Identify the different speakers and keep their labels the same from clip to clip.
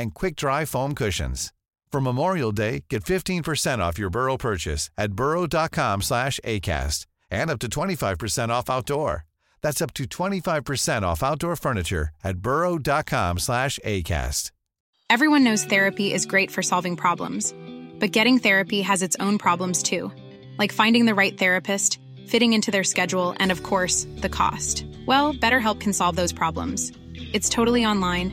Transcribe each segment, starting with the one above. Speaker 1: and quick-dry foam cushions. For Memorial Day, get 15% off your Burrow purchase at burrow.com/acast and up to 25% off outdoor. That's up to 25% off outdoor furniture at burrow.com/acast.
Speaker 2: Everyone knows therapy is great for solving problems, but getting therapy has its own problems too, like finding the right therapist, fitting into their schedule, and of course, the cost. Well, BetterHelp can solve those problems. It's totally online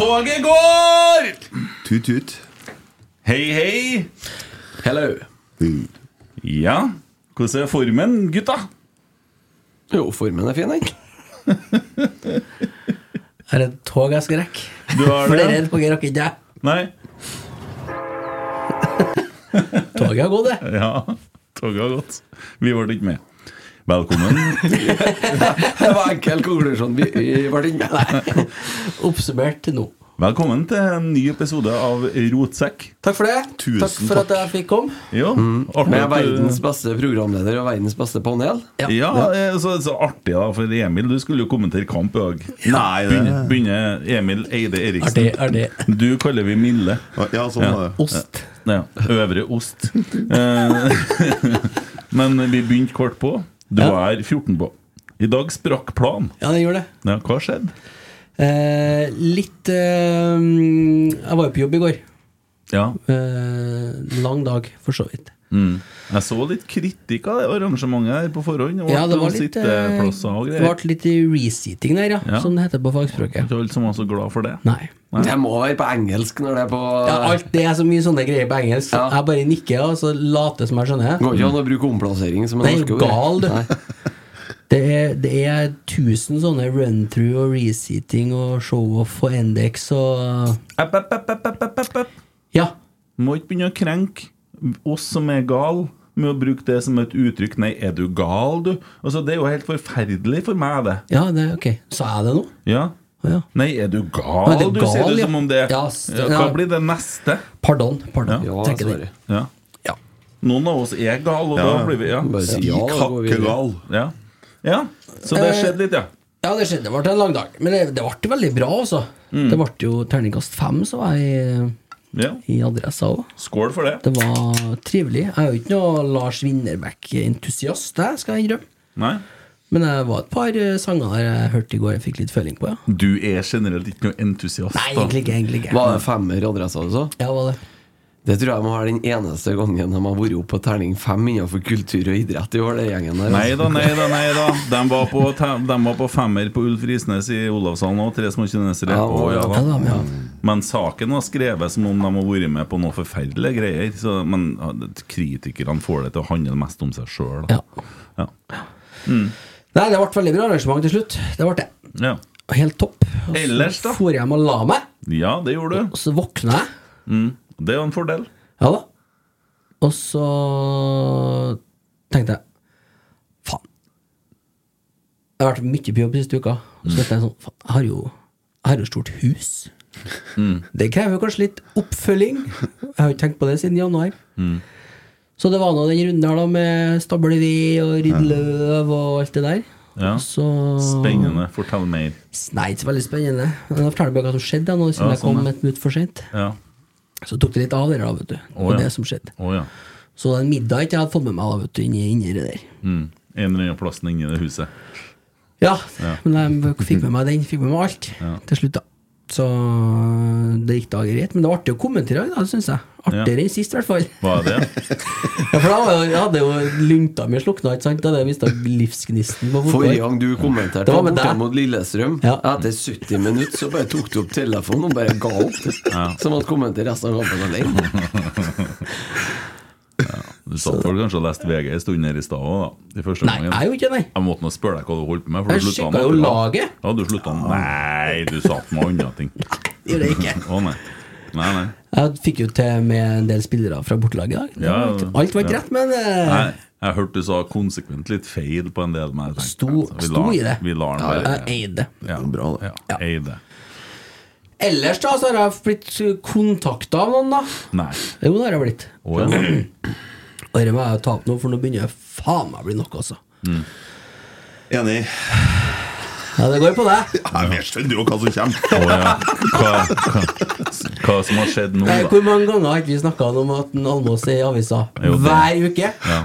Speaker 3: Toget går!
Speaker 4: Tut, tut.
Speaker 3: Hei, hei.
Speaker 5: Hello.
Speaker 4: Mm.
Speaker 3: Ja, hvordan er formen, gutta?
Speaker 5: Jo, formen er fin, ikke?
Speaker 6: Er det et tog jeg skal rekke?
Speaker 3: Du har
Speaker 6: For det er
Speaker 3: det?
Speaker 6: et tog jeg rakk ikke. jeg.
Speaker 3: Nei?
Speaker 6: Toget har gått, det.
Speaker 3: Ja, toget har gått. Vi ble ikke med. Velkommen.
Speaker 5: Det var enkel konklusjon. Vi, vi ble ikke med.
Speaker 6: Oppsummert til nå.
Speaker 3: Velkommen til en ny episode av Rotsekk.
Speaker 5: Takk for det.
Speaker 4: Tusen
Speaker 5: takk for at jeg
Speaker 6: Jeg fikk komme.
Speaker 3: Ja,
Speaker 4: Mm.
Speaker 5: Men jeg er
Speaker 3: at du-
Speaker 5: verdens beste programleder og verdens beste panel.
Speaker 3: Ja, eh, så, så artig da, for Emil, du skulle jo kommentere kamp i dag. Nei, begynner, begynner Emil Eide Eriksen.
Speaker 6: Artig, artig.
Speaker 3: Du kaller vi Mille.
Speaker 4: Ja, sånn var det.
Speaker 6: Ost.
Speaker 3: Ja, øvre ost. Eh, Men vi begynte kort på. Du
Speaker 6: Ja.
Speaker 3: er 14 på. I dag sprakk planen.
Speaker 6: Ja, det gjorde det.
Speaker 3: Ja, hva skjedde?
Speaker 6: Eh, litt eh, Jeg var jo på jobb i går.
Speaker 3: Ja,
Speaker 6: Eh, lang dag, for så vidt.
Speaker 3: jeg så litt kritikk av det arrangementet her på forhånd. Og
Speaker 6: Ja, det var
Speaker 3: noen
Speaker 6: litt eh,
Speaker 3: sitteplasser og
Speaker 6: Det
Speaker 3: greier.
Speaker 6: ble litt reseating der, ja,
Speaker 3: Ja.
Speaker 6: som det heter på fagspråket.
Speaker 3: Ikke alle som var så glad for det.
Speaker 6: Nei.
Speaker 5: Det må være på engelsk når det er på
Speaker 6: Ja, alt Det er så mye sånne greier på engelsk.
Speaker 5: Ja.
Speaker 6: Jeg bare nikker og så later som jeg skjønner.
Speaker 5: Går ikke an å bruke omplassering som
Speaker 6: Nei,
Speaker 5: en norske
Speaker 6: gal, du.
Speaker 5: Nei.
Speaker 6: Det er, det er tusen sånne run-through og reseating og show-off og index og
Speaker 3: App, app, app, app, app, app, app.
Speaker 6: Ja.
Speaker 3: Må ikke begynne å krenke oss som er gal med å bruke det som et uttrykk. Nei, er du gal, du? Altså, det er jo helt forferdelig for meg, det.
Speaker 6: ja det, ok. Sa jeg det nå?
Speaker 3: Ja.
Speaker 6: Å Ja.
Speaker 3: Nei, er du gal,
Speaker 6: Er du
Speaker 3: du? Sier
Speaker 6: gal,
Speaker 3: du
Speaker 6: ja.
Speaker 3: som om det
Speaker 6: Ja, s-
Speaker 3: ja, Hva
Speaker 6: ja.
Speaker 3: blir det neste?
Speaker 6: Pardon. pardon
Speaker 5: Ja,
Speaker 6: Tenker det.
Speaker 5: sorry.
Speaker 3: Ja.
Speaker 6: Ja.
Speaker 3: Noen av oss er gale, og da blir vi Ja.
Speaker 5: Bare si ja, da går vi videre.
Speaker 4: Kakkegal.
Speaker 3: ja. ja. Så det
Speaker 6: Eh.
Speaker 3: skjedde litt, ja.
Speaker 6: Ja, det skjedde. Det ble en lang dag. Men det, det ble veldig bra, altså. Det ble jo terningkast fem, så var jeg
Speaker 3: ja.
Speaker 6: i, i adressa òg.
Speaker 3: Skål for det.
Speaker 6: Det var trivelig. Jeg er jo ikke noe Lars Winnerbæk-entusiast, det skal jeg innrømme.
Speaker 3: Nei.
Speaker 6: Men det var et par eh, sanger der jeg hørte i går jeg fikk litt føling på, ja.
Speaker 3: Du er generelt ikke noe entusiast.
Speaker 6: Nei,
Speaker 3: da.
Speaker 6: egentlig ikke. egentlig ikke
Speaker 5: Var det femmer adressa du sa?
Speaker 6: Ja, var det.
Speaker 5: Det tror jeg må være den eneste gangen de har vært oppe på terning fem innenfor kultur og idrett i år, det gjengen der.
Speaker 3: Nei da, nei da, nei da. De var på, te- de var på femmer på Ulf Risnes i Olavshallen og tre små kinesere.
Speaker 5: Ja,
Speaker 3: Å, ja,
Speaker 5: ja.
Speaker 6: Ja,
Speaker 3: da.
Speaker 6: det var med, ja.
Speaker 3: Men saken var skrevet som om de har vært med på noe forferdelige greier. Så, men ja, det- kritikerne får det til å handle mest om seg sjøl.
Speaker 6: Ja.
Speaker 3: Ja.
Speaker 6: Nei, det ble veldig bra arrangement til slutt. Det ble det.
Speaker 3: Ja.
Speaker 6: Helt topp. Og så
Speaker 3: Ellers, da?
Speaker 6: for jeg hjem og la meg,
Speaker 3: ja, det gjorde du.
Speaker 6: og så våkna jeg.
Speaker 3: Det er jo en fordel.
Speaker 6: Ja da. Og så tenkte jeg Faen. Jeg har vært mye på jobb siste uka. Og så tenkte jeg sånn Faen, jeg har jo, jeg har jo stort hus.
Speaker 3: Mm. Mm.
Speaker 6: Det krever jo kanskje litt oppfølging. Jeg har jo ikke tenkt på det siden januar. Så det var nå den runden her da med stable ved og rydde løv og alt det der.
Speaker 3: Ja.
Speaker 6: Så
Speaker 3: Spennende. Fortell mer.
Speaker 6: Nei, ikke så veldig spennende. Men jeg forteller bare hva som skjedde da, nå, siden
Speaker 3: Ja,
Speaker 6: jeg kom
Speaker 3: sånn, ja.
Speaker 6: et minutt for sent.
Speaker 3: Ja.
Speaker 6: Så tok det litt av, det der, da, vet du. Det var
Speaker 3: ja.
Speaker 6: det som skjedde.
Speaker 3: Å ja.
Speaker 6: Så det er en middag ikke jeg hadde fått med meg da, vet du, inni, inni det der.
Speaker 3: Mm. En eller annen plass inni det huset.
Speaker 6: Ja, men jeg fikk med meg den, fikk med meg alt til slutt, da. Så det gikk da greit. Men det var artig å kommentere i dag, syns jeg. Artigere enn sist, i hvert fall.
Speaker 3: Hva er det?
Speaker 6: Ja, for da var jo- jeg hadde jo lunta mi slukna, ikke sant? Da hadde jeg mista livsgnisten på fotball.
Speaker 5: Forrige gang du kommenterte
Speaker 6: Det var med
Speaker 5: borte
Speaker 6: deg.
Speaker 5: mot Lillestrøm,
Speaker 6: Ja.
Speaker 5: etter 70 minutter så bare tok du opp telefonen og bare ga opp. Som hadde kommentert resten av kampen alene.
Speaker 3: Du satt vel kanskje og leste VG en stund her i stad òg, da? I første
Speaker 6: Nei, jeg er jo ikke det, nei.
Speaker 3: Jeg måtte nå spørre deg hva du holdt på med. for
Speaker 6: Jeg
Speaker 3: du sluttet
Speaker 6: sjekket
Speaker 3: med
Speaker 6: jo
Speaker 3: det, da.
Speaker 6: laget.
Speaker 3: Ja, du slutta med Nei, du satt med andre ting.
Speaker 6: Gjør det ikke.
Speaker 3: Å nei. Nei, nei.
Speaker 6: Jeg fikk jo til med en del spillere fra bortelaget i dag. Det
Speaker 3: Ja,
Speaker 6: var ikke- Alt var ikke
Speaker 3: ja.
Speaker 6: rett, men
Speaker 3: Nei,
Speaker 6: eh,
Speaker 3: jeg hørte du sa konsekvent litt feil på en del. Men jeg tenkte,
Speaker 6: Sto-
Speaker 3: altså, vi
Speaker 6: sto
Speaker 3: lar-
Speaker 6: i det.
Speaker 3: Vi lar den
Speaker 6: jeg
Speaker 3: være.
Speaker 6: eide det.
Speaker 3: Ja,
Speaker 4: Bra, det.
Speaker 3: ja, Eide.
Speaker 6: Ellers da, så har jeg blitt kontakta av noen, da.
Speaker 3: Nei.
Speaker 6: Jo, det har jeg blitt.
Speaker 3: Å ja.
Speaker 6: Og det må jeg ta opp nå, for nå begynner jeg faen meg å bli nok, altså.
Speaker 4: Enig.
Speaker 6: Ja, det går på deg.
Speaker 4: Jeg skjønner jo hva som kommer.
Speaker 3: Å ja. Hva, hva, hva som har skjedd nå,
Speaker 6: Eh,
Speaker 3: da?
Speaker 6: Hvor mange ganger har ikke vi snakka om at en Almås er i avisa?
Speaker 3: Jo, det-
Speaker 6: Hver uke.
Speaker 3: Ja.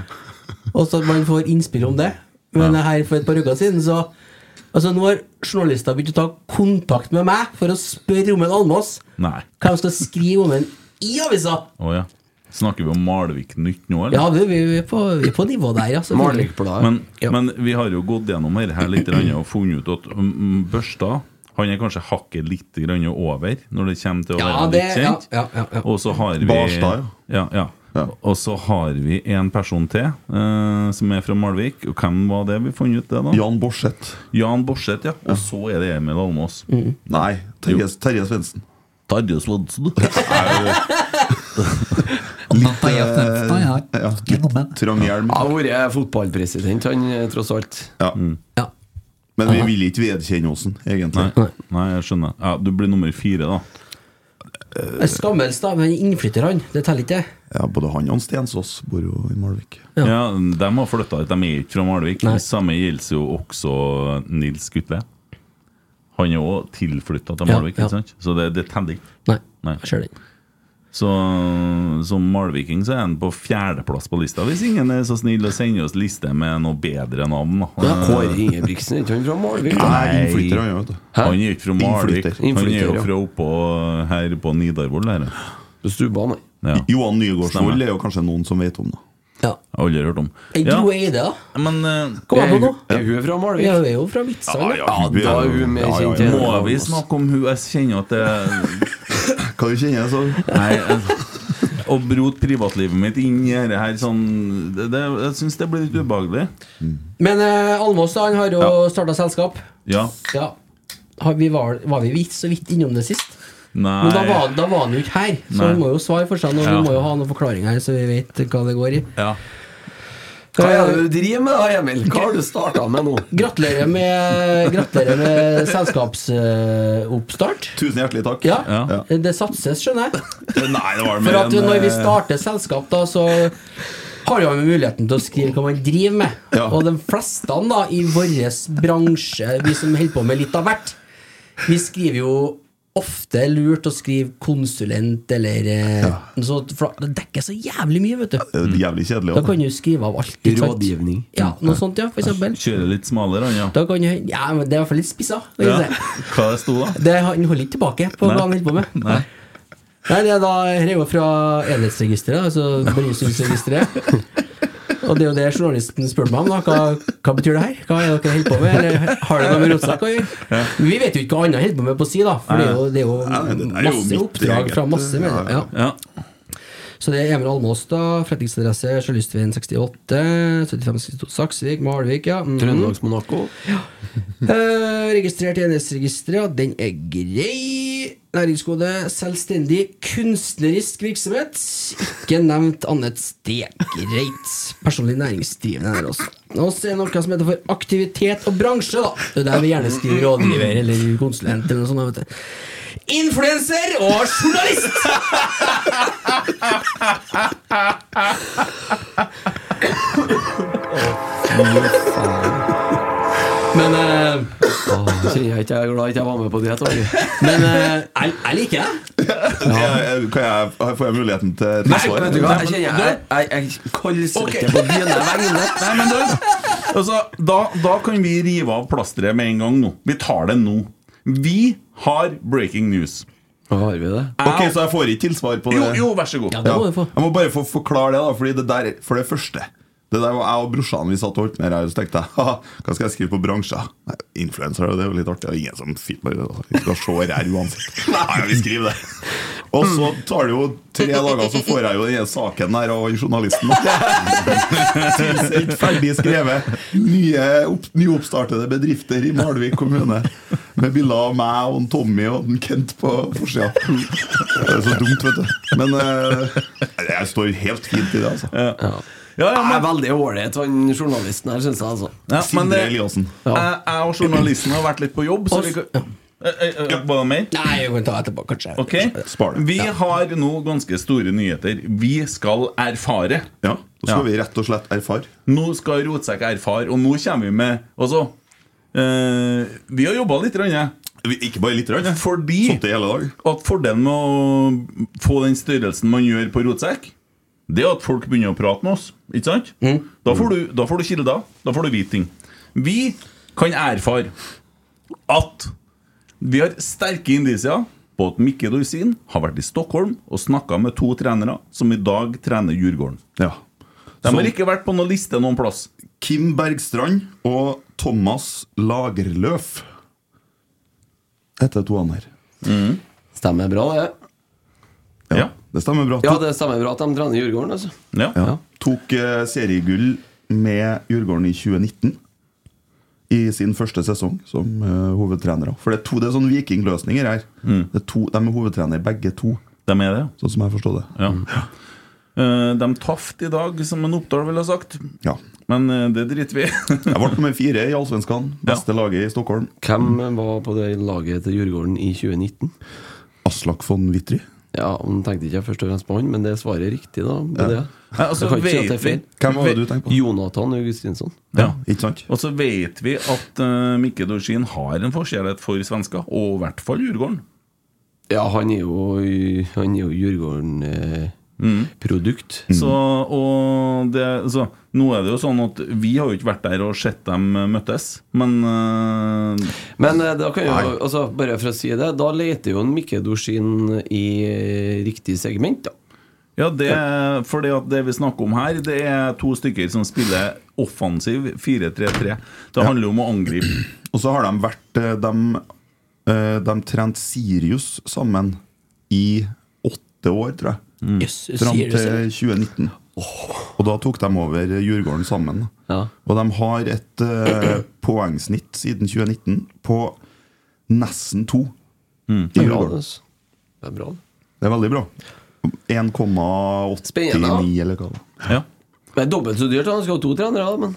Speaker 6: Og så at man får innspill om det. Men
Speaker 3: Ja.
Speaker 6: her for et par uker siden, så Altså, nå har journalister begynt å ta kontakt med meg for å spørre om en Almås.
Speaker 3: Nei.
Speaker 6: Hva de skal skrive om en i avisa!
Speaker 3: Å ja. Snakker vi om Malvik Nytt nå, eller?
Speaker 6: Ja, vi, vi, vi, er på, vi er på nivå der, ja. selvfølgelig.
Speaker 5: Malvik-bladet.
Speaker 3: Men, men vi har jo gått gjennom her, her litt grann, og funnet ut at mm, Børsta han er kanskje hakket litt grann over når det kommer til å være
Speaker 6: Ja,
Speaker 3: litt
Speaker 6: det-
Speaker 3: kjent.
Speaker 6: ja, ja, ja, ja.
Speaker 3: Og så har vi
Speaker 4: Barstad,
Speaker 3: ja. ja.
Speaker 4: Ja.
Speaker 3: Og så har vi en person til eh, som er fra Malvik. Og hvem var det vi fant ut det, da?
Speaker 4: Jan Borseth.
Speaker 3: Jan Borseth, ja. Og så er det Emil Almås.
Speaker 6: Mm.
Speaker 4: Nei, Terje, Terje Svendsen.
Speaker 3: Tarjei Svendsen.
Speaker 4: Trang hjelm.
Speaker 5: Jeg har vært fotballpresident, han, eh, tross alt.
Speaker 4: Ja.
Speaker 6: Ja.
Speaker 4: Men vi vil ikke vedkjenne oss, den, egentlig.
Speaker 3: Nei, nei, jeg skjønner. Ja, du blir nummer fire, da.
Speaker 6: Jeg Skammels, da. Men innflytter han. Det teller ikke.
Speaker 4: Ja, både han og han Stensås bor jo i Malvik.
Speaker 3: Ja. De har flytta ut, de er ikke fra Malvik.
Speaker 6: Nei.
Speaker 3: Det samme gjelder jo også Nils Gutve. Han er òg tilflytta til
Speaker 6: Ja,
Speaker 3: Malvik,
Speaker 6: ja.
Speaker 3: ikke sant? så det, det teller ikke.
Speaker 6: Nei.
Speaker 3: Nei.
Speaker 6: Jeg ser den.
Speaker 3: Så som malviking så er han på fjerdeplass på lista, hvis ingen er så snill å sende oss liste med noe bedre navn. Da.
Speaker 5: Kåre Ingebrigtsen, er ikke han fra Malvik? da?
Speaker 4: Nei, innflytter han, ja, vet du.
Speaker 3: Han er ikke fra Malvik,
Speaker 4: Innflytter.
Speaker 3: han er
Speaker 5: Innflytter,
Speaker 3: jo
Speaker 5: ja.
Speaker 3: fra oppå her på Nidarvoll. her.
Speaker 5: På Stubba, nei.
Speaker 3: Ja.
Speaker 4: Johan Nygaardsvold
Speaker 3: Stemmer.
Speaker 4: er jo kanskje noen som vet om det.
Speaker 6: Ja.
Speaker 3: Aldri hørt om.
Speaker 6: Ei
Speaker 3: Ja,
Speaker 6: Gro Eide, da.
Speaker 3: men eh,
Speaker 6: Kom an på nå.
Speaker 5: Er hun fra
Speaker 6: Vi
Speaker 5: Malvik?
Speaker 6: er jo fra Midtsand. da.
Speaker 5: Ja, da er hun mer kjent enn
Speaker 3: må vi snakke om hun? Jeg kjenner at det
Speaker 4: Kan du kjenne så
Speaker 3: Nei, altså, å rote privatlivet mitt inn i dette her sånn det, det, Jeg syns det blir litt ubehagelig.
Speaker 6: Men eh, Almås da, han har jo startet starta selskap.
Speaker 3: Ja.
Speaker 6: Ja. Har Vi var, var vi vidt, så vidt innom det sist?
Speaker 3: Nei.
Speaker 6: Men da var, da var han jo ikke her, så
Speaker 3: Nei.
Speaker 6: han må jo svare for seg. nå.
Speaker 3: Ja.
Speaker 6: Vi må jo ha noen forklaring her, så vi vet hva det går i.
Speaker 3: ja.
Speaker 5: Hva er det du driver med da, Emil? Hva har du starta med nå?
Speaker 6: Gratulerer med, gratulerer med selskapsoppstart.
Speaker 4: Tusen hjertelig takk.
Speaker 6: ja.
Speaker 3: Ja.
Speaker 6: det satses, skjønner jeg.
Speaker 4: Nei, det var
Speaker 6: For
Speaker 4: mer
Speaker 6: at
Speaker 4: enn,
Speaker 6: når vi
Speaker 4: eh,
Speaker 6: starter selskap, da, så har jo vi muligheten til å skrive hva man driver med.
Speaker 4: Ja.
Speaker 6: Og de fleste da, i vår bransje, vi som holder på med litt av hvert, vi skriver jo ofte lurt å skrive konsulent eller eh, noe sånt, for det dekker så jævlig mye, vet du.
Speaker 4: Det er Jævlig kjedelig.
Speaker 6: Da
Speaker 4: altså.
Speaker 6: kan du skrive av alt. ikke sant?
Speaker 5: Rådgivning.
Speaker 6: Ja, noe sånt, ja, for eksempel.
Speaker 3: Kjører litt smalere, han, ja.
Speaker 6: Da kan du, ja, men det er i hvert fall litt spissa. kan
Speaker 3: ja.
Speaker 6: jeg si.
Speaker 3: Hva det sto da?
Speaker 6: Det, han holder ikke tilbake på hva
Speaker 3: Nei.
Speaker 6: han holder på med.
Speaker 3: Nei.
Speaker 6: Nei, det er da her er jo fra enhetsregisteret, altså Brønnøysundregisteret. Og det er jo det journalisten spør meg om. da Hva, hva betyr det her? Hva er det dere holder på med? Eller har det noe med Rotsekk å gjøre? Men Vi vet jo ikke hva annet holder på med på si, da. For det er jo, det
Speaker 4: Nei,
Speaker 6: er
Speaker 4: det er
Speaker 6: jo
Speaker 4: jo
Speaker 6: masse
Speaker 4: mitt
Speaker 6: oppdrag
Speaker 4: eget,
Speaker 6: fra masse medier. Ja.
Speaker 3: Ja.
Speaker 6: Så det er Emil Almås, da. Forretningsadresse Sjølystveien 68. 7562 Saksvik. Malvik, ja. Mhm.
Speaker 5: Trøndelags-Monaco.
Speaker 6: Eh, registrert i NS-registeret, og den er grei. Næringskode selvstendig kunstnerisk virksomhet. Ikke nevnt annet sted. Greit. Personlig næringsdrivende her også. Og så er det noe som heter for aktivitet og bransje, da. Det er der vi gjerne skriver rådgiver eller konsulent eller noe sånt. da, Vet du. influenser og journalist! Men eh,
Speaker 5: Åh, kjenner jeg ikke jeg er glad ikke jeg var med på det toget.
Speaker 6: Men eh, jeg, jeg liker det.
Speaker 4: Jeg, jeg, kan jeg, får jeg muligheten til til
Speaker 5: Nei,
Speaker 4: svar?
Speaker 5: vet du hva, jeg kjenner jeg, jeg, jeg, jeg
Speaker 3: Ok.
Speaker 5: kaldsetter på dine vegne.
Speaker 3: Nei, men du altså, da, da kan vi rive av plasteret med en gang nå. Vi tar det nå. Vi har breaking news.
Speaker 5: Nå har vi det.
Speaker 4: Ok, Så jeg får ikke tilsvar på det?
Speaker 3: Jo, jo, vær så god.
Speaker 6: Ja, det må du få.
Speaker 4: Jeg må bare få forklare det, da Fordi det der, for det første Det der var jeg og brorsan vi satt og holdt med her, og så tenkte jeg haha, hva skal jeg skrive på bransjer? Nei, Influensere, det er jo litt artig. Det er ingen som fint bare Vi skal se her uansett. Nei, vi skriver det. Og så tar det jo tre dager, så får jeg jo denne saken her av journalisten. Tilsendt, ferdig skrevet. Nye, opp, nyoppstartede bedrifter i Malvik kommune. Med bilder av meg og en Tommy og en Kent på forsida. Det er så dumt, vet du. Men eh, jeg står helt fint i det, altså.
Speaker 3: Ja, ja,
Speaker 5: Jeg er
Speaker 3: men,
Speaker 5: veldig ålreit, han journalisten her, syns jeg, altså.
Speaker 3: ja, men
Speaker 4: Sindre
Speaker 3: det,
Speaker 4: Eliassen.
Speaker 3: jeg, jeg og journalisten har vært litt på jobb, så vi kan Eh, eh, eh, Var det mer?
Speaker 6: Nei, vi kan ta etterpå, kanskje.
Speaker 3: Ok,
Speaker 4: Spar det.
Speaker 3: Vi har nå ganske store nyheter. Vi skal erfare.
Speaker 4: Ja, da skal
Speaker 3: Ja.
Speaker 4: vi rett og slett erfare.
Speaker 3: Nå skal Rotsekk erfare, og nå kommer vi med Altså, eh, vi har jobba litt, grann,
Speaker 4: Vi- Ikke bare litt, grann,
Speaker 3: fordi
Speaker 4: satt i hele dag.
Speaker 3: at fordelen med å få den størrelsen man gjør på rotsekk, det er at folk begynner å prate med oss. Ikke sant?
Speaker 4: Mm.
Speaker 3: Da, får du, da får du kilder. Da får du vite ting. Vi kan erfare at vi har sterke indisier på at Mikke Dorsin har vært i Stockholm og snakka med to trenere som i dag trener Djurgården.
Speaker 4: Ja.
Speaker 3: De
Speaker 4: Så-
Speaker 3: har ikke vært på noen liste noen plass.
Speaker 4: Kim Bergstrand og Thomas Lagerløf. Heter to han her.
Speaker 5: Stemmer bra, det.
Speaker 3: Ja.
Speaker 4: Det stemmer bra.
Speaker 5: Ja, det stemmer bra at de trener Djurgården, altså.
Speaker 3: Ja.
Speaker 4: Ja. Tok eh, seriegull med Djurgården i 2019. I sin første sesong som eh, hovedtrenere. For det er to, det er sånn vikingløsninger her.
Speaker 3: Mm.
Speaker 4: Det er to, de er hovedtrenere begge to,
Speaker 3: De er det.
Speaker 4: sånn som jeg forstår det.
Speaker 3: Ja. Eh, De tapte i dag, som en Oppdal ville ha sagt.
Speaker 4: Ja.
Speaker 3: Men eh, det driter vi i.
Speaker 4: Jeg ble nummer fire i Allsvenskan. Beste laget i Stockholm.
Speaker 5: Hvem var på det laget til Djurgården i 2019?
Speaker 4: Aslak von Witry.
Speaker 5: Ja, Han tenkte ikke jeg først og fremst på han, men det svaret er riktig, da. på Det.
Speaker 3: Ja, altså,
Speaker 5: Jeg kan ikke si at
Speaker 3: vet
Speaker 5: det er feil.
Speaker 3: vi-
Speaker 4: Hvem var det du tenkte på?
Speaker 5: Jonathan Augustinsson.
Speaker 4: Ja, ikke sant?
Speaker 3: Og så vet vi at eh, Mikke Dorsin har en forskjellighet for svensker, og i hvert fall Djurgården.
Speaker 5: Ja, han er jo, han er jo eh, Mm. Djurgården-produkt.
Speaker 3: Så, og det, så, nå er det jo sånn at vi har jo ikke vært der og sett dem eh, møttes, men eh,
Speaker 5: Men eh, da kan jo, altså, bare for å si det, da leter jo en Mikke Dorsin i eh, riktig segment, da.
Speaker 3: Ja, det, for det, at det vi snakker om her, det er to stykker som spiller offensiv 4-3-3. Det handler jo om å angripe.
Speaker 4: Og så har de vært eh, De, eh, de trent Sirius sammen i åtte år, tror jeg.
Speaker 5: Mm.
Speaker 6: Yes,
Speaker 4: Fram
Speaker 6: sier du selv.
Speaker 4: til 2019. Og da tok de over Djurgården sammen.
Speaker 5: Ja.
Speaker 4: Og de har et eh, poengsnitt siden 2019 på nesten to i
Speaker 5: Bra,
Speaker 4: Djurgården.
Speaker 5: altså. Det er bra. det.
Speaker 4: Det er veldig bra. 1,89
Speaker 5: Spennende, da.
Speaker 4: eller hva det var.
Speaker 3: Ja.
Speaker 5: Det er dobbelt så dyrt, han skal ha to trenere, da, men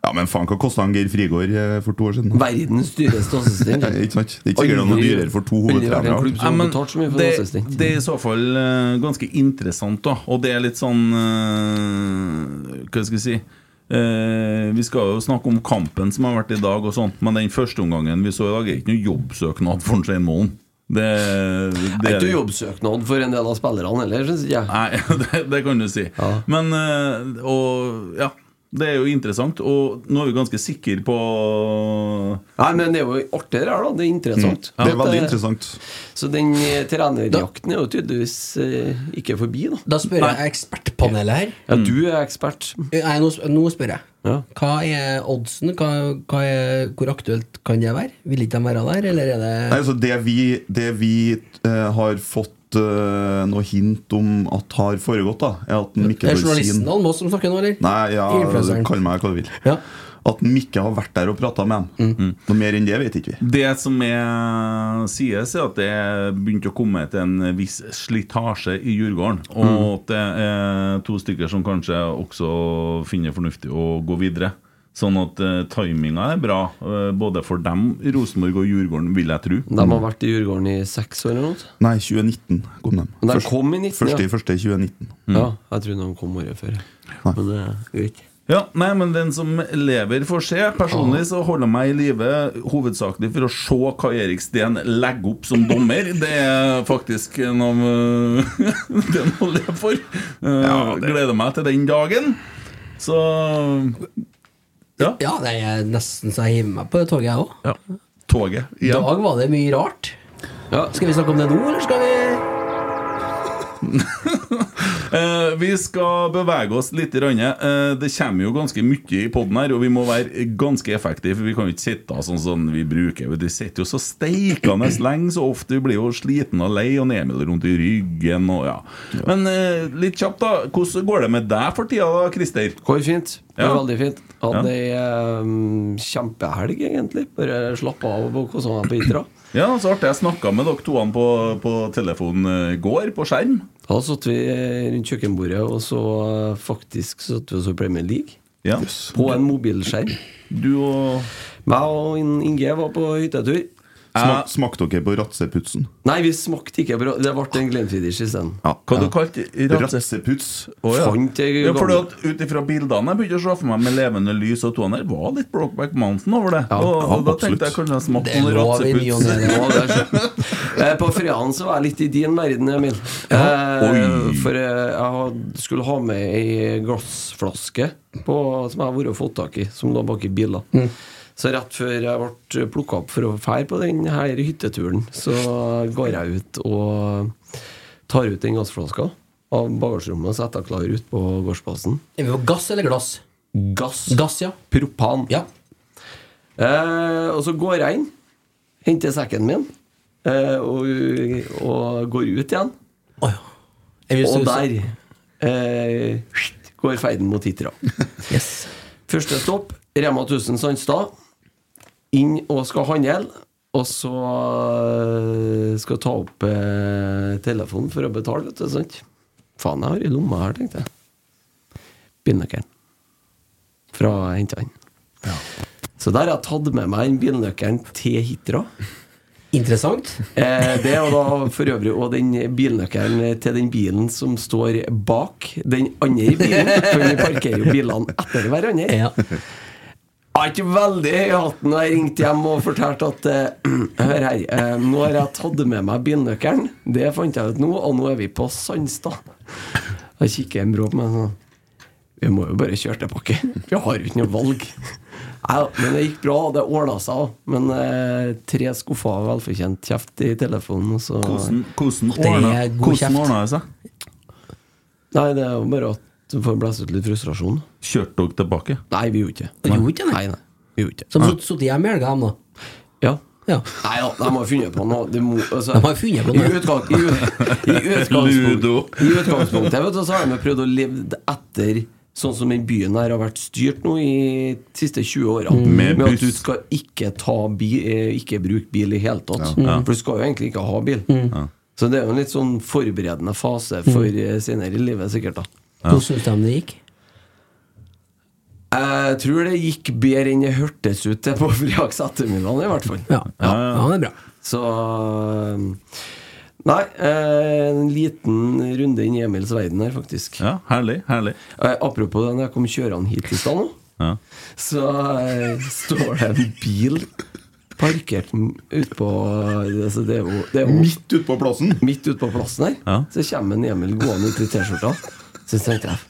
Speaker 4: Ja, men faen, hva kosta Geir Frigård eh, for to år siden?
Speaker 5: verdens dyreste assistent.
Speaker 4: Eh, Ikke sant? Det er ikke sikkert han er
Speaker 5: Aldri-
Speaker 4: dyrere for to
Speaker 5: aldri vært en klubb
Speaker 4: hovedtrenere.
Speaker 5: som har
Speaker 3: Ja, men
Speaker 5: betalt så mye for en
Speaker 3: det,
Speaker 5: assistent.
Speaker 3: det er i så fall eh, ganske interessant, da. Og det er litt sånn eh, Hva skal vi si? Eh, vi skal jo snakke om kampen som har vært i dag, og sånt, men den første omgangen vi så i dag, er ikke noe jobbsøknad for Svein Moen. Det,
Speaker 5: Det
Speaker 3: det
Speaker 5: er ikke jobbsøknad for en del av spillerne heller, syns ikke jeg.
Speaker 3: Nei, det, det kan du si.
Speaker 5: Ja.
Speaker 3: Men eh, Og ja. Det er jo interessant, og nå er vi ganske sikre på
Speaker 5: Nei, men det er jo artigere her, da. Det er interessant.
Speaker 4: Mm. Det er veldig
Speaker 5: At, eh,
Speaker 4: interessant.
Speaker 5: Så den eh, trenerjakten er jo tydeligvis eh, ikke forbi, da.
Speaker 6: Da spør jeg ekspertpanelet her. Eh,
Speaker 5: Ja, du er ekspert.
Speaker 6: Nei, nå, sp- nå spør jeg.
Speaker 5: Ja.
Speaker 6: Hva er oddsen? Hva, hva er, hvor aktuelt kan det være? Vil ikke de være der, eller er det
Speaker 4: Nei, altså det vi, det vi eh, har fått eh, noe hint om at har foregått, da, er at Mikke
Speaker 6: Det er journalisten
Speaker 4: Dorsin
Speaker 6: Almås som snakker nå, eller?
Speaker 4: Nei, ja,
Speaker 6: Influenceren.
Speaker 4: kall meg hva du vil.
Speaker 6: Ja. Mm.
Speaker 4: At Mikke har vært der og prata med dem. Mm. Noe mer enn det vet ikke vi.
Speaker 3: Det som er, sies, er at det er begynt å komme til en viss slitasje i Djurgården. Og at det er to stykker som kanskje også finner fornuftig å gå videre. Sånn at uh, timinga er bra, eh, både for dem, Rosenborg og Djurgården, vil jeg tro.
Speaker 5: De
Speaker 4: Mm.
Speaker 5: har vært i Djurgården i seks år eller noe.
Speaker 4: Nei, 2019 kom de.
Speaker 5: Men de kom i 19,
Speaker 4: første,
Speaker 5: ja.
Speaker 4: første i 2019.
Speaker 5: Ja, jeg trodde de kom året før. Men det er greit.
Speaker 3: Ja, nei, men den som lever får se. Personlig så holder jeg meg i live hovedsakelig for å se hva Erik Steen legger opp som dommer. Det er faktisk en av øh, det man lever for. Eh, Gleder meg til den dagen. Så ja,
Speaker 6: Ja, det er nesten så jeg hiver meg på det toget, jeg òg.
Speaker 3: toget.
Speaker 6: I
Speaker 3: Ja.
Speaker 6: dag var det mye rart.
Speaker 5: Ja,
Speaker 6: Skal vi snakke om det nå, eller skal vi
Speaker 3: Eh, vi skal bevege oss litt. i randet. Eh, det kommer jo ganske mye i poden her, og vi må være ganske effektive. for Vi kan jo ikke sitte sånn som vi bruker. Vi sitter jo så steikende lenge så ofte. Vi blir jo sliten og lei og Emil rundt i ryggen. Og, ja. Men eh, litt kjapt, da. Hvordan går det med deg for tida, da, Christer?
Speaker 5: Går fint. Det var
Speaker 3: Ja.
Speaker 5: Veldig fint. Hadde ei eh, kjempehelg, egentlig. Bare slappa av og kosa meg på Hitra.
Speaker 3: Ja, så artig. Jeg snakka med dere to på, på telefonen eh, i går, på skjerm.
Speaker 5: Da satt vi rundt kjøkkenbordet, og så eh, faktisk satt vi og så Premier League.
Speaker 3: Ja.
Speaker 5: På en mobilskjerm.
Speaker 3: Du og
Speaker 5: Meg og In- Inge var på hyttetur.
Speaker 4: Smak, smakte dere på ratseputsen?
Speaker 5: Nei, vi smakte ikke på Det ble en Glenfiddich isteden.
Speaker 4: Ja.
Speaker 3: Hva du kalte du
Speaker 4: Ratseputs.
Speaker 3: Å,
Speaker 5: Fant jeg
Speaker 3: ja, fordi
Speaker 5: gammel-
Speaker 3: at Ut ifra bildene jeg begynte å se for meg med levende lys og toner, var litt Brokeback Mountain over det. og,
Speaker 4: ja,
Speaker 3: og Da
Speaker 4: absolutt.
Speaker 3: tenkte jeg kanskje jeg
Speaker 6: Det
Speaker 3: smakte
Speaker 6: er
Speaker 3: noen
Speaker 6: lov i ny og ne,
Speaker 3: ratseputs.
Speaker 6: det.
Speaker 5: Ja, det er sant. Eh, På fredagen så var jeg litt i din verden, Emil. Eh,
Speaker 3: Oi.
Speaker 5: for eh, jeg had- skulle ha med ei glassflaske på, som jeg har vært og fått tak i, som lå bak i biler. Så rett før jeg ble plukka opp for å fære på den her hytteturen, så går jeg ut og tar ut den gassflaska av bagasjerommet og setter klar ut på gårdsplassen.
Speaker 6: Er vi på gass eller glass?
Speaker 5: Gass.
Speaker 6: Gass, ja.
Speaker 5: Propan.
Speaker 6: ja.
Speaker 5: Eh, og så går jeg inn, henter sekken min, eh, og, og går ut igjen.
Speaker 6: Å, ja. Er vi så-
Speaker 5: Og der eh, går ferden mot Hitra.
Speaker 6: Yes.
Speaker 5: Første stopp, Rema 1000 Sandstad. Inn og skal handle. Og så eh, skal jeg ta opp eh, telefonen for å betale, vet du. sant? Faen, jeg har i lomma her, tenkte jeg. Bilnøkkelen. Fra jeg hentet den. Så der har jeg tatt med meg den bilnøkkelen til Hitra.
Speaker 6: Interessant.
Speaker 5: Eh, det er jo da for øvrig Og den bilnøkkelen til den bilen som står bak den andre bilen. For vi parkerer jo bilene etter hverandre.
Speaker 6: Ja.
Speaker 5: Jeg er ikke veldig høy i hatten når jeg ringte hjem og fortalte at eh, Hør her, eh, nå har jeg tatt med meg bilnøkkelen. Det fant jeg ut nå, og nå er vi på Sandstad. Da kikker en bror på meg sånn Vi må jo bare kjøre tilbake. Vi har jo ikke noe valg. Ja, men det gikk bra, og det ordna seg òg. Men eh, tre skuffer velfortjent kjeft i telefonen, og så
Speaker 3: Hvordan, hvordan
Speaker 6: er
Speaker 3: ordna-
Speaker 6: god
Speaker 3: hvordan
Speaker 6: kjeft.
Speaker 3: ordna det seg?
Speaker 5: Nei, det er jo bare at du får blæst ut litt frustrasjon.
Speaker 3: Kjørte dere tilbake?
Speaker 5: Nei, vi gjorde ikke
Speaker 6: Du gjorde ikke det?
Speaker 5: Nei, nei, vi gjorde ikke
Speaker 6: Som satt hjemme i helga, han da.
Speaker 5: Ja
Speaker 6: Ja.
Speaker 5: Nei da, de har funnet på noe. Det må, altså,
Speaker 6: De har funnet på noe.
Speaker 5: I, utgang, i, ut- i,
Speaker 3: Ludo.
Speaker 5: utgangspunkt, I utgangspunktet vet du, så har de prøvd å leve etter sånn som den byen her har vært styrt nå i de siste 20 årene.
Speaker 6: Mm.
Speaker 3: Med
Speaker 5: Med
Speaker 3: buss.
Speaker 5: at du skal ikke, ta bi, eh, ikke bruke bil i hele tatt. For du skal jo egentlig ikke ha bil.
Speaker 6: Mm.
Speaker 5: Så det er jo en litt sånn forberedende fase for eh, senere i livet, sikkert. da
Speaker 6: Hvordan syns de det gikk?
Speaker 5: Jeg tror det gikk bedre enn det hørtes ut til på fredags ettermiddag, i hvert fall.
Speaker 6: Ja. ja. ja, det er bra.
Speaker 5: Så eh, Nei, eh, en liten runde inn i Emils verden her, faktisk.
Speaker 3: Ja, herlig. herlig
Speaker 5: Eh, apropos det, når jeg kom kjørende hit i stad nå,
Speaker 3: ja.
Speaker 5: så eh, står det en bil parkert m- ut på altså Det er jo, det er jo midt,
Speaker 4: Midt ute på plassen!
Speaker 5: ut på plassen her.
Speaker 3: Ja.
Speaker 5: Så kommer en Emil gående ut i T-skjorta. Så tenkte jeg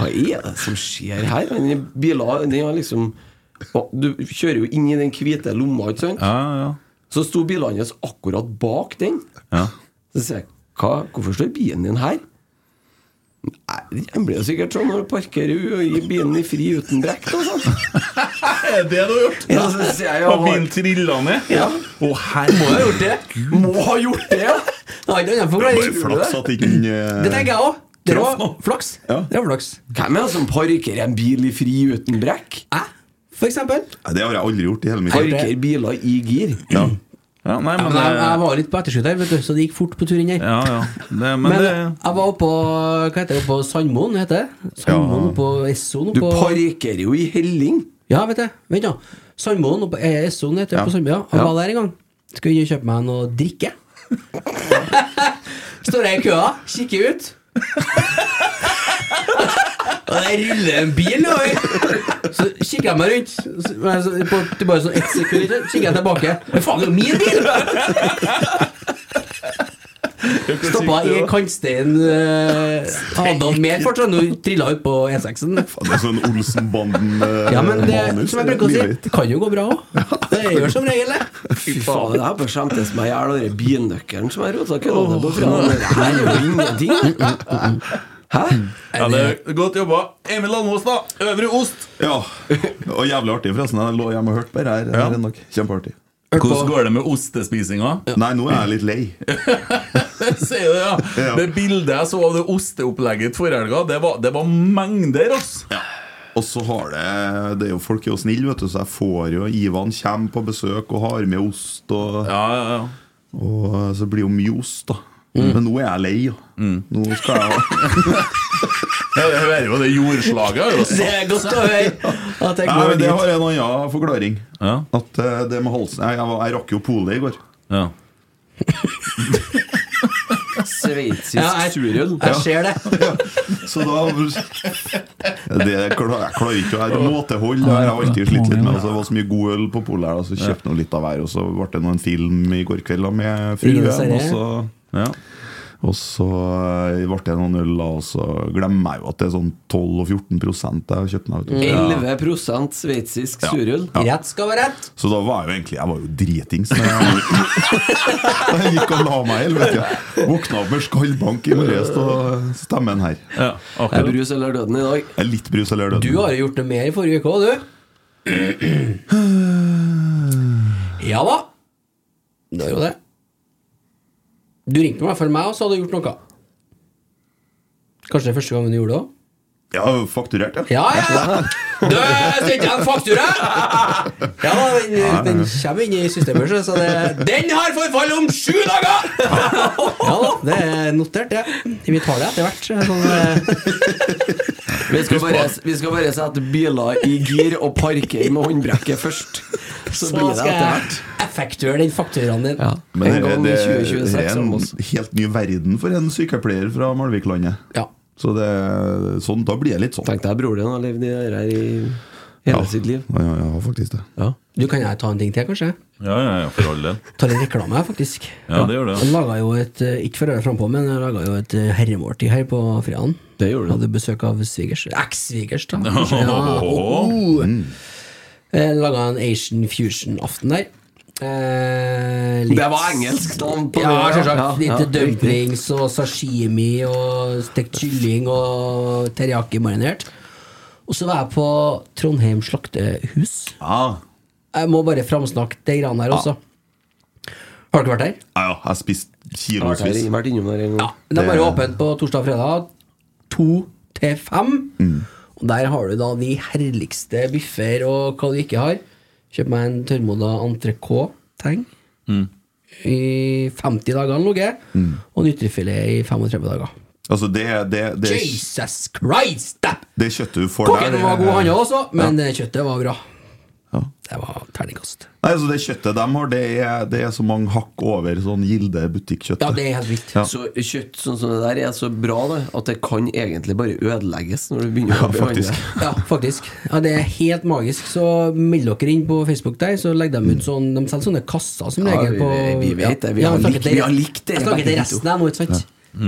Speaker 5: Hva er det som skjer her? Den bilen, den har liksom Å, Du kjører jo inn i den hvite lomma, ikke sant?
Speaker 3: Ja, ja,
Speaker 5: Så sto bilene hans akkurat bak den.
Speaker 3: ja.
Speaker 5: Så sier jeg Hva? Hvorfor står bilen din her? Nei, Den blir jo sikkert sånn når du parkerer u- og gir bilen i fri uten brekk. og sånn.
Speaker 3: Er det du har gjort? Altså,
Speaker 5: Ja, så sier jeg,
Speaker 3: Har
Speaker 5: «Ja,
Speaker 3: bilen trilla ned?
Speaker 5: Ja.
Speaker 3: Å, herre Må jeg ha gjort det?
Speaker 5: Må ha gjort det, ja!
Speaker 6: Nei, det er
Speaker 4: Bare
Speaker 6: forklaring.
Speaker 4: flaks at ikke eh, den
Speaker 6: Det tenker jeg òg. Det var
Speaker 4: Traff nå.
Speaker 6: flaks.
Speaker 4: Ja.
Speaker 6: Det var flaks.
Speaker 5: Hvem er det som parkerer en bil i fri uten brekk?
Speaker 6: Hæ? For eksempel.
Speaker 4: Det har jeg aldri gjort i hele mitt liv.
Speaker 5: Parkerer biler i gir.
Speaker 4: Ja.
Speaker 3: Ja, nei,
Speaker 6: Ja,
Speaker 3: men,
Speaker 6: men jeg,
Speaker 3: eh,
Speaker 6: jeg var litt på etterskudd her, vet du, så det gikk fort på tur inn her.
Speaker 3: ja, ja. Det, men,
Speaker 6: Men
Speaker 3: det
Speaker 6: jeg var oppå Hva heter det? Oppå Sandmoen, heter det? Sandmoen på Essoen
Speaker 5: Du
Speaker 6: oppå
Speaker 5: parkerer jo i helling.
Speaker 6: Ja, vet jeg. Vent, da. Sandmoen oppe eh, Essoen heter det
Speaker 4: Ja.
Speaker 6: på Sandmoen. Han
Speaker 5: Ja.
Speaker 6: var der en gang. Skal vi inn og kjøpe meg noe drikke? Står jeg i køa, kikker ut. Og det ruller en bil over. Så kikker jeg meg rundt. Så, men så- på, til bare sånn ett sekund så kikker jeg tilbake. Men faen, det er jo min bil! Stoppa i kantsteinen. eh, Hadde han mer fart, så hadde han jo trilla ut på E E6-en.
Speaker 4: Faen, Det er sånn Olsenbanden-manus.
Speaker 6: Ja, men det, som jeg bruker å si, det kan jo gå bra òg. Det gjør som regel det.
Speaker 5: Fy faen, det her bør skjemtes meg i hjel, og den bilnøkkelen som jeg rota køddene på fra. Det her er jo ingenting. Hæ?
Speaker 3: Ja, det er Godt jobba. Emil Almås, da. Øvre Ost.
Speaker 4: Ja, og jævlig artig, forresten. Jeg lå hjemme og hørte på det her her en dag. Kjempeartig.
Speaker 3: Hvordan går det med ostespisinga?
Speaker 4: Nei, nå er jeg litt lei.
Speaker 3: Sier du ja.
Speaker 4: Ja.
Speaker 3: Det bildet jeg så av det osteopplegget forrige helga, det, var- det var mengder, ass.
Speaker 4: Og så har det Det er jo folk er jo snille, vet du, så jeg får jo Ivan kommer på besøk og har med ost, og,
Speaker 3: Ja, ja, ja.
Speaker 4: og eh, så blir det jo mye ost, da. Men nå er jeg lei. Ja. Nå skal jeg ha
Speaker 3: Ja, Jeg hører jo det jordslaget. jeg har jo
Speaker 6: Det
Speaker 3: sagt.
Speaker 6: er godt å høre at jeg
Speaker 4: Nei,
Speaker 6: går
Speaker 4: men Det
Speaker 6: dit.
Speaker 4: har en annen forklaring.
Speaker 3: Ja.
Speaker 4: At eh, det med halsen Jeg, jeg, var- jeg rakk jo polet i går.
Speaker 3: Ja.
Speaker 5: Sveitsisk
Speaker 6: Ja, jeg-
Speaker 5: surøl.
Speaker 6: Jeg ser det.
Speaker 4: Så da det, Jeg klarer jeg klarer ikke å være måtehold. Det har jeg alltid slitt litt med. Altså, det var så mye god øl på polet her, da, så kjøpte jeg litt av hver. Og så ble det nå en film i går kveld da, med fruen.
Speaker 6: Ingen serie.
Speaker 4: Og så,
Speaker 3: Ja.
Speaker 4: og så eh, ble det noen øl, da, og så glemmer jeg jo at det er sånn 12-14 jeg har kjøpt meg. vet
Speaker 5: Mm.
Speaker 4: du.
Speaker 5: 11 sveitsisk surøl.
Speaker 6: Rett skal være rett.
Speaker 4: Så da var jeg jo egentlig Jeg var jo dritings. når Jeg var- jeg gikk og la meg i helvete. Våkna opp med skallbank i morges og stemmen her.
Speaker 3: ja.
Speaker 5: Er
Speaker 3: Akkurat.
Speaker 5: brus eller døden i dag?
Speaker 4: Jeg er litt brus eller døden.
Speaker 6: Du har jo gjort noe mer i forrige uke òg, du. Ja da. Det er jo det. Du ringte meg for meg, og så hadde du gjort noe. Kanskje det er første gangen du gjorde det òg?
Speaker 4: Jeg har jo fakturert, ja.
Speaker 6: Ja, ja! Du, sendte jeg en faktura? Ja, den, den kommer inn i systemet, så- så det Den har forfall om sju dager! Ja da, det er notert, det. Vi tar det etter hvert. Sånn, eh,
Speaker 5: Vi skal, bare, vi skal bare sette biler i gir og parkere med håndbrekket først. Så blir
Speaker 6: så
Speaker 5: det
Speaker 6: skal
Speaker 5: etter
Speaker 6: jeg
Speaker 5: hvert.
Speaker 6: effektuere den fakturaen din.
Speaker 5: Ja.
Speaker 4: Men
Speaker 5: en
Speaker 4: det,
Speaker 5: gang i
Speaker 4: det, det
Speaker 5: 2026
Speaker 4: er en
Speaker 5: om oss.
Speaker 4: helt ny verden for en sykepleier fra Malviklandet.
Speaker 6: Ja.
Speaker 4: Så det, sånn, da blir jeg litt sånn.
Speaker 5: Tenk deg broren din har levd i det her i hele sitt liv.
Speaker 4: Ja, ja, ja, faktisk det.
Speaker 5: Ja.
Speaker 6: Du, kan jeg ta en ting til, kanskje?
Speaker 3: Ja, ja, ja, for all del.
Speaker 6: Ta litt reklame, jeg, faktisk.
Speaker 3: Ja, det gjør det.
Speaker 6: Jeg laga jo et eh, Ikke for å være frampå, men jeg laga jo et eh, herremåltid her på fredagen.
Speaker 5: Det gjorde du.
Speaker 6: Hadde besøk av svigers. Eks-svigers, da.
Speaker 3: Åhåhå.
Speaker 6: oh.
Speaker 3: Mm.
Speaker 6: Jeg laga en Asian Fusion-aften der. Eh, litt-
Speaker 5: Det var engelsk navn på
Speaker 6: ja,
Speaker 5: det, ja.
Speaker 6: selvsagt.
Speaker 5: Ja,
Speaker 6: Litt
Speaker 5: ja,
Speaker 6: dumplings og sashimi og stekt kylling og teriyaki marinert. Og så var jeg på Trondheim slaktehus.
Speaker 4: Ja,
Speaker 6: Jeg må bare framsnakke de greiene her også. Har dere vært der?
Speaker 4: ja, ja, jeg spiste
Speaker 5: Har
Speaker 4: kilosvis.
Speaker 5: jeg vært innom der en gang.
Speaker 6: Det er
Speaker 4: Det-
Speaker 6: bare åpent på torsdag og fredag to til fem.
Speaker 4: Mm.
Speaker 6: Og der har du da de herligste biffer og hva du ikke har. Kjøp meg en tørrmoda entrecôte-teng.
Speaker 4: Mm.
Speaker 6: I 50 dager han ligget, og en ytrefilet i 35 dager.
Speaker 4: Altså, det, det, det,
Speaker 6: Jesus Christ! da!
Speaker 4: det kjøttet du får
Speaker 6: Kokken var god, han
Speaker 4: der
Speaker 6: også, men eh, kjøttet var bra. Det var terningkast.
Speaker 4: Nei, altså Det kjøttet de har, det er, det er så mange hakk over sånn Gilde butikkjøtt.
Speaker 6: Ja, det er helt vilt.
Speaker 4: Ja.
Speaker 5: Så kjøtt sånn som det der er så bra det, at det kan egentlig bare ødelegges når du begynner å behandle
Speaker 4: faktisk.
Speaker 5: det.
Speaker 6: Ja, faktisk. Ja, det er helt magisk. Så meld dere inn på Facebook der, så legger de ut sånn De selger sånne kasser som
Speaker 5: Ja,
Speaker 6: regel
Speaker 5: vi-
Speaker 6: på
Speaker 5: vi vet det. Vi
Speaker 6: Ja,
Speaker 5: har
Speaker 6: jeg snakker
Speaker 5: likt-
Speaker 6: til-
Speaker 5: vi har likt det Mm.
Speaker 6: Jeg snakker til
Speaker 5: begge
Speaker 6: resten her nå, ikke sant?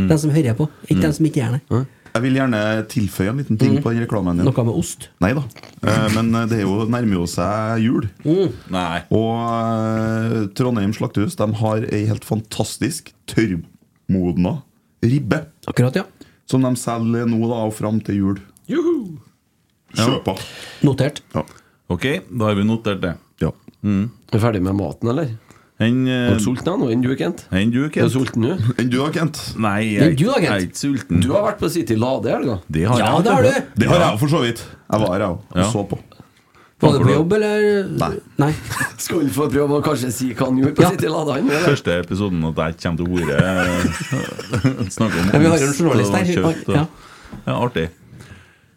Speaker 6: De som hører på, ikke de som ikke gjør det.
Speaker 5: Mm.
Speaker 4: Jeg vil gjerne tilføye en liten ting på den reklamen din.
Speaker 6: Noe med ost.
Speaker 4: Nei da. Eh, Men det er jo, nærmer jo seg jul.
Speaker 6: Mm.
Speaker 3: Nei.
Speaker 4: Og eh, Trondheim Slaktehus de har ei helt fantastisk tørrmodna ribbe.
Speaker 6: Akkurat, ja.
Speaker 4: Som de selger nå da og fram til jul. Kjøp av.
Speaker 6: Notert.
Speaker 4: Ja.
Speaker 3: Ok, da har vi notert det.
Speaker 4: Ja.
Speaker 5: Er du ferdig med maten, eller?
Speaker 3: Enn
Speaker 5: Er du sulten nå, enn du, Kent?
Speaker 3: en eh, du,
Speaker 5: Er du
Speaker 3: Kent?
Speaker 5: sulten nå?
Speaker 4: Enn du da, Kent?
Speaker 3: Nei,
Speaker 6: Men
Speaker 3: jeg,
Speaker 6: du da, Kent?
Speaker 3: jeg er ikke sulten.
Speaker 5: Du har vært på City Lade i helga.
Speaker 3: Det har
Speaker 6: Ja,
Speaker 3: jeg.
Speaker 6: det har du!
Speaker 4: Det har jeg jo for så vidt. Jeg var her, jeg òg. Og
Speaker 3: Ja.
Speaker 4: så på.
Speaker 6: Var det på jobb, eller?
Speaker 4: Nei.
Speaker 6: Nei.
Speaker 5: Skal vi få prøve å kanskje si hva han gjorde på
Speaker 6: Ja.
Speaker 5: City Lade? Han, eller?
Speaker 3: Første episoden at jeg kommer til ordet Snakke om
Speaker 6: Ja, vi har jo en
Speaker 3: ost
Speaker 6: journalist
Speaker 3: og
Speaker 6: her.
Speaker 3: kjøtt og-
Speaker 6: Ja.
Speaker 3: Ja, artig.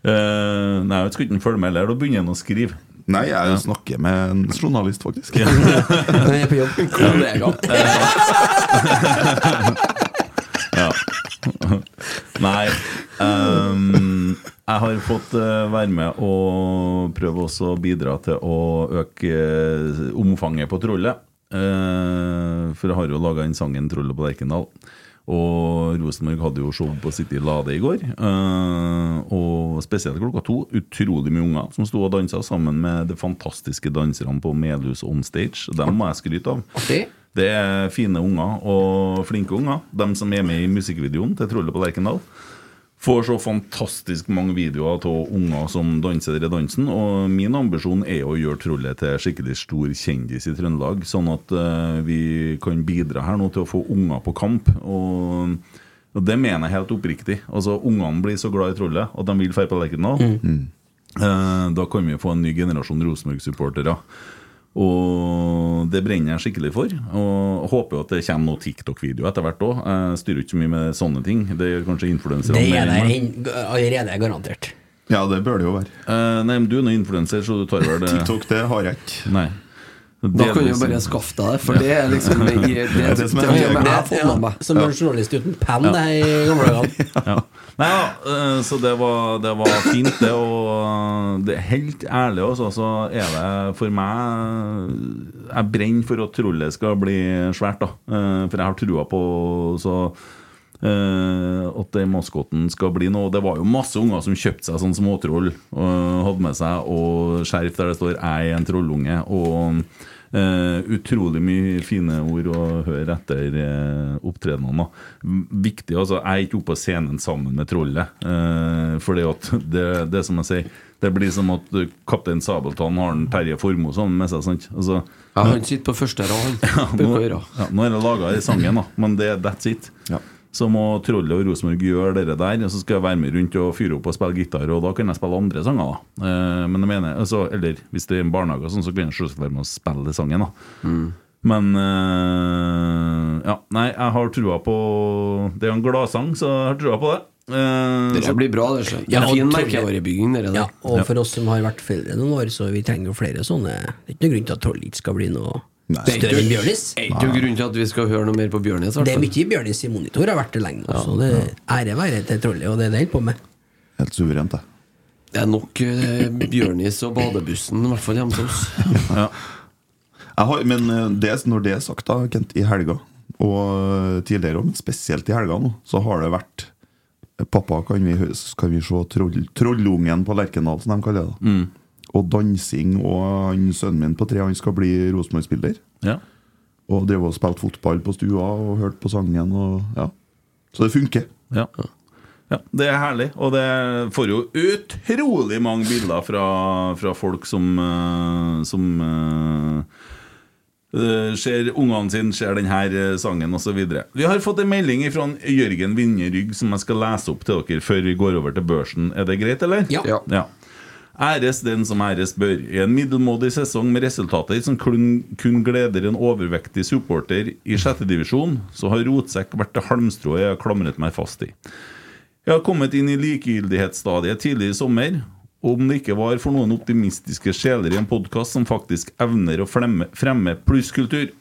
Speaker 3: Eh, nei, jeg skal ikke følge med heller. Da begynner han å skrive.
Speaker 4: Nei, jeg snakker med en journalist, faktisk.
Speaker 6: Han er på jobb. Kollega.
Speaker 3: Nei. ehm, jeg har fått eh, være med og prøve også å bidra til å øke eh, omfanget på trollet. Eh, for jeg har jo laga den sangen 'Trollet på Lerkendal'. Og Rosenborg hadde jo show på City Lade i går. eh, og spesielt klokka to. Utrolig mye unger som sto og dansa sammen med de fantastiske danserne på Melhus Onstage. Dem må jeg skryte av.
Speaker 6: Artig.
Speaker 3: Det er fine unger og flinke unger. De som er med i musikkvideoen til Trollet på Lerkendal. Får så fantastisk mange videoer av unger som danser denne dansen. Og min ambisjon er å gjøre Trollet til skikkelig stor kjendis i Trøndelag. Sånn at eh, vi kan bidra her nå til å få unger på kamp. Og, og det mener jeg helt oppriktig. Altså, Ungene blir så glad i Trollet at de vil dra på Lerkendal. Eh, Da kan vi få en ny generasjon Rosenborg-supportere. Og det brenner jeg skikkelig for. Og håper jo at det kommer noe TikTok-video etter hvert òg. Jeg styrer ikke så mye med sånne ting. Det gjør kanskje influenserne.
Speaker 7: Det
Speaker 3: mer
Speaker 7: er
Speaker 3: enn
Speaker 7: der
Speaker 3: meg.
Speaker 7: inn- allerede garantert.
Speaker 4: Ja, det bør det jo være.
Speaker 3: Eh, Nei, men du er nå influenser, så du tar vel det
Speaker 4: TikTok, det har jeg ikke.
Speaker 3: Nei.
Speaker 5: Da kan du jo bare skaffe deg det, for det er liksom Det, det, det,
Speaker 4: det som er-
Speaker 5: har jeg fått
Speaker 7: Ja,
Speaker 5: med meg.
Speaker 7: som en journalist uten penn det her i gamle dager.
Speaker 3: Ja. Nei, ja, eh, så det var, det var fint, det. Og eh, det er helt ærlig, altså. Så er det for meg Jeg brenner for at trollet skal bli svært, da. Eh, For jeg har trua på så eh, at den maskoten skal bli noe. Det var jo masse unger som kjøpte seg sånn småtroll. Og hadde med seg og skjerf der det står 'Jeg er en trollunge'. Og eh, utrolig mye fine ord å høre etter uh, opptredenene. da. M- Viktig, altså. Jeg er ikke oppe på scenen sammen med trollet. Uh, for det, det er som jeg sier, det blir som at eh, Kaptein Sabeltann har en Terje Formoe sånn med seg. sant? Altså,
Speaker 5: Ja, han sitter på første rad, han.
Speaker 3: nå,
Speaker 5: Bruker å gjøre.
Speaker 3: ja, nå er det laga i sangen, da, men det, that's it.
Speaker 4: Ja.
Speaker 3: Så må Trollet og Rosenborg gjøre det der, og så skal jeg være med rundt og fyre opp og spille gitar, og da kan jeg spille andre sanger, da. Eh, men jeg mener, altså, eller hvis det er en barnehage, og sånn, så kan jeg selvsagt være med og spille sangen, da. Men eh, ja, nei, jeg har trua på Det er jo en gladsang, så jeg har trua på det. Eh,
Speaker 5: Det blir bra, det. skjønner jeg.
Speaker 7: Ja,
Speaker 5: Det er fin
Speaker 7: og Torgeir-
Speaker 5: merkevarebygging, dere
Speaker 7: Ja,
Speaker 5: der.
Speaker 7: og for oss som har vært foreldre noen år, så vi trenger jo flere sånne Det er ikke noen grunn til at Troll ikke skal bli noe
Speaker 4: Nei.
Speaker 7: større enn Bjørnis.
Speaker 5: Det er ikke noen grunn til at vi skal høre noe mer på Bjørnis. i hvert
Speaker 7: Det er
Speaker 5: fall.
Speaker 7: mye Bjørnis i monitor, har vært det lenge nå, så det ære være til Trollet, og det er det jeg holder på med.
Speaker 4: Helt suverent, jeg.
Speaker 5: Det er nok eh, Bjørnis og badebussen, i hvert fall hjemme hos oss.
Speaker 4: jeg har, men eh, det, når det er sagt, da, Kent, i helga, og eh, tidligere òg, men spesielt i helga nå, så har det vært eh, Pappa, kan vi, hø- kan vi se troll, Trollungen på Lerkendal, som de kaller det? da? Og dansing, og han, sønnen min på tre han skal bli Rosenborg-spiller.
Speaker 3: ja.
Speaker 4: Og drev og spilte fotball på stua og hørte på sangen. Og, ja. Så det funker.
Speaker 3: Ja. ja. Det er herlig. Og det får jo utrolig mange bilder fra, fra folk som, eh, som eh, eh, ser ungene sine, ser denne sangen osv. Vi har fått en melding fra Jørgen Vinje Rygg som jeg skal lese opp til dere før vi går over til børsen. Er det greit, eller?
Speaker 7: Ja.
Speaker 5: Ja.
Speaker 3: Ja. Æres den som æres bør. I en middelmådig sesong med resultater som kun, kun gleder en overvektig supporter i sjette divisjon, så har rotsekk vært det halmstrået jeg har klamret meg fast i. Jeg har kommet inn i likegyldighetsstadiet tidlig i sommer. og Om det ikke var for noen optimistiske sjeler i en podkast som faktisk evner å fremme, fremme plusskultur.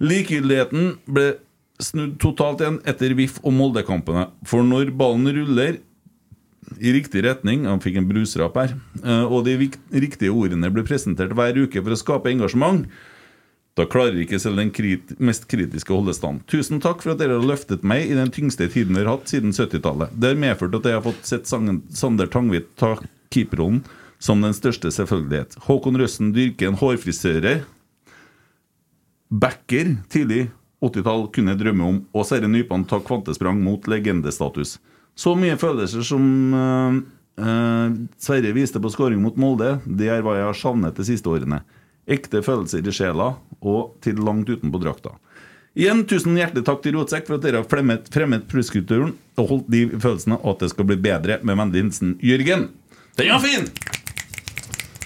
Speaker 3: Likegyldigheten ble snudd totalt igjen etter VIF og Molde-kampene. For når ballen ruller, i riktig retning. Han fikk en brusrap her. Eh, Og de vik- riktige ordene blir presentert hver uke for å skape engasjement. Da klarer ikke selv den krit mest kritiske å holde stand. Tusen takk for at dere har løftet meg i den tyngste tiden vi har hatt siden 70-tallet. Det har medført at jeg har fått sett sangen Sander Tangvik ta keeperrollen som den største selvfølgelighet. Håkon Røsten dyrker en hårfrisører. Backer tidlig 80-tall kunne jeg drømme om, og Sverre Nypan tar kvantesprang mot legendestatus. Så mye følelser som eh, eh, Sverre viste på skåring mot Molde, det er hva jeg har savnet de siste årene. Ekte følelser i sjela, og til langt utenpå drakta. Igjen tusen hjertelig takk til Rotsekk for at dere har fremmet, fremmet plusskulturen og holdt liv i følelsen av at det skal bli bedre med vennlig hilsen Jørgen. Den var fin!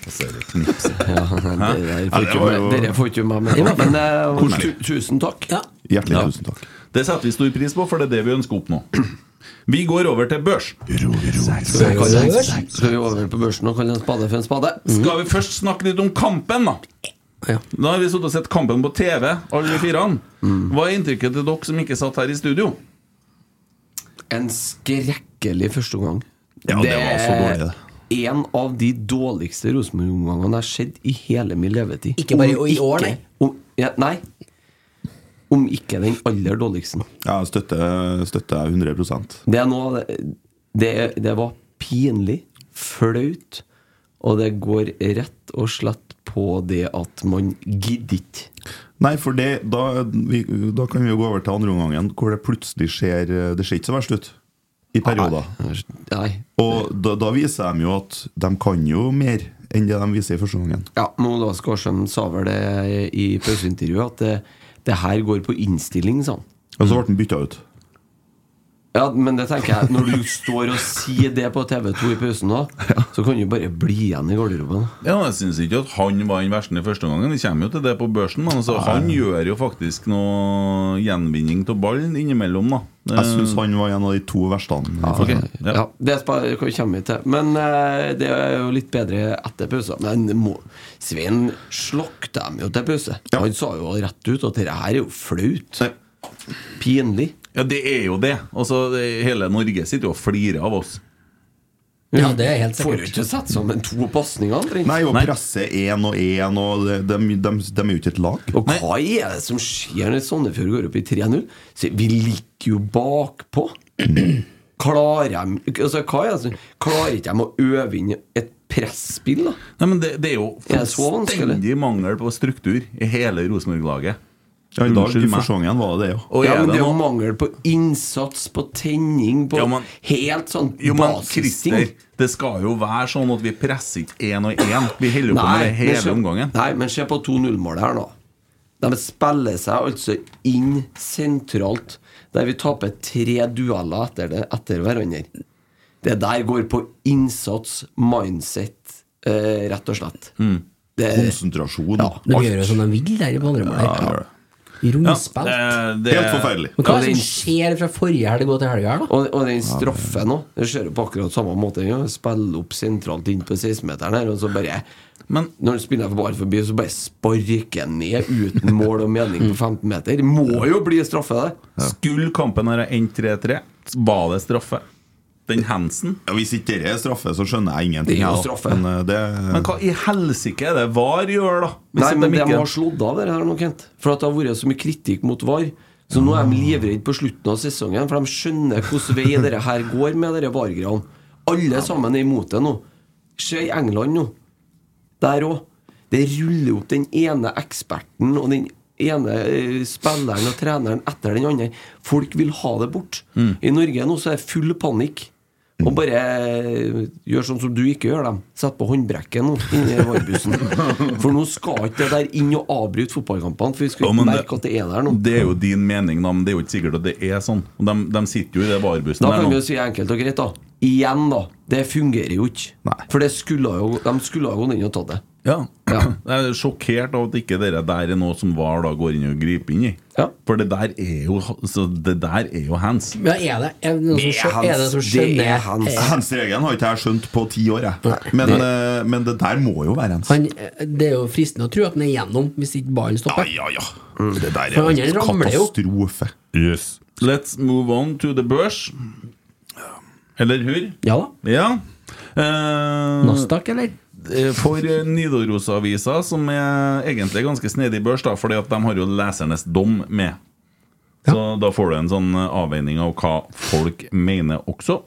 Speaker 3: Og så er det knipsing.
Speaker 5: Ja, det der får
Speaker 4: det
Speaker 5: ikke
Speaker 4: var
Speaker 5: meg-
Speaker 4: jo-
Speaker 5: Dere får ikke meg med på. Men eh, tu- tusen takk.
Speaker 7: Ja.
Speaker 4: Hjertelig tusen takk.
Speaker 3: Det setter vi stor pris på, for det er det vi ønsker å oppnå. Vi går over til børs.
Speaker 5: Skal vi- skal vi over på børsen og kalle en spade for en spade?
Speaker 3: Skal vi først snakke litt om kampen, da?
Speaker 7: Ja.
Speaker 3: Da har vi sittet og sett kampen på TV, alle firene. Hva er inntrykket til dere som ikke satt her i studio?
Speaker 5: En skrekkelig førsteomgang.
Speaker 4: Ja, det var så dårlig, det.
Speaker 5: er En av de dårligste Rosenborg-omgangene jeg har sett i hele min levetid.
Speaker 7: Ikke bare
Speaker 5: Om
Speaker 7: i år,
Speaker 5: ikke-
Speaker 7: nei.
Speaker 5: Om, ja, nei. Om ikke den aller dårligste.
Speaker 4: Ja, støtter støtter jeg 100
Speaker 5: Det er noe av det, det, det var pinlig, flaut, og det går rett og slett på det at man gidder ikke.
Speaker 4: Nei, for det, da, vi, da kan vi jo gå over til andre omgangen, hvor det plutselig skjer eh, Det ser ikke så verst ut i perioder.
Speaker 5: Nei.
Speaker 4: Og da, da viser de jo at de kan jo mer enn det de viser i første omgangen.
Speaker 5: Ja, Mola Skarsheim sa vel det i pauseintervjuet, at det, det her går på innstilling, sa han.
Speaker 4: Og så ble den bytta ut.
Speaker 5: Ja, men det tenker jeg, når du står og sier det på TV2 i pausen nå, så kan du bare bli igjen i garderoben.
Speaker 3: Ja, jeg syns ikke at han var den verste i første omgang. Vi kommer jo til det på børsen. Men altså, han gjør jo faktisk noe gjenvinning av ballen innimellom, da.
Speaker 4: Jeg syns han var en av de to verste.
Speaker 3: Ok,
Speaker 5: Ja,
Speaker 3: ja.
Speaker 5: det spa- kommer vi til. Men eh, det er jo litt bedre etter pausen. Men må, Svein slokk dem jo til pause. Han sa jo rett ut at dette her er jo flaut. Pinlig.
Speaker 3: ja, det er jo det. Altså, det, hele Norge sitter jo og flirer av oss.
Speaker 7: Ja, det er helt
Speaker 5: Får jo
Speaker 7: sikkert.
Speaker 5: ikke sette sammen to pasninger. omtrent.
Speaker 4: Nei, og
Speaker 3: Nei.
Speaker 4: presse én og én, og de, de, de, de er jo ikke et lag.
Speaker 5: Og hva er det som skjer når Sandefjord går opp i 3-0? Så Vi ligger jo bakpå. Klarer de altså, hva er det som- Klarer ikke de å øve inn et presspill, da?
Speaker 3: Nei, men det, det er jo
Speaker 5: Er det så vanskelig?
Speaker 3: fullstendig mangel på struktur i hele Rosenborg-laget.
Speaker 4: Ja, I dag
Speaker 3: Unnskyld
Speaker 4: i
Speaker 3: meg.
Speaker 4: første omgangen var det det, jo.
Speaker 3: Og
Speaker 5: ja,
Speaker 3: er
Speaker 5: men det
Speaker 3: det
Speaker 5: er jo
Speaker 3: noe
Speaker 5: mangel på innsats, på tenning, på
Speaker 3: Ja, men-
Speaker 5: helt sånn
Speaker 3: Jo, men
Speaker 5: basisting.
Speaker 3: Christer, det skal jo være sånn at vi presser ikke én og én. Vi holder jo på med det
Speaker 5: men se-
Speaker 3: hele omgangen.
Speaker 5: nei, men se på 2-0-målet her nå. De spiller seg altså inn sentralt, der vi taper tre dueller etter, det, etter hverandre. Det der går på innsats, mindset, eh, rett og slett.
Speaker 3: Mm.
Speaker 5: Det,
Speaker 4: Konsentrasjon.
Speaker 5: Ja.
Speaker 7: De gjør jo som de vil der på andre mål.
Speaker 4: Ja, det gjør det.
Speaker 3: Ja,
Speaker 7: Rundspilt.
Speaker 3: Eh, det- det-
Speaker 4: Helt forferdelig.
Speaker 7: Men hva er det som skjer fra forrige helg og til helga her, da?
Speaker 5: og, og den straffen nå Det ser jo på akkurat samme måte. Ja. Spiller opp sentralt inn på 16-meteren her, og så bare
Speaker 3: Men
Speaker 5: Når han spiller for bare forbi, så bare sparker han ned uten mål og mening på 15 meter. Må jo bli straffe, det.
Speaker 3: skulle kampen her ha endt 3-3, var det straffe? Den Hansen?
Speaker 4: Ja, hvis ikke det er straffe, så skjønner jeg ingenting.
Speaker 5: Det er jo
Speaker 4: ja.
Speaker 5: straffe.
Speaker 4: Men, eh, det,
Speaker 3: Men hva i helsike er det VAR gjør, da? Hvis
Speaker 5: Nei,
Speaker 3: de
Speaker 5: men de
Speaker 3: ikke-
Speaker 5: har slått av det her nå, Kent. For at det har vært så mye kritikk mot VAR. Så nå er de livredde på slutten av sesongen, for de skjønner hvilken vei dette her går med dere VAR-greiene. Alle sammen er imot det nå. Se i England nå. Der òg. Det ruller opp den ene eksperten og den ene eh, spilleren og treneren etter den andre. Folk vil ha det bort.
Speaker 3: Mm.
Speaker 5: I Norge nå så er det full panikk. Og bare eh, gjør sånn som du ikke gjør dem. Sett på håndbrekket nå inni varbussen. For nå skal ikke det der inn og avbryte fotballkampene, for vi skal
Speaker 3: Ja,
Speaker 5: jo ikke
Speaker 3: men
Speaker 5: merke at det er der nå.
Speaker 3: Det er jo din mening, da, men det er jo ikke sikkert at det er sånn. Og De, de sitter jo i det varbussen
Speaker 5: Da
Speaker 3: der
Speaker 5: kan vi jo
Speaker 3: nå.
Speaker 5: si enkelt og greit, da. Igjen, da. Det fungerer jo ikke.
Speaker 4: Nei.
Speaker 5: For det skulle jo, de skulle ha gått inn og tatt det.
Speaker 3: Ja.
Speaker 5: Ja.
Speaker 3: Jeg er sjokkert av at ikke dere der er noe som VAR da går inn og griper inn i.
Speaker 5: Ja.
Speaker 3: For det der er jo så Det der er jo hands.
Speaker 7: Ja, er det er det noen som, skjø- er det som skjønner Eh,
Speaker 5: Det er hans.
Speaker 6: Eh.
Speaker 4: Hands-regelen har ikke jeg skjønt på ti år, jeg. Men, eh, men det der må jo være hands.
Speaker 7: Han, eh, det er jo fristende å tro at han er gjennom hvis ikke ballen
Speaker 4: Ja,
Speaker 7: stopper.
Speaker 4: ja, ja. Det
Speaker 7: Mm.
Speaker 4: der
Speaker 7: For
Speaker 4: er
Speaker 7: andre
Speaker 4: en
Speaker 7: ramler jo.
Speaker 4: katastrofe.
Speaker 3: Let's move on to the børs. Eller hur?
Speaker 7: Ja da.
Speaker 3: Ja. Eh,
Speaker 7: Nasdaq, eller?
Speaker 3: Eh, For eh, Nidaros-avisa, som er egentlig ganske snedig børs, da, fordi at de har jo lesernes dom med. Så da får du en sånn eh, avveining av hva folk mener også.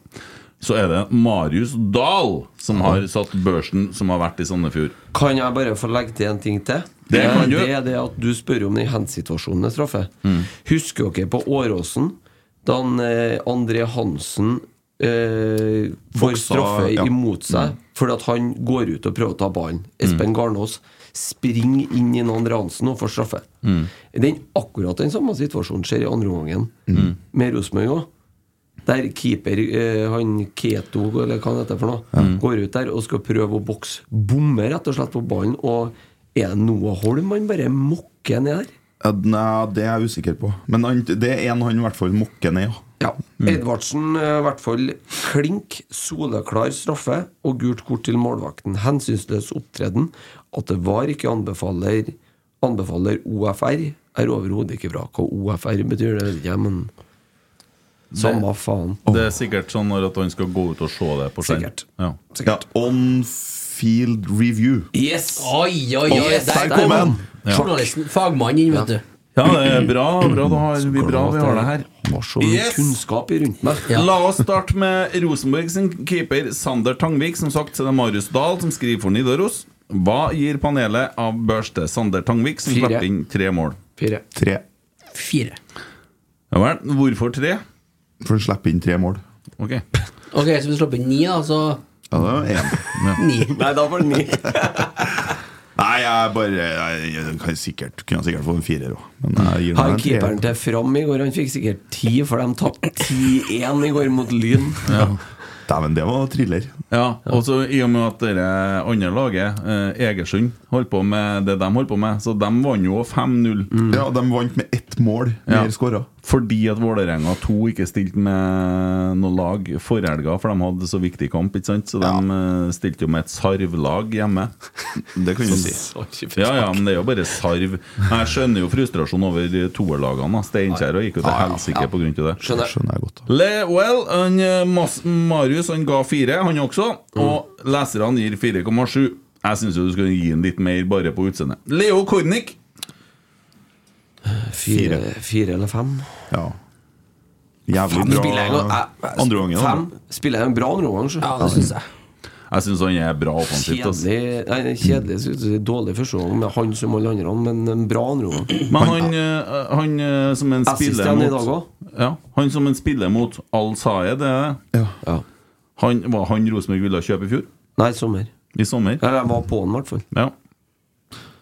Speaker 3: Så er det Marius Dahl som har satt børsen som har vært i Sandefjord.
Speaker 5: Kan jeg bare få legge til en ting til?
Speaker 3: Det
Speaker 5: Eh,
Speaker 3: kan du. Mm.
Speaker 5: det er det at du spør om den hands-situasjonen er straffe. Husker dere på Åråsen, da han, eh, André Hansen eh, får
Speaker 4: Boksa,
Speaker 5: straffe
Speaker 4: ja.
Speaker 5: imot seg fordi at han går ut og prøver å ta ballen? Espen Garnås springer inn i André Hansen og får straffe. Den, akkurat den samme situasjonen skjer i andre omgangen med Rosenborg òg. Der keeper, eh, han Keto, eller hva han heter for noe, går ut der og skal prøve å bokse. Bommer rett og slett på ballen. Og er det Noah Holm han bare mokker ned der?
Speaker 4: Ja, Nei, det er jeg usikker på. Men han, det er en han i hvert fall mokker ned. ja.
Speaker 5: Ja. Edvardsen eh, i hvert fall klink, soleklar straffe og gult kort til målvakten. Hensynsløs opptreden. At det var ikke anbefaler, anbefaler OFR, er overhodet ikke bra. Hva OFR betyr, det vet ikke jeg, men Samme faen.
Speaker 3: Det er sikkert sånn når at han skal gå ut og se det på skjerm.
Speaker 5: Sikkert.
Speaker 3: Ja.
Speaker 4: Ja, on field review.
Speaker 5: Yes!
Speaker 7: Oi, oi, oi!
Speaker 4: Yes,
Speaker 7: Der,
Speaker 4: der
Speaker 7: der
Speaker 4: kom
Speaker 7: var
Speaker 4: den.
Speaker 7: journalisten. Fagmann inn, vet du.
Speaker 3: ja, det er bra. bra da har vi, bra vi har det her.
Speaker 5: Var så mye
Speaker 3: Yes!
Speaker 5: kunnskap i rundt meg.
Speaker 7: Ja.
Speaker 3: La oss starte med Rosenborg sin keeper Sander Tangvik. Som sagt så er det Marius Dahl som skriver for Nidaros. Hva gir panelet av børste Sander Tangvik, som
Speaker 5: Fire.
Speaker 3: slipper inn tre mål?
Speaker 5: Fire.
Speaker 4: Tre.
Speaker 7: Fire.
Speaker 3: Ja vel, hvorfor tre?
Speaker 4: For å slippe inn tre mål.
Speaker 3: Ok
Speaker 7: Ok, så vi slipper ni, da. Så
Speaker 4: Ja, det var én.
Speaker 7: ni.
Speaker 5: Nei, da var det ni.
Speaker 4: Nei, jeg bare Jeg, jeg kan sikkert, kunne sikkert få en firer òg. Men jeg gir meg
Speaker 5: Han
Speaker 4: en
Speaker 5: keeperen
Speaker 4: treer.
Speaker 5: til Fram i går, han fikk sikkert ti, for de tapte 10-1 i går mot Lyn. Ja.
Speaker 4: Dæven, det var thriller.
Speaker 3: Ja, og så i og med at det andre laget, eh, Egersund, holdt på med det de holdt på med, så de vant jo 5-0.
Speaker 4: Ja, De vant med ett mål
Speaker 3: Ja.
Speaker 4: mer skåra.
Speaker 3: Fordi at Vålerenga 2 ikke stilte med noe lag forrige helga, for de hadde så viktig kamp, ikke sant? Så de eh, stilte jo med et sarvlag hjemme.
Speaker 4: Det kan du si.
Speaker 3: Ja, ja, men det er jo bare sarv. Jeg skjønner jo frustrasjon over toerlagene. da. Steinkjer og gikk jo til helsike på grunn til det.
Speaker 5: Skjønner.
Speaker 4: Skjønner jeg godt.
Speaker 3: Le, well, han, eh, Mas Marius han ga fire, han også.
Speaker 5: Mm.
Speaker 3: Og leserne gir 4,7. Jeg syns du skal gi den litt mer bare på utseendet. Leo Kornik.
Speaker 5: Fire, fire eller fem.
Speaker 4: Ja. Jævlig
Speaker 5: Fem spiller jeg Eh,
Speaker 4: bra andre gangen. altså. da.
Speaker 5: Fem spiller jeg en bra andre omgang, så.
Speaker 7: Ja, det syns jeg.
Speaker 3: Jeg syns han er bra offensivt. altså. ass.
Speaker 5: Kjedelig Nei, kjedelig skulle jeg si. Dårlig første omgang med han som alle andre, men en bra andre omgang.
Speaker 3: Men han, eh, han eh, som en
Speaker 5: Assist
Speaker 3: spiller
Speaker 5: igjen i
Speaker 3: mot
Speaker 5: dag òg.
Speaker 3: ja, Han som en spiller mot Al Saed, det er det.
Speaker 5: Ja.
Speaker 3: Han, var han Rosenborg ville kjøpe i fjor?
Speaker 5: Nei, sommer.
Speaker 3: I sommer?
Speaker 5: Eller jeg var på han, i hvert fall.
Speaker 3: Ja.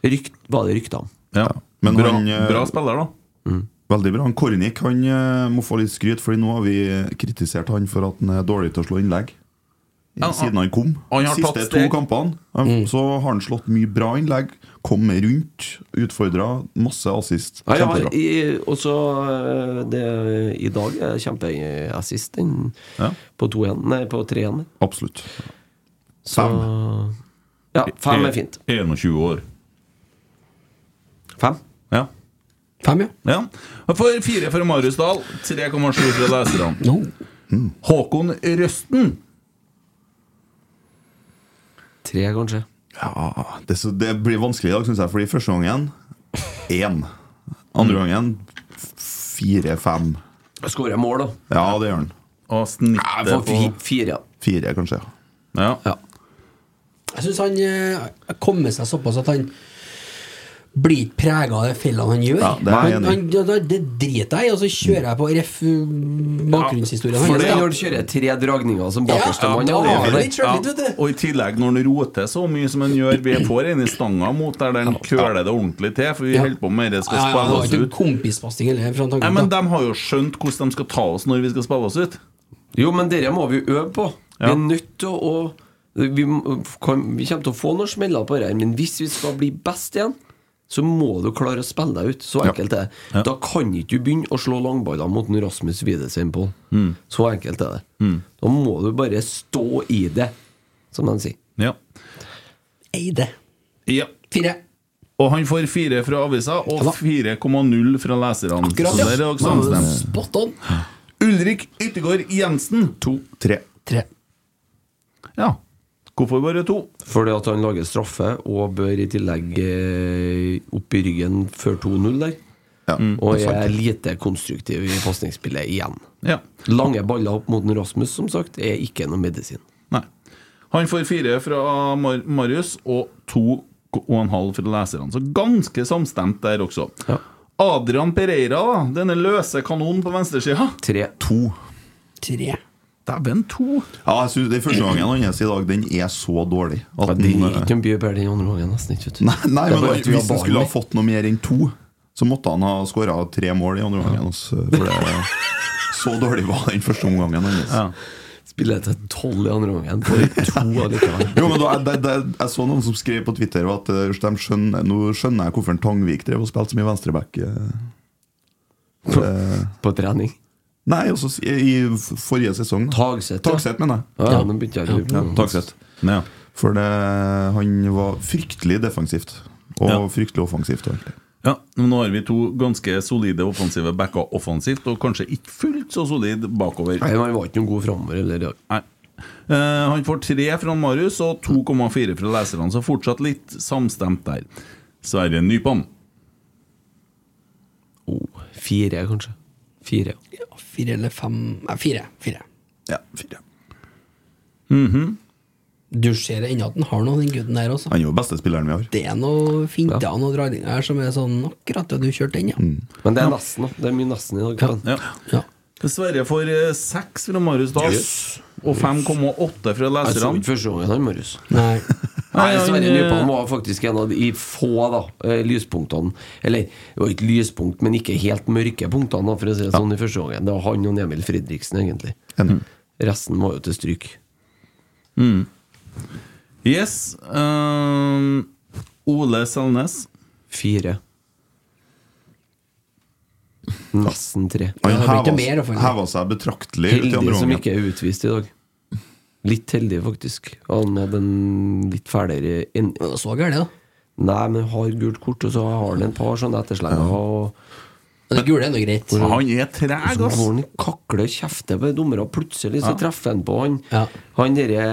Speaker 5: Rykt, var det rykter om.
Speaker 3: ja.
Speaker 4: Men
Speaker 3: bra,
Speaker 4: han, eh,
Speaker 3: bra spiller, da.
Speaker 4: Veldig bra. Han Kornik han eh, må få litt skryt, Fordi nå har vi kritisert han for at han er dårlig til å slå innlegg.
Speaker 3: Ja,
Speaker 4: Siden han kom.
Speaker 3: han har
Speaker 4: Siste
Speaker 3: tatt
Speaker 4: to
Speaker 3: steg.
Speaker 4: kampene han- Så har han slått mye bra innlegg. Kommer rundt, utfordra, masse assist.
Speaker 5: Ja, ja,
Speaker 4: Kjempebra.
Speaker 5: i- og så eh, det- I dag er kjempeassist den
Speaker 3: Ja.
Speaker 5: på 2-1, nei, på 3-1.
Speaker 4: Absolutt.
Speaker 5: Så Ja, fem er fint.
Speaker 3: 21 år.
Speaker 5: Fem.
Speaker 3: Ja.
Speaker 7: Fem, ja.
Speaker 3: Ja. For fire for Marius Dahl, 3,7 fra leserne.
Speaker 7: No. Mm.
Speaker 3: Håkon Røsten.
Speaker 5: Tre, kanskje.
Speaker 4: Ja, det, så, det blir vanskelig i dag, syns jeg. Fordi første gangen én. Andre gangen f- fire-fem.
Speaker 5: Skårer mål, da.
Speaker 4: Ja, det gjør han.
Speaker 3: Og
Speaker 5: Jeg
Speaker 3: snittet
Speaker 5: får
Speaker 3: på
Speaker 5: fi- fire.
Speaker 4: Fire, kanskje. ja.
Speaker 3: ja.
Speaker 5: Ja.
Speaker 7: Jeg syns han eh, har kommet seg såpass at han blir ikke prega av de feilene han gjør.
Speaker 4: Ja, det er jeg
Speaker 7: han,
Speaker 4: enig i.
Speaker 7: han, ja, da- det driter jeg i, og så kjører jeg på ref eh, bakgrunnshistorien
Speaker 5: For det
Speaker 7: hans.
Speaker 5: når du kjører tre dragninger som bakerste
Speaker 7: Ja,
Speaker 5: mann.
Speaker 7: da
Speaker 5: det
Speaker 7: har
Speaker 5: er jo
Speaker 7: du
Speaker 5: det.
Speaker 7: Ah, litt sjøltillit,
Speaker 3: Ja,
Speaker 7: vet du.
Speaker 3: Og i tillegg, når han roter så mye som han gjør Vi får en i stanga mot der den køler det ordentlig til, for vi
Speaker 7: Ja.
Speaker 3: holder på med det
Speaker 7: Ja,
Speaker 3: skal
Speaker 7: ja, det
Speaker 3: spille
Speaker 7: var
Speaker 3: oss
Speaker 7: ikke en
Speaker 3: ut.
Speaker 7: kompispasting eller fra
Speaker 3: Nei, men
Speaker 7: tanken.
Speaker 3: De har jo skjønt hvordan de skal ta oss når vi skal spille oss ut.
Speaker 5: Jo, men dere må vi øve på. Vi
Speaker 3: Ja.
Speaker 5: er nødt til å vi, må- kan, vi kommer til å få noen smeller på det her, men hvis vi skal bli best igjen, så må du klare å spille deg ut. Så enkelt er det. Da kan ikke du begynne å slå langballer mot en Rasmus Widesen på. Så enkelt er det. Da må du bare stå i det, som de sier.
Speaker 3: Ja.
Speaker 7: Eide.
Speaker 3: ja.
Speaker 7: Fire.
Speaker 3: Og han får fire fra avisa og
Speaker 7: Ja da.
Speaker 3: 4,0 fra leserne.
Speaker 7: Akkurat,
Speaker 3: Så der Sånn er
Speaker 7: ja.
Speaker 3: dere samstemt.
Speaker 7: Spot on.
Speaker 3: Ulrik Yttergård Jensen. To.
Speaker 4: Tre.
Speaker 7: Tre.
Speaker 3: Ja. Hvorfor bare to?
Speaker 5: Fordi at han lager straffe og bør i tillegg eh, opp i ryggen før 2-0 der.
Speaker 4: Ja,
Speaker 5: Og er lite konstruktiv i pasningsspillet igjen.
Speaker 3: Ja.
Speaker 5: Lange baller opp mot en Rasmus, som sagt, er ikke noe medisin.
Speaker 3: Nei. Han får fire fra Mar Marius og to og en halv fra leserne. Så ganske samstemt der også.
Speaker 5: Ja.
Speaker 3: Adrian Pereira, da. Denne løse kanonen på venstresida.
Speaker 5: Tre.
Speaker 4: To.
Speaker 7: Tre.
Speaker 3: Dæven, to!
Speaker 4: Ja, jeg synes Den første gangen hans i dag, den er så dårlig. At
Speaker 5: Ja, det
Speaker 4: den,
Speaker 5: er ikke mye bedre den andre gangen, nesten ikke. vet du.
Speaker 4: nei, nei,
Speaker 5: Det er
Speaker 4: men
Speaker 5: bare at vi har
Speaker 4: Hvis han
Speaker 5: barn
Speaker 4: skulle ha
Speaker 5: med.
Speaker 4: fått noe mer enn to, så måtte han ha skåra tre mål i andre omgangen. altså, For det, så dårlig var den første omgangen hans.
Speaker 5: Spiller jeg til tolv i andre gangen, får to allikevel.
Speaker 4: Jo, men da, jeg, jeg, jeg så noen som skrev på Twitter at eh, de skjønner, nå skjønner jeg hvorfor en Tangvik drev og spilte så mye venstreback. eh,
Speaker 5: På, på trening.
Speaker 4: Nei, også s- i i forrige sesong. da.
Speaker 5: Tagseth, ja.
Speaker 4: Tagseth, mener jeg.
Speaker 5: Ja, nå begynte jeg å lure på
Speaker 4: Ja,
Speaker 5: noe.
Speaker 4: Tagseth.
Speaker 3: Ja.
Speaker 4: For det, han var fryktelig defensivt. Og
Speaker 3: Ja.
Speaker 4: fryktelig offensivt. og alt det.
Speaker 3: Ja, men Nå har vi to ganske solide offensive backer offensivt, og kanskje ikke fullt så solid bakover.
Speaker 5: Nei, men han var ikke noen god framover heller i dag.
Speaker 3: Nei. Eh, han får tre fra Marius og 2,4 fra leserne, så fortsatt litt samstemt der. Sverre Nypan.
Speaker 5: Oh, fire, kanskje. Fire. ja.
Speaker 6: Ja, fire eller fem Nei, fire. fire.
Speaker 4: Ja, fire.
Speaker 6: Du ser ennå at han har noe, den gutten der også.
Speaker 4: Han er jo beste spilleren vi har.
Speaker 6: Det er noe finter og noe dragninger her som er sånn Akkurat det du kjørte inn, ja.
Speaker 3: Mm.
Speaker 5: Men det er nesten, da. Det er mye nesten i dag.
Speaker 3: Ja.
Speaker 6: ja.
Speaker 3: Sverre får eh, seks fra Marius da, og 5,8 fra
Speaker 5: Jeg så
Speaker 3: leserne.
Speaker 5: ikke første gangen han, Marius.
Speaker 6: Nei.
Speaker 5: Nei,
Speaker 3: han,
Speaker 5: Sverre
Speaker 3: eh,
Speaker 5: Nypan var faktisk en av de få da, eh, lyspunktene Eller det var ikke lyspunkt, men ikke helt mørke punktene, da, for å si det sånn, i første gangen. Det var han og Emil Fredriksen, egentlig.
Speaker 4: Enig.
Speaker 5: Resten var jo til stryk.
Speaker 3: Yes. eh, Ole Selnes.
Speaker 5: Fire. Nesten tre.
Speaker 4: Han
Speaker 6: Ja, det blir ikke mer, i
Speaker 4: heva,
Speaker 6: hvert fall.
Speaker 4: heva seg betraktelig ut i
Speaker 5: Heldig
Speaker 4: andre
Speaker 5: som
Speaker 4: omgang.
Speaker 5: ikke er utvist i dag. Litt heldig, faktisk. Han hadde en litt ferdigere en,
Speaker 6: Men det så gærent, da.
Speaker 5: Nei, men har gult kort, og så har han et par sånne etterslenger. Og
Speaker 6: Men det gule er nå greit.
Speaker 3: Han er treg,
Speaker 5: Så
Speaker 3: ass!
Speaker 5: går han og kakler og kjefter på dommere, og plutselig så treffer han på han
Speaker 6: Ja.
Speaker 5: Han derre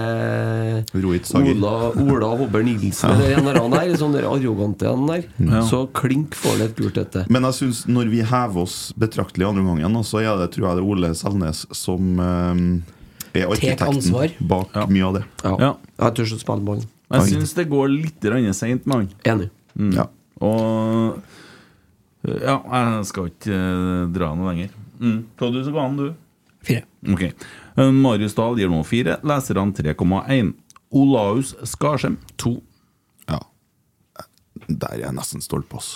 Speaker 4: Rohit Sager.
Speaker 5: Ola, Ola Hobber Nilsen, eller en eller annen der, sånn der arrogante han der. Så klink får han et gult etter.
Speaker 4: Men jeg synes når vi hever oss betraktelig i andre omgangen, så er det, tror jeg det er Ole Selnes som eh, er
Speaker 6: ansvar.
Speaker 4: arkitekten bak mye av det.
Speaker 5: Ja.
Speaker 3: Ja.
Speaker 5: Jeg tør ikke å spille ballen.
Speaker 3: Jeg syns det går litt seint med han. Mm.
Speaker 5: Enig.
Speaker 4: Ja.
Speaker 3: Og eh, Ja, jeg skal ikke eh, dra noe lenger. Mm. Ta du så ga han, du.
Speaker 6: Fire.
Speaker 3: Ok. Eh, Marius Dahl gir nå fire, leserne 3,1. Olaus Skarsheim 2.
Speaker 4: ja. Der er jeg nesten stolt på oss.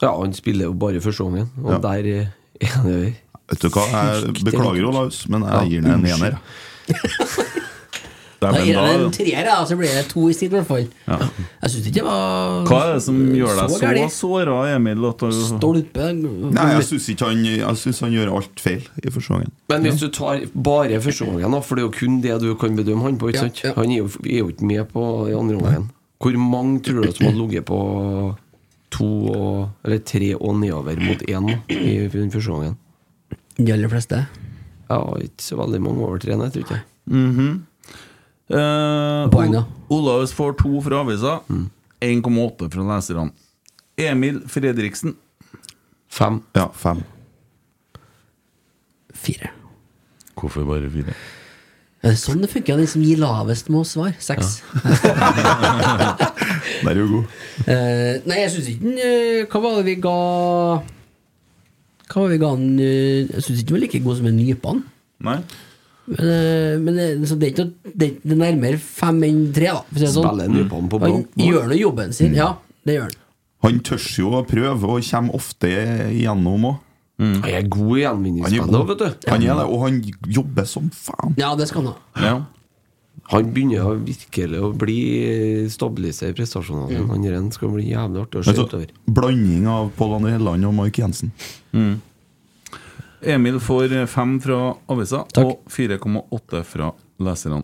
Speaker 5: Ja, han spiller jo bare første gangen, og
Speaker 4: Ja.
Speaker 5: der eh, er han jo
Speaker 4: Vet du hva, jeg
Speaker 5: Fryktelig
Speaker 4: beklager,
Speaker 5: kult.
Speaker 4: Olaus, men jeg gir den en ener.
Speaker 6: Da
Speaker 3: Dæven,
Speaker 6: gir jeg det
Speaker 3: da-
Speaker 6: en treer, da, så blir det to i sted, i hvert fall. Jeg syns ikke det var
Speaker 3: Hva er det som gjør deg
Speaker 6: Så
Speaker 3: så
Speaker 6: gærlig.
Speaker 3: såra, Emil? At du,
Speaker 6: Stolpe
Speaker 4: Nei, jeg syns ikke han Jeg synes han gjør alt feil i første gangen.
Speaker 5: Men hvis du tar bare første gangen, da, for det er jo kun det du kan bedømme han på, ikke
Speaker 6: Ja,
Speaker 5: sant?
Speaker 6: ja.
Speaker 5: Han er jo, er jo ikke med på i andre gangen. Hvor mange tror du som har ligget på to og, eller tre og nedover mot én da, i den første gangen?
Speaker 6: De aller fleste.
Speaker 5: Ja, ikke så veldig mange over tre, nei, tror ikke jeg.
Speaker 3: Eh,
Speaker 6: Poeng, da. Mm.
Speaker 3: O- Olaus får to fra avisa, 1,8 fra leserne. Emil Fredriksen
Speaker 5: Fem.
Speaker 4: Ja, fem.
Speaker 6: Fire.
Speaker 3: Hvorfor bare fire?
Speaker 6: Er det Sånn det funker, den som gir lavest, må svare. Seks.
Speaker 4: Der er jo god.
Speaker 6: Eh, nei, jeg syns ikke den eh, Hva var det vi ga Hva var det vi ga den eh, Jeg syns ikke den var like god som en nypan.
Speaker 3: Nei?
Speaker 6: Men, eh, men det- så det er ikke noe det, er- det er nærmere fem enn tre, da. For å si det
Speaker 5: Spiller
Speaker 6: sånn.
Speaker 5: nypene på
Speaker 6: Han
Speaker 5: blå.
Speaker 6: gjør nå jobben
Speaker 4: Mm.
Speaker 6: sin. Ja, det gjør han.
Speaker 4: Han tør jo å prøve, og kommer ofte igjennom òg.
Speaker 5: Han er god i gjenvinningsspill, vet du.
Speaker 4: Han er det, og han jobber som faen.
Speaker 6: Ja, det skal han ha.
Speaker 3: Ja.
Speaker 5: Han begynner å virkelig å bli stabilisere prestasjonene sine. Han der skal bli jævlig artig å se
Speaker 4: Altså,
Speaker 5: utover.
Speaker 4: blanding av Pål André Helland og Mark Jensen.
Speaker 3: Emil får fem fra avisa
Speaker 6: Takk.
Speaker 3: og 4,8 fra leserne.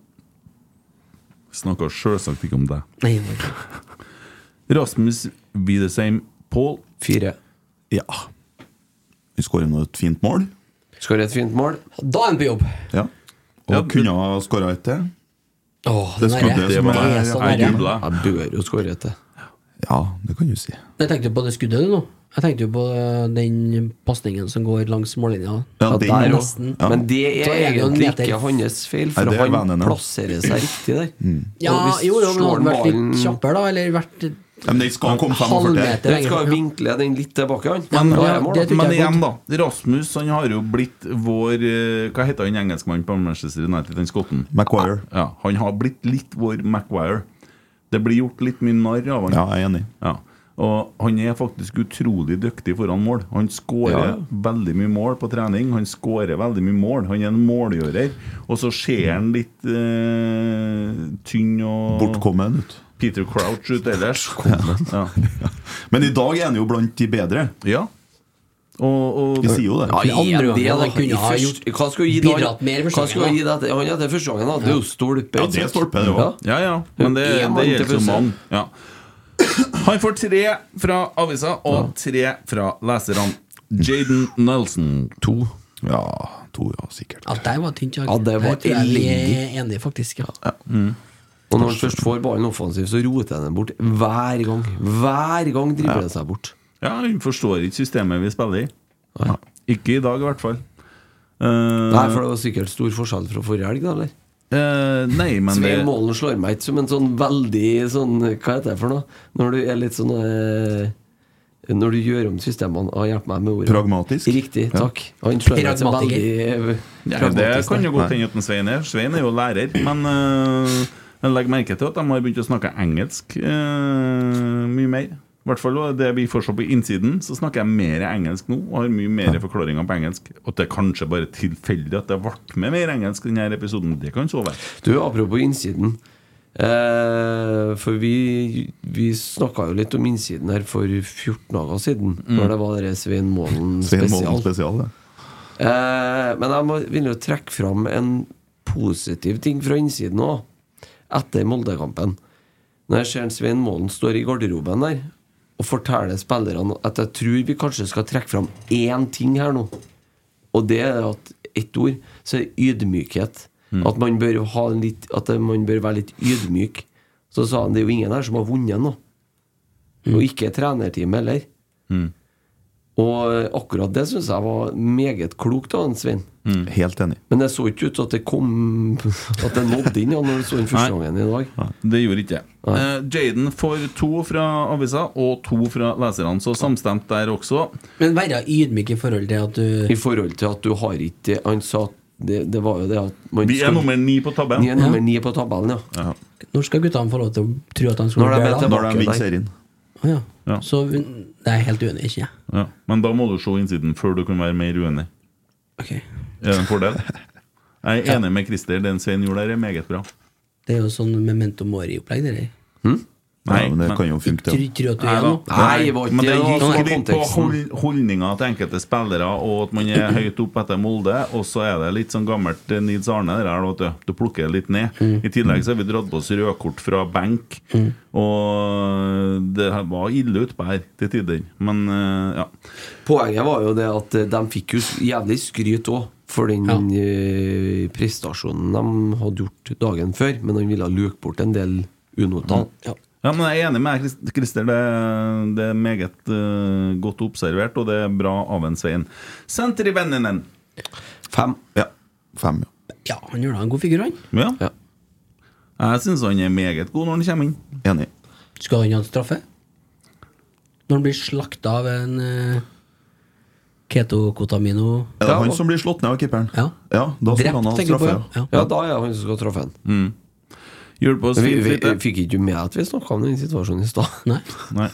Speaker 3: Snakker selvsagt ikke om deg.
Speaker 6: Nei, det var ikke-
Speaker 3: Rasmus Widesheim Pål.
Speaker 5: Fire.
Speaker 4: Ja. Vi skårer nå et fint mål.
Speaker 5: Skårer et fint mål.
Speaker 6: Da er han på jobb!
Speaker 4: Ja. Og
Speaker 3: Ja,
Speaker 4: kunne ha skåra et til.
Speaker 6: Åh,
Speaker 4: Det
Speaker 6: den
Speaker 4: skuddet
Speaker 6: derre-
Speaker 4: som
Speaker 6: det
Speaker 4: er-
Speaker 6: er
Speaker 4: er
Speaker 6: så
Speaker 3: Jeg
Speaker 6: nære.
Speaker 3: jubla.
Speaker 5: Jeg bør jo skåre etter.
Speaker 4: Ja, det kan du si.
Speaker 6: Jeg tenkte jo på det skuddet du nå. Jeg tenkte jo på eh, den pasningen som går langs mållinja.
Speaker 4: Ja,
Speaker 5: Ja,
Speaker 4: den
Speaker 5: der
Speaker 4: er
Speaker 5: også.
Speaker 6: nesten.
Speaker 4: Ja.
Speaker 5: Men det
Speaker 6: Så
Speaker 5: er
Speaker 6: er det jo en
Speaker 5: egentlig
Speaker 6: meter.
Speaker 5: ikke hans feil, for
Speaker 4: Nei, det er Mm.
Speaker 5: han
Speaker 4: vennene.
Speaker 5: plasserer seg riktig der. Og
Speaker 6: Ja,
Speaker 5: hvis
Speaker 6: jo, jo, men
Speaker 5: slår
Speaker 6: hadde han vært
Speaker 5: ballen-
Speaker 6: litt kjappere, da? Eller vært
Speaker 4: Ja, Men den skal komme
Speaker 6: halv
Speaker 4: 45.
Speaker 6: meter
Speaker 5: Den
Speaker 6: lenger?
Speaker 5: skal
Speaker 6: fram, ja.
Speaker 5: vinkle den litt tilbake, han.
Speaker 6: Ja, men
Speaker 5: Da er
Speaker 6: ja,
Speaker 5: mål,
Speaker 6: det
Speaker 5: da.
Speaker 6: tror
Speaker 3: Men
Speaker 6: jeg er
Speaker 3: igjen,
Speaker 6: godt.
Speaker 3: da. Rasmus han har jo blitt vår eh, Hva heter han engelskmannen på Manchester United, den skotten?
Speaker 4: Maguire.
Speaker 3: Ja, han har blitt litt vår Maguire. Det blir gjort litt mye narr av han.
Speaker 4: Ja, jeg er enig.
Speaker 3: Ja. Og han er faktisk utrolig dyktig foran mål. Han skårer
Speaker 5: Ja.
Speaker 3: veldig mye mål på trening. Han skårer veldig mye mål. Han er en målgjører. Og så ser han litt eh, tynn og
Speaker 4: Bortkommen ut.
Speaker 3: Peter Crouch ut ellers. Ja.
Speaker 4: Men i dag er han jo blant de bedre.
Speaker 3: ja. Og, og
Speaker 4: Vi sier jo det.
Speaker 5: Ja,
Speaker 7: Men
Speaker 5: i en
Speaker 7: andre
Speaker 5: del,
Speaker 7: gangen,
Speaker 5: da.
Speaker 7: han kunne
Speaker 5: I
Speaker 7: ha
Speaker 5: først-
Speaker 7: gjort-
Speaker 5: Hva skulle gi da-
Speaker 7: bidratt mer første
Speaker 5: Hva skulle
Speaker 7: gangen,
Speaker 5: gi da til- Han etter første gangen, da. Det er jo stolpe.
Speaker 4: Ja,
Speaker 5: ikke
Speaker 4: det er
Speaker 5: sant?
Speaker 4: stolpe, det også.
Speaker 3: Ja, ja, men det,
Speaker 5: En
Speaker 3: det
Speaker 5: mann til
Speaker 3: gjelder så
Speaker 5: pause.
Speaker 3: mange. Ja. Han får tre fra avisa og tre fra leserne. Jaden Nelson. To.
Speaker 4: Ja, to, ja, sikkert.
Speaker 7: Ja, der var tynt.
Speaker 5: Ja, det var
Speaker 7: Der er jeg
Speaker 5: elendig.
Speaker 7: enig, faktisk. Ja.
Speaker 5: Og når han først får ballen offensivt, så roter han den bort hver gang. Hver gang dribler han seg bort.
Speaker 3: Ja, hun forstår ikke systemet vi spiller i. Ikke i dag, i hvert fall. Eh,
Speaker 5: Nei,
Speaker 4: Mm.
Speaker 5: for det var sikkert stor forskjell fra forrige helg, da, eller?
Speaker 3: eh, nei, men det
Speaker 5: Svein Målen slår meg ikke som en sånn veldig sånn Hva heter det for noe? Når du er litt sånn eh, Når du gjør om systemene Å, hjelp meg med ordet.
Speaker 4: Pragmatisk.
Speaker 5: Riktig, takk. Han slår meg som
Speaker 7: Pragmatiker.
Speaker 5: veldig eh,
Speaker 3: Ja, det
Speaker 5: pragmatisk,
Speaker 3: kan
Speaker 5: da.
Speaker 3: jo godt hende at en Svein er. Svein er jo lærer, men eh, jeg legger merke til at de har begynt å snakke engelsk eh, mye mer. I hvert fall det vi får se på innsiden, så snakker jeg mer engelsk nå. Og har mye mer forklaringer på engelsk. Og at det er kanskje bare tilfeldig at det ble med mer engelsk i denne episoden. Det kan så være.
Speaker 5: Du, apropos innsiden. Eh, for vi, vi snakka jo litt om innsiden her for 14 dager siden,
Speaker 3: Mm.
Speaker 5: når det var det Svein Målen
Speaker 4: Svein Målen
Speaker 5: spesial.
Speaker 4: spesial, det.
Speaker 5: Eh, men jeg må, vil jo trekke fram en positiv ting fra innsiden òg, etter Moldekampen. Når jeg ser en Svein Målen står i garderoben der og forteller spillerne at jeg tror vi kanskje skal trekke fram én ting her nå, og det er at ett ord, så er det ydmykhet. At, man bør ha en litt, at man bør være litt ydmyk. Så sa han det er jo ingen her som har vunnet nå. Og ikke trenerteamet heller. Og akkurat det syns jeg var meget klokt av han, Svein.
Speaker 4: Helt enig.
Speaker 5: Men det så ikke ut til at det kom At det nådde inn ja, når du så den første
Speaker 3: Nei.
Speaker 5: gangen i dag.
Speaker 3: Det gjorde ikke jeg. Eh, Jaden får to fra avisa og to fra leserne, så samstemt der også.
Speaker 7: Men være ydmyk i forhold til at du
Speaker 5: I forhold til at du har ikke Han sa at det, det var jo det at man
Speaker 3: Vi er
Speaker 5: skal-
Speaker 3: nummer ni på tabben.
Speaker 5: Vi er nummer ni på tabellen, ja.
Speaker 7: Når skal guttene få lov til å tro at de skal
Speaker 5: Når de er
Speaker 7: bli glad?
Speaker 5: tilbake.
Speaker 4: Når de vinner serien.
Speaker 7: Å, ja.
Speaker 3: Ja.
Speaker 7: Så hun- det er jeg helt uenig i, ikke jeg.
Speaker 3: Ja. Men da må du se innsiden før du kan være mer uenig.
Speaker 7: Ok.
Speaker 3: Er det en fordel? Jeg er enig med Christer. Den Svein gjorde der, er meget bra.
Speaker 7: Det er jo sånn memento mori-opplegg, det der.
Speaker 4: Nei, men det kan jo funke,
Speaker 7: Tror
Speaker 4: det.
Speaker 7: tror at du
Speaker 3: Nei
Speaker 7: er
Speaker 3: da.
Speaker 7: noe.
Speaker 5: Nei, det var ikke
Speaker 3: men det
Speaker 5: det, det
Speaker 3: gikk
Speaker 5: var
Speaker 3: jo litt på
Speaker 5: konteksten.
Speaker 3: hold- holdninga til enkelte spillere, og at man er høyt oppe etter Molde. Og så er det litt sånn gammelt eh, Nils Arne der, da, at du, du plukker det litt ned.
Speaker 5: Mm.
Speaker 3: I tillegg så har vi dratt på oss rødkort fra benk, og det her var ille utpå her til tider. Men eh, ja.
Speaker 5: Poenget var jo det at eh, de fikk jo s- jævlig skryt òg. For den
Speaker 7: Ja.
Speaker 5: eh, prestasjonen de hadde gjort dagen før. Men han ville luke bort en del unoter.
Speaker 7: Ja.
Speaker 3: Ja, men Jeg er enig med deg, Chris- Christer. Det, det er meget eh, godt observert, og det er bra av en Svein. Senter i vennene.
Speaker 5: Fem.
Speaker 4: Ja. Fem, ja.
Speaker 7: ja, han gjør da en god figur, han.
Speaker 3: Ja.
Speaker 5: Ja.
Speaker 3: Jeg syns han er meget god når han kommer inn.
Speaker 4: Enig.
Speaker 7: Skal han ha en straffe? Når han blir slakta av en eh, keto-kotamino
Speaker 4: Er det
Speaker 5: Ja,
Speaker 4: han
Speaker 5: og-
Speaker 4: som blir slått ned av keeperen?
Speaker 7: Ja.
Speaker 4: da skulle
Speaker 7: Drept,
Speaker 4: han ha
Speaker 7: tenker du på?
Speaker 4: straffe.
Speaker 7: Ja.
Speaker 4: Ja.
Speaker 7: Ja.
Speaker 5: Ja, da er han som skal treffe han.
Speaker 3: Hjelp oss
Speaker 5: Vi,
Speaker 3: litt.
Speaker 5: vi,
Speaker 3: litt.
Speaker 5: fikk ikke med at vi snakka om den situasjonen i stad.
Speaker 7: Nei.
Speaker 3: Nei.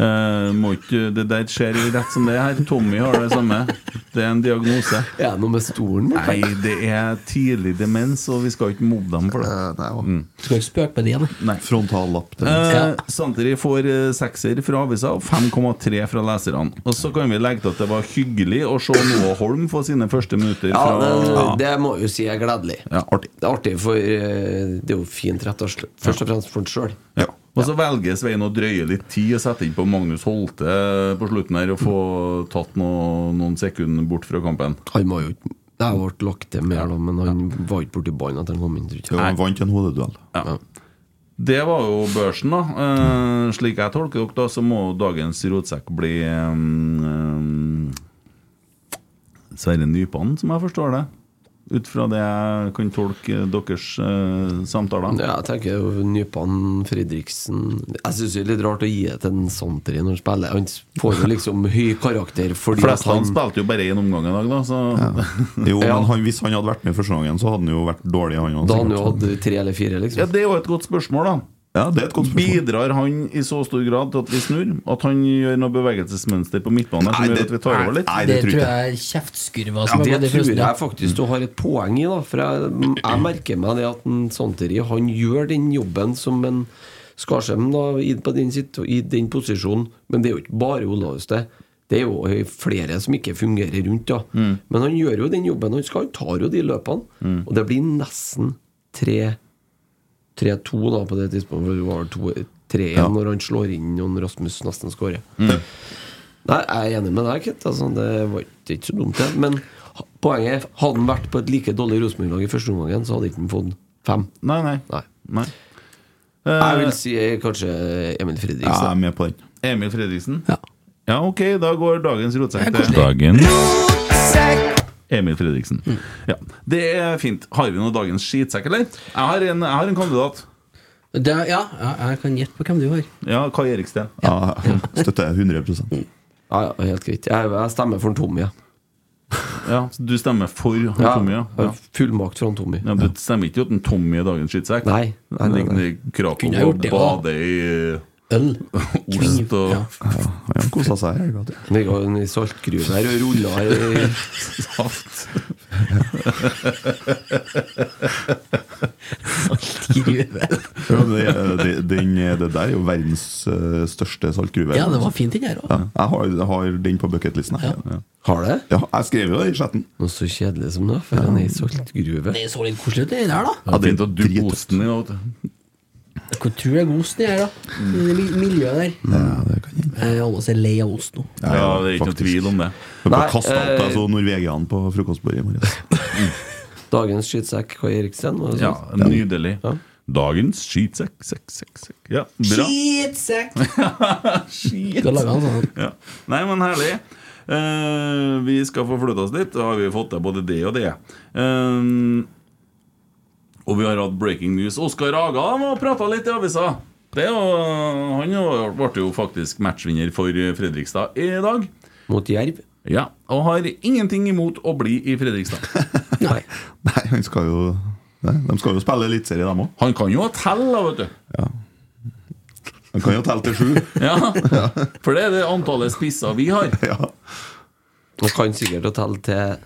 Speaker 3: Eh, må ikke, det der skjer jo rett som det er her. Tommy har det samme. Det er en diagnose.
Speaker 5: Er det noe med stolen? eller?
Speaker 3: Nei, det er tidlig demens, og vi skal ikke mobbe dem for det.
Speaker 4: Eh, Nei, ja.
Speaker 7: Skal ikke spøke med det, nei.
Speaker 4: Frontallapp. det.
Speaker 3: Eh, Santeri får eh, sekser fra avisa og 5,3 fra leserne. Og så kan vi legge til at det var hyggelig å se Noah Holm få sine første minutter
Speaker 5: Ja,
Speaker 3: fra
Speaker 5: det,
Speaker 3: Ja.
Speaker 5: det må jeg jo si er gledelig.
Speaker 4: Artig.
Speaker 5: Det er artig, for eh, det er jo fint, rett og slett. Først og fremst for han sjøl.
Speaker 4: Ja.
Speaker 3: Og så velger Svein å drøye litt tid og sette inn på Magnus Holte på slutten her og få tatt noe, noen sekunder bort fra kampen.
Speaker 5: Han var jo ikke Det ble lagt til mer, da, men han var ikke borti ballen etter han kom inn. tror
Speaker 4: Jo,
Speaker 5: jeg.
Speaker 4: han vant en hodeduell.
Speaker 3: Det var jo børsen, da. Eh, slik jeg tolker dere, da, så må dagens rotsekk bli eh, eh, Sverre Nypan, som jeg forstår det. Ut fra det jeg kan tolke deres eh, samtaler.
Speaker 5: Ja, jeg tenker jo Nypan Fredriksen Jeg syns det er litt rart å gi det til en Santeri når han spiller. Han får jo liksom høy karakter fordi at
Speaker 3: Fleste han
Speaker 5: han
Speaker 3: spilte jo bare én omgang i dag, da, så
Speaker 4: Jo,
Speaker 5: Ja.
Speaker 4: men han, hvis han hadde vært med første gangen, så hadde han jo vært dårlig, han også,
Speaker 5: Da han jo
Speaker 4: sikkert.
Speaker 5: hadde tre eller fire,
Speaker 3: sånn. ja,
Speaker 5: liksom.
Speaker 3: Det er jo et godt spørsmål, da.
Speaker 4: Ja, det er et godt spørsmål.
Speaker 3: Bidrar han i så stor grad til at vi snur? At han gjør noe bevegelsesmønster på midtbanen som
Speaker 4: Nei,
Speaker 3: gjør
Speaker 4: det-
Speaker 3: at vi tar over litt?
Speaker 4: Nei,
Speaker 7: Det
Speaker 4: det tror
Speaker 7: tror
Speaker 4: jeg
Speaker 7: jeg er kjeftskurva
Speaker 5: Ja,
Speaker 7: som har gått
Speaker 5: det
Speaker 7: i
Speaker 5: tror
Speaker 7: frosten.
Speaker 5: jeg faktisk du har et poeng i, da. For jeg, jeg merker meg det at en Santeri Han gjør den jobben som en Skarsheim da, i, på den, situ- i den posisjonen. Men det er jo ikke bare Olaus det. Det er jo eh, flere som ikke fungerer rundt, da. Men han gjør jo den jobben han skal. Han tar jo de løpene. Og det blir nesten 3-2 da på det tidspunktet, for det var 2-3-1 når han slår inn noen Rasmus nesten skårer. Nei, jeg er enig med deg, Kent. Altså, det var ikke- ikke så dumt, det. Men ha- poenget er, hadde han vært på et like dårlig Rosenborg-lag i første omgang, så hadde ikke han fått fem.
Speaker 3: Nei, nei.
Speaker 5: Nei.
Speaker 3: nei.
Speaker 5: Jeg
Speaker 3: Eh,
Speaker 5: vil si eh, kanskje Emil
Speaker 4: Ja, jeg
Speaker 5: Fredriksen.
Speaker 4: er med på den.
Speaker 3: Emil Fredriksen? Ja. ok, da går dagens rotsekk til Emil Fredriksen.
Speaker 5: Mm.
Speaker 3: Ja, Det er fint. Har vi noe dagens skitsekk, eller? Jeg har en, jeg har en kandidat.
Speaker 7: Det, ja, ja, jeg kan gjette på hvem du har.
Speaker 3: Ja, Kai Eriksten.
Speaker 4: Ja, støtter jeg 100
Speaker 5: Ja, ja, helt greit. Jeg, jeg stemmer for en Tommy. Ja.
Speaker 3: Ja, så du stemmer for han
Speaker 5: Ja,
Speaker 3: Tommy? Ja.
Speaker 5: jeg
Speaker 3: Ja.
Speaker 5: har Fullmakt fra han Tommy.
Speaker 3: Ja, men Du stemmer ikke at en Tommy er dagens skitsekk?
Speaker 5: Nei, nei, nei,
Speaker 3: Han
Speaker 5: nei.
Speaker 3: ligger i Krakow
Speaker 7: Kunne jeg gjort
Speaker 3: og
Speaker 7: det,
Speaker 3: bader i
Speaker 7: Øl.
Speaker 3: eh, ost og
Speaker 7: Ja.
Speaker 4: Han kosa seg i helga. tror jeg.
Speaker 5: Det går en saltgruve her og ruller i
Speaker 3: saft.
Speaker 4: Ja, men det- det- Den, det der er jo verdens eh, største saltgruve.
Speaker 7: Ja, det var fint den der òg.
Speaker 4: Ja, jeg har, jeg har den på bucketlisten. jeg. Ja.
Speaker 5: Har det?
Speaker 4: Ja, jeg skrev jo det i chatten.
Speaker 5: Noe så kjedelig som det, for en saltgruve.
Speaker 7: Det så litt koselig ut, det der, da.
Speaker 3: Ja, det er fint at du
Speaker 4: Dritgodt.
Speaker 3: osten din. da, vet du.
Speaker 7: Hvor tror jeg osten er, da? I det mi- miljøet der.
Speaker 4: Ja, det kan jeg.
Speaker 7: Jeg er almost lei av ost nå.
Speaker 3: Ja, det er ikke noe
Speaker 4: faktisk.
Speaker 3: tvil om det.
Speaker 4: Jeg
Speaker 5: Nei,
Speaker 4: bare kastet opp
Speaker 5: eh,
Speaker 4: jeg så Norvegian på frokostbordet i morges.
Speaker 5: Dagens skytsekk Kai Eriksen. var det
Speaker 3: Ja,
Speaker 5: sånn?
Speaker 3: Nydelig.
Speaker 5: Ja.
Speaker 3: Dagens skitsekk, sekk, sekk, sekk. Ja, bra.
Speaker 7: Skitsekk!
Speaker 3: Skit.
Speaker 7: Skal
Speaker 6: altså.
Speaker 7: lage en sånn
Speaker 3: Ja. Nei, men herlig. Eh, vi skal få flytta oss litt. Da har vi fått til både det og det. Eh, og vi har hatt breaking news. Oskar Aga var og prata litt i avisa. Det er jo- han jo- ble jo faktisk matchvinner for Fredrikstad i dag.
Speaker 5: Mot Jerv.
Speaker 3: Ja, Og har ingenting imot å bli i Fredrikstad.
Speaker 5: Nei.
Speaker 4: Nei, han skal jo Nei, De skal jo spille eliteserie, dem òg.
Speaker 3: Han kan jo ha tell, da, vet du.
Speaker 4: De kan jo telle til sju.
Speaker 3: Ja, For det er det antallet spisser vi har.
Speaker 4: Ja.
Speaker 5: Han kan sikkert å telle til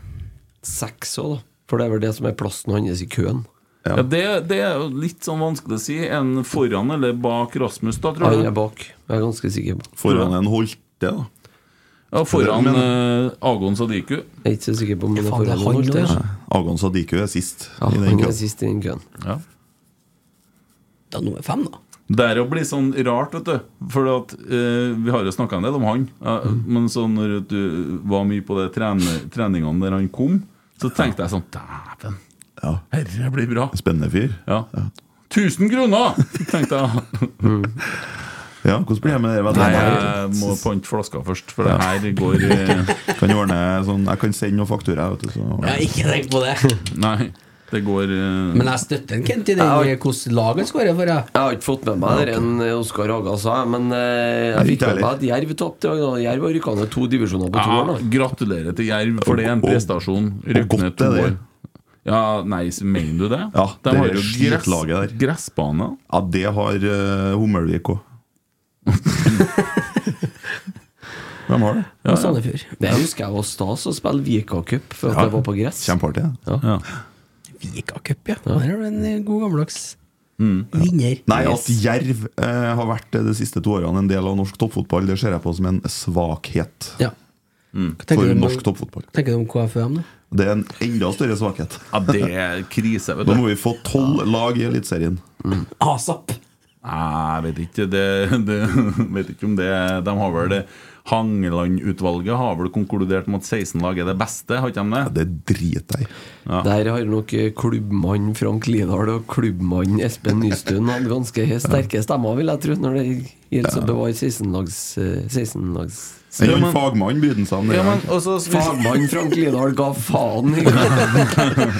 Speaker 5: seks òg, da. For det er vel det som er plassen hans i køen.
Speaker 3: Ja. det, det er jo litt sånn vanskelig å si. En foran eller bak Rasmus, da, tror
Speaker 5: Han
Speaker 3: du?
Speaker 5: er bak. Jeg er ganske sikker på
Speaker 4: Foran en Holte, da.
Speaker 3: Ja, foran
Speaker 4: Men-
Speaker 3: eh, Agon Sadiku.
Speaker 5: Jeg er ikke så sikker på om han er
Speaker 7: Faen, det altså.
Speaker 5: foran
Speaker 7: er han
Speaker 5: eller bak
Speaker 7: nå,
Speaker 5: der.
Speaker 7: ja.
Speaker 4: Agon Sadiku er sist
Speaker 5: Ja,
Speaker 4: i den
Speaker 5: han er
Speaker 4: køen.
Speaker 5: sist i den køen.
Speaker 3: Ja.
Speaker 7: Da nå er fem, da.
Speaker 3: Det er jo blir sånn rart, vet du. For at, eh, vi har jo snakka en del om han. Ja, Men så når du var mye på de trene- treningene der han kom, så tenkte jeg sånn Dæven,
Speaker 4: Ja.
Speaker 3: herre blir bra.
Speaker 4: Spennende fyr.
Speaker 3: Ja. 1000 kroner! tenkte jeg.
Speaker 4: Ja, Hvordan blir det med dere
Speaker 3: Nei,
Speaker 4: veterinærer?
Speaker 3: jeg må pante flaska først, for det her går eh,
Speaker 4: Kan jeg ordne sånn Jeg kan sende noen fakturaer, vet du. Så.
Speaker 7: Jeg har ikke tenkt på det.
Speaker 3: Nei, det går eh,
Speaker 7: Men jeg støtter en Kent i den
Speaker 5: Jeg
Speaker 7: hvordan laget skårer for. Jeg.
Speaker 5: Jeg har ikke fått med meg det en Oskar Haga sa, men eh, jeg
Speaker 4: Nei,
Speaker 5: fikk
Speaker 4: ikke
Speaker 5: med meg at Jerv tapte i dag. da. Jerv har rykka ned to divisjoner på to år.
Speaker 3: Ja,
Speaker 5: da.
Speaker 3: gratulerer til Jerv, for det er en
Speaker 4: Og- og-
Speaker 3: prestasjon.
Speaker 4: og
Speaker 3: Rykke ned
Speaker 4: godt
Speaker 3: to
Speaker 4: er det.
Speaker 3: år. Ja, nei, så mener du det?
Speaker 4: Ja,
Speaker 3: De
Speaker 4: det
Speaker 3: har
Speaker 4: er
Speaker 3: jo gress,
Speaker 4: skitlaget der.
Speaker 3: gressbane.
Speaker 4: Ja, det har uh, Hummelvik òg. De har det.
Speaker 7: Og Sandefjord.
Speaker 5: Det husker jeg var stas å spille Vika-cup for at
Speaker 4: Ja.
Speaker 5: det var på gress.
Speaker 4: Kjempeartig. det.
Speaker 3: Ja.
Speaker 7: Vika-cup, ja. Der har du en eh, god gammeldags
Speaker 3: Mm.
Speaker 7: vinner.
Speaker 4: Nei,
Speaker 7: Yes.
Speaker 4: at Jerv eh, har vært eh, de siste to årene en del av norsk toppfotball, det ser jeg på som en svakhet
Speaker 7: Ja.
Speaker 3: Mm.
Speaker 7: Hva tenker
Speaker 4: for
Speaker 7: du om-
Speaker 4: norsk toppfotball.
Speaker 7: tenker du om KFUM, da?
Speaker 4: Det er en enda større svakhet.
Speaker 3: ja, det er krise, vet
Speaker 4: Da
Speaker 3: du.
Speaker 4: må vi få tolv lag i Eliteserien.
Speaker 7: ASAP!
Speaker 3: Nei, jeg vet ikke, det, det, vet ikke om det De har vel det Hangeland-utvalget har vel konkludert med at 16 lag er det beste, har ikke de det?
Speaker 4: Det driter jeg i.
Speaker 5: Der har nok eh, klubbmann Frank Lidahl og klubbmann Espen Nystuen hatt ganske sterke stemmer, vil jeg tro, når det gjelder å bevare 16-lags... eh, 16-lags
Speaker 3: Ja,
Speaker 4: En
Speaker 3: men-
Speaker 4: fagmann bydde seg om det.
Speaker 3: Ja, men,
Speaker 4: her.
Speaker 3: også,
Speaker 5: Fagmann Frank Lidahl ga faen i gang.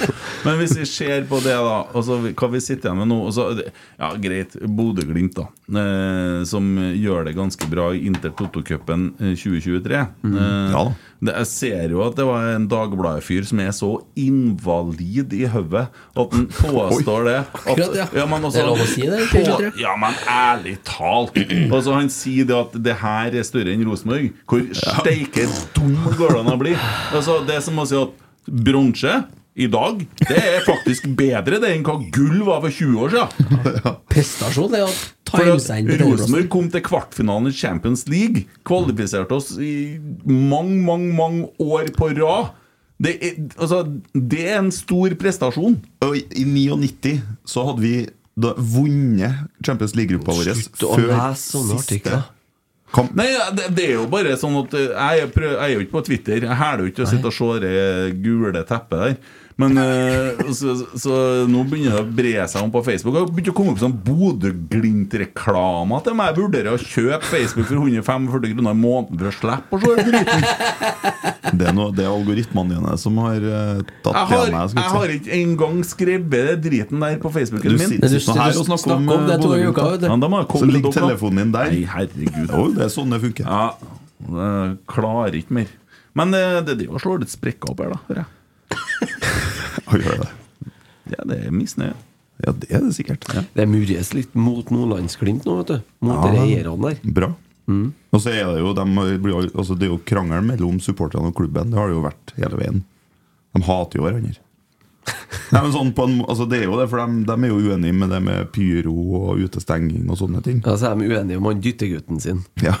Speaker 3: Men hvis vi ser på det, da altså, Hva vi sitter igjen med nå altså, Ja, greit. Bodø-Glimt, da. Eh, som gjør det ganske bra i Inter-Toto-cupen eh, 2023. Eh,
Speaker 4: Ja da.
Speaker 3: det, jeg ser jo at det var en Dagbladet-fyr som er så invalid i hodet at han påstår det. At,
Speaker 7: Akkurat, ja.
Speaker 3: men
Speaker 7: Det er lov å si det,
Speaker 3: på-
Speaker 7: egentlig, tror jeg.
Speaker 3: Ja, men ærlig talt. Altså, han sier det at det her er større enn Rosenborg. Hvor steike dum går det an å bli? Altså, det er som å si at bronse i dag, det er faktisk bedre det enn hva gull var for 20 år siden.
Speaker 7: Prestasjon det er å
Speaker 3: For
Speaker 7: time seg inn
Speaker 3: at
Speaker 7: på tredjeplassen.
Speaker 3: Rosenborg kom til kvartfinalen i Champions League. Kvalifiserte oss i mange, mange, mange år på rad. Det er, altså, det er en stor prestasjon.
Speaker 4: Og i- i 99 så hadde vi da vunnet Champions League-gruppa vår
Speaker 5: Slutt å lese sånne artikler.
Speaker 4: kamp.
Speaker 3: Nei, ja, det, det er jo bare sånn at eh, Jeg, prøv, jeg er jo ikke på Twitter. Jeg hæler jo ikke å sitte og se det gule teppet der. Men eh, så, så, så nå begynner det å bre seg om på Facebook. Og begynte å komme opp sånn Bodø-Glimt-reklamer til meg. Jeg vurderer å kjøpe Facebook for 145 kroner i måneden for å slippe å se den driten.
Speaker 4: Det er, noe, det er algoritmene dine som har eh, tatt
Speaker 3: Jeg
Speaker 4: igjen
Speaker 3: har,
Speaker 4: meg.
Speaker 3: jeg har ikke engang skrevet det driten der på Facebooken
Speaker 4: Du
Speaker 3: min.
Speaker 4: sitter,
Speaker 5: du
Speaker 4: sitter her og snakker om,
Speaker 5: snakker om det
Speaker 4: eh,
Speaker 5: to
Speaker 4: Bodø-Glimt.
Speaker 5: uker, vet du.
Speaker 3: Ja, da må jeg
Speaker 4: Så
Speaker 3: koble
Speaker 4: ligger
Speaker 3: dobbelt.
Speaker 4: telefonen din der.
Speaker 3: Nei, herregud.
Speaker 4: Jo, det er sånn det funker.
Speaker 3: Ja, jeg klarer ikke mer. Men eh, det driver og slår litt sprekker opp her, da. Hører jeg.
Speaker 4: Å gjøre det.
Speaker 3: Ja, det er misnøye.
Speaker 4: Ja, det er det sikkert. Ja.
Speaker 5: Det murres litt mot Nordlandsglimt nå, vet du. Mot
Speaker 4: Ja.
Speaker 5: de eierne der. Mm.
Speaker 4: Bra. Og så er det jo de blir, jo- altså, Det er jo krangel mellom supporterne og klubben. Det har det jo vært hele veien. De hater jo hverandre. Nei, men sånn på en, må- altså, det er jo det, for de, de er jo uenige med det med pyro og utestenging og sånne ting.
Speaker 5: Ja, så er de uenige om han dyttegutten sin.
Speaker 4: Ja.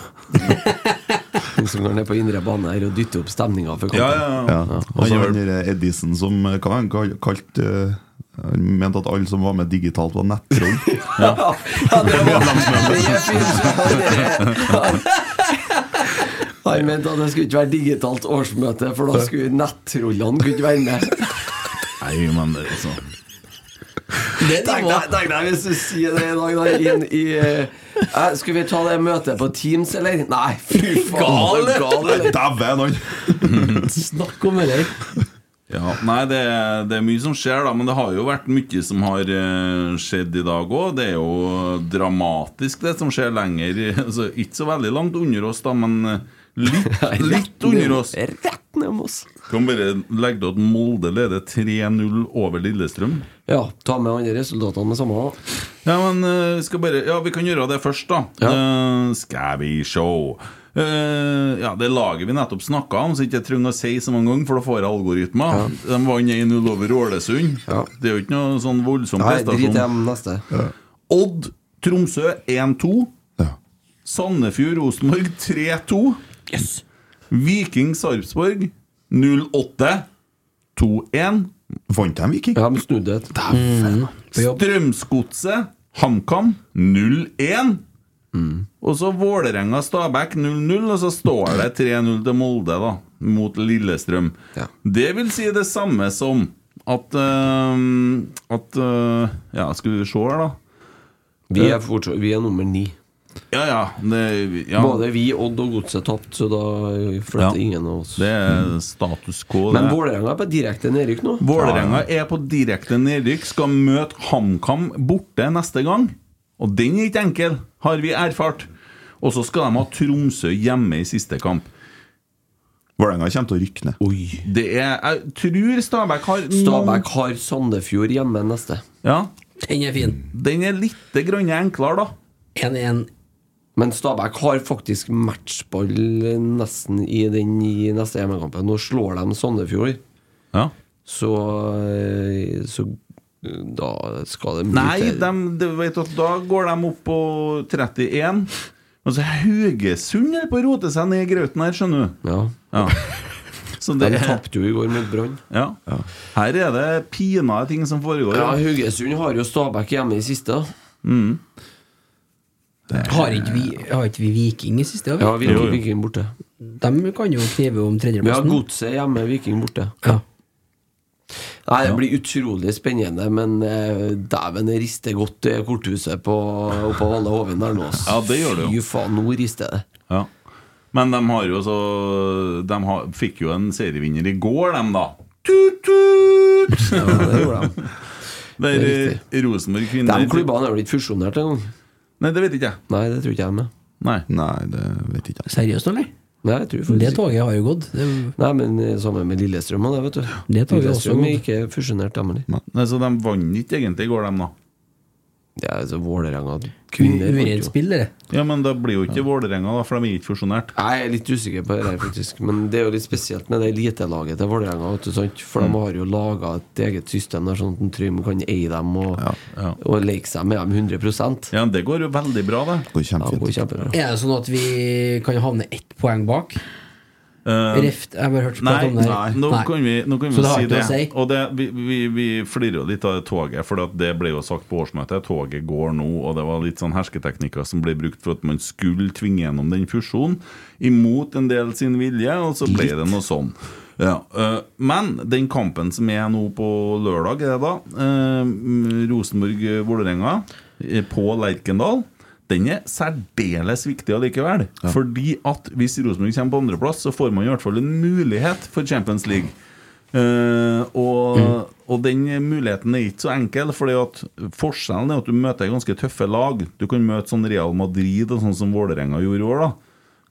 Speaker 5: Han Som går ned på indre bane her og dytter opp stemninga for kampen.
Speaker 3: Ja, ja, ja.
Speaker 4: Ja. Og så han der Edison som eh, hva var han kal- kalt eh, Han mente at alle som var med digitalt, var nettroll.
Speaker 5: Ja, det var Det er fint. Han mente at det skulle ikke være digitalt årsmøte, for da skulle nettrollene kunne ikke være med.
Speaker 3: Nei, men det er sånn
Speaker 7: Det
Speaker 5: Tenk deg, tenk deg hvis du sier det i dag, da. Inn i eh, eh, Skulle vi ta det møtet på Teams, eller? Nei, fy faen.
Speaker 7: Gal.
Speaker 5: Gal, eller?
Speaker 4: Dæven, han!
Speaker 7: Snakk om det der.
Speaker 3: ja, Nei, det er, det er mye som skjer, da. Men det har jo vært mye som har eh, skjedd i dag òg. Det er jo dramatisk, det som skjer lenger. Altså, ikke så veldig langt under oss, da, men eh, litt, litt under oss.
Speaker 5: Rett ned med oss.
Speaker 3: Kan bare legge til at Molde leder 3-0 over Lillestrøm.
Speaker 5: Ja, ta med andre resultatene med samme. da.
Speaker 3: Ja, men eh, vi skal bare Ja, vi kan gjøre det først, da. Eh, skal vi show. Eh, ja, det laget vi nettopp snakka om, så ikke jeg trenger å si så mange ganger, for da får jeg algoritmer. De vant 1-0 over Ålesund.
Speaker 5: Ja.
Speaker 3: Det er jo ikke noe sånn voldsom
Speaker 5: Nei, drit i
Speaker 3: prestasjon.
Speaker 5: dem neste.
Speaker 3: Odd Tromsø 1-2.
Speaker 4: Ja.
Speaker 3: Sandefjord Rosenborg 3-2.
Speaker 7: Yes.
Speaker 3: Viking Sarpsborg 08 2-1.
Speaker 4: Vant de Viking?
Speaker 5: Ja, de snudde et.
Speaker 3: Mm. Strømsgodset, HamKam 0-1. Og så Vålerenga-Stabæk 0-0, og så står det 3-0 til Molde da mot Lillestrøm.
Speaker 5: Ja.
Speaker 3: Det vil si det samme som at øhm, At øh, Ja, skal vi se her, da.
Speaker 5: Vi er, fortsatt, vi er nummer ni.
Speaker 3: Ja, ja. Det, ja.
Speaker 5: Både vi, Odd og Godset tapte, så da flytter
Speaker 3: Ja.
Speaker 5: ingen av oss.
Speaker 3: det er status quo.
Speaker 5: Men
Speaker 3: det.
Speaker 5: Vålerenga er på direkte nedrykk nå.
Speaker 3: Vålerenga er på direkte nedrykk, skal møte HamKam borte neste gang. Og den er ikke enkel, har vi erfart. Og så skal de ha Tromsø hjemme i siste kamp.
Speaker 4: Vålerenga kommer til å rykke ned.
Speaker 3: Det er Jeg tror Stabæk har noen-
Speaker 5: Stabæk har Sandefjord hjemme neste.
Speaker 3: Ja,
Speaker 7: Den er fin.
Speaker 3: den er litt grann enklere, da.
Speaker 7: 1-1.
Speaker 5: Men Stabæk har faktisk matchball nesten i den i neste hjemmekampen. Nå slår de Sandefjord,
Speaker 3: Ja.
Speaker 5: så, eh, så da skal det mye
Speaker 3: Nei,
Speaker 5: til.
Speaker 3: de, de vet at da går de opp på 31. Altså, Haugesund er på å rote seg ned i grauten her, skjønner du.
Speaker 5: ja.
Speaker 3: Ja. Så
Speaker 5: De
Speaker 3: det er
Speaker 5: tapte jo i går mot Brann.
Speaker 3: ja. Her er det pinadø ting som foregår.
Speaker 5: Ja,
Speaker 3: da.
Speaker 5: Haugesund har jo Stabæk hjemme i siste. da.
Speaker 7: Har ikke vi, har ikke vi Viking i siste?
Speaker 5: Ja,
Speaker 7: Ja.
Speaker 5: Viking, Viking borte.
Speaker 7: De kan jo knive om
Speaker 5: Vi har
Speaker 7: tredjeplassen.
Speaker 5: Godset hjemme, Viking borte.
Speaker 7: Ja.
Speaker 5: Nei, Det blir utrolig spennende, men eh, dæven, det rister godt i korthuset på, oppå Valle Hovin der nå. ass.
Speaker 3: Ja, det gjør det jo.
Speaker 5: Fy faen, nå rister det.
Speaker 3: Ja. Men de har jo så De har, fikk jo en serievinner i går, dem da. Tut-tut!
Speaker 5: Ja, det gjorde de.
Speaker 3: Der
Speaker 5: Det er
Speaker 3: eh, Rosenborg
Speaker 5: De
Speaker 3: kvinner
Speaker 5: klubbene er vel ikke fusjonert engang?
Speaker 3: Nei, det vet ikke jeg.
Speaker 5: Nei, det tror ikke jeg med.
Speaker 3: Nei.
Speaker 4: Nei, det vet ikke jeg.
Speaker 7: Seriøst, eller?
Speaker 5: Nei, jeg tror
Speaker 7: Det
Speaker 5: faktisk ikke.
Speaker 7: toget har jo gått. Det, er-
Speaker 5: Nei, men eh, sammen med Lillestrøm og det, vet du.
Speaker 7: Det tar vi også
Speaker 5: Lillestrøm er
Speaker 7: godt.
Speaker 5: ikke fusjonert, dem heller.
Speaker 3: Nei, så de vant ikke egentlig i går, dem da.
Speaker 5: Det er altså Vålerenga Kvinner vant jo.
Speaker 7: Urent spill, dere.
Speaker 3: Ja, men det blir jo ikke Vålerenga, da, for de er ikke fusjonert.
Speaker 5: Jeg er litt usikker på det her, faktisk. Men det er jo litt spesielt med det elitelaget til Vålerenga. vet du, sant? For de har jo laga et eget system der, sånn at Trym kan eie dem og, og leke seg med dem 100
Speaker 3: Ja, det går jo veldig bra, det.
Speaker 4: Det går
Speaker 5: Ja, det går
Speaker 4: kjempefint.
Speaker 5: kjempebra.
Speaker 7: Er det sånn at vi kan havne ett poeng bak?
Speaker 3: Eh,
Speaker 7: Reft, jeg har bare hørt prat
Speaker 3: Nei,
Speaker 7: om det. her.
Speaker 3: nå kan vi, nå kan
Speaker 7: Så det
Speaker 3: vi
Speaker 7: har
Speaker 3: si
Speaker 7: ikke
Speaker 3: det.
Speaker 7: noe å si.
Speaker 3: Og det, vi, vi, vi flirer jo litt av det toget, for at det ble jo sagt på årsmøtet. Toget går nå, og det var litt sånn hersketeknikker som ble brukt for at man skulle tvinge gjennom den fusjonen, imot en del sin vilje, og så ble det noe sånn. Ja, eh, men den kampen som er nå på lørdag, er det da eh, Rosenborg-Vålerenga eh, på Lerkendal. Den er særdeles viktig allikevel. Fordi at hvis Rosenborg kommer på andreplass, så får man i hvert fall en mulighet for Champions League. Eh, og,
Speaker 5: Mm.
Speaker 3: og den muligheten er ikke så enkel, Fordi at forskjellen er at du møter ganske tøffe lag. Du kan møte sånn Real Madrid og sånn som Vålerenga gjorde i år, da.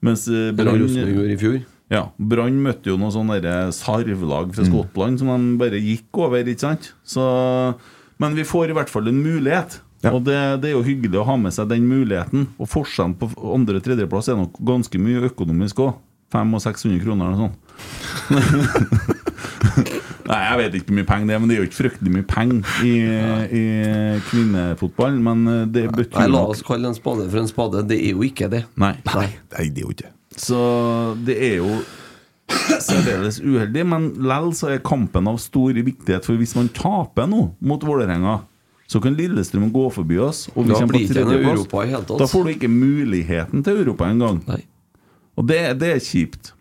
Speaker 3: Mens eh,
Speaker 5: Eller
Speaker 3: Brann
Speaker 5: Rosenborg gjorde i fjor.
Speaker 3: ja, Brann møtte jo noen sånne der sarvlag
Speaker 5: Mm.
Speaker 3: fra Skottland som de bare gikk over, ikke sant? Så, men vi får i hvert fall en mulighet. Og det, det er jo hyggelig å ha med seg den muligheten. Og forskjellen på andre- og tredjeplass er nok ganske mye økonomisk òg. 500-600 kroner eller noe sånt. Nei, jeg vet ikke hvor mye penger det er, men det er jo ikke fryktelig mye penger i, i kvinnefotball. Men eh, det
Speaker 5: Nei,
Speaker 3: betyr
Speaker 5: la
Speaker 3: nok
Speaker 5: oss kalle en spade for en spade. Det er jo ikke det.
Speaker 3: Nei.
Speaker 5: Nei.
Speaker 4: Nei, det er jo ikke det.
Speaker 3: Så det er jo særdeles uheldig, men lell så er kampen av stor viktighet. For hvis man taper nå mot Vålerenga, så kan Lillestrøm gå forbi oss. Og vi
Speaker 5: Da
Speaker 3: kommer
Speaker 5: blir
Speaker 3: på
Speaker 5: det ikke noe
Speaker 3: tredjeplass.
Speaker 5: Europa i hele tatt.
Speaker 3: Da får du ikke muligheten til Europa engang.
Speaker 5: Nei.
Speaker 3: Og det, det er kjipt.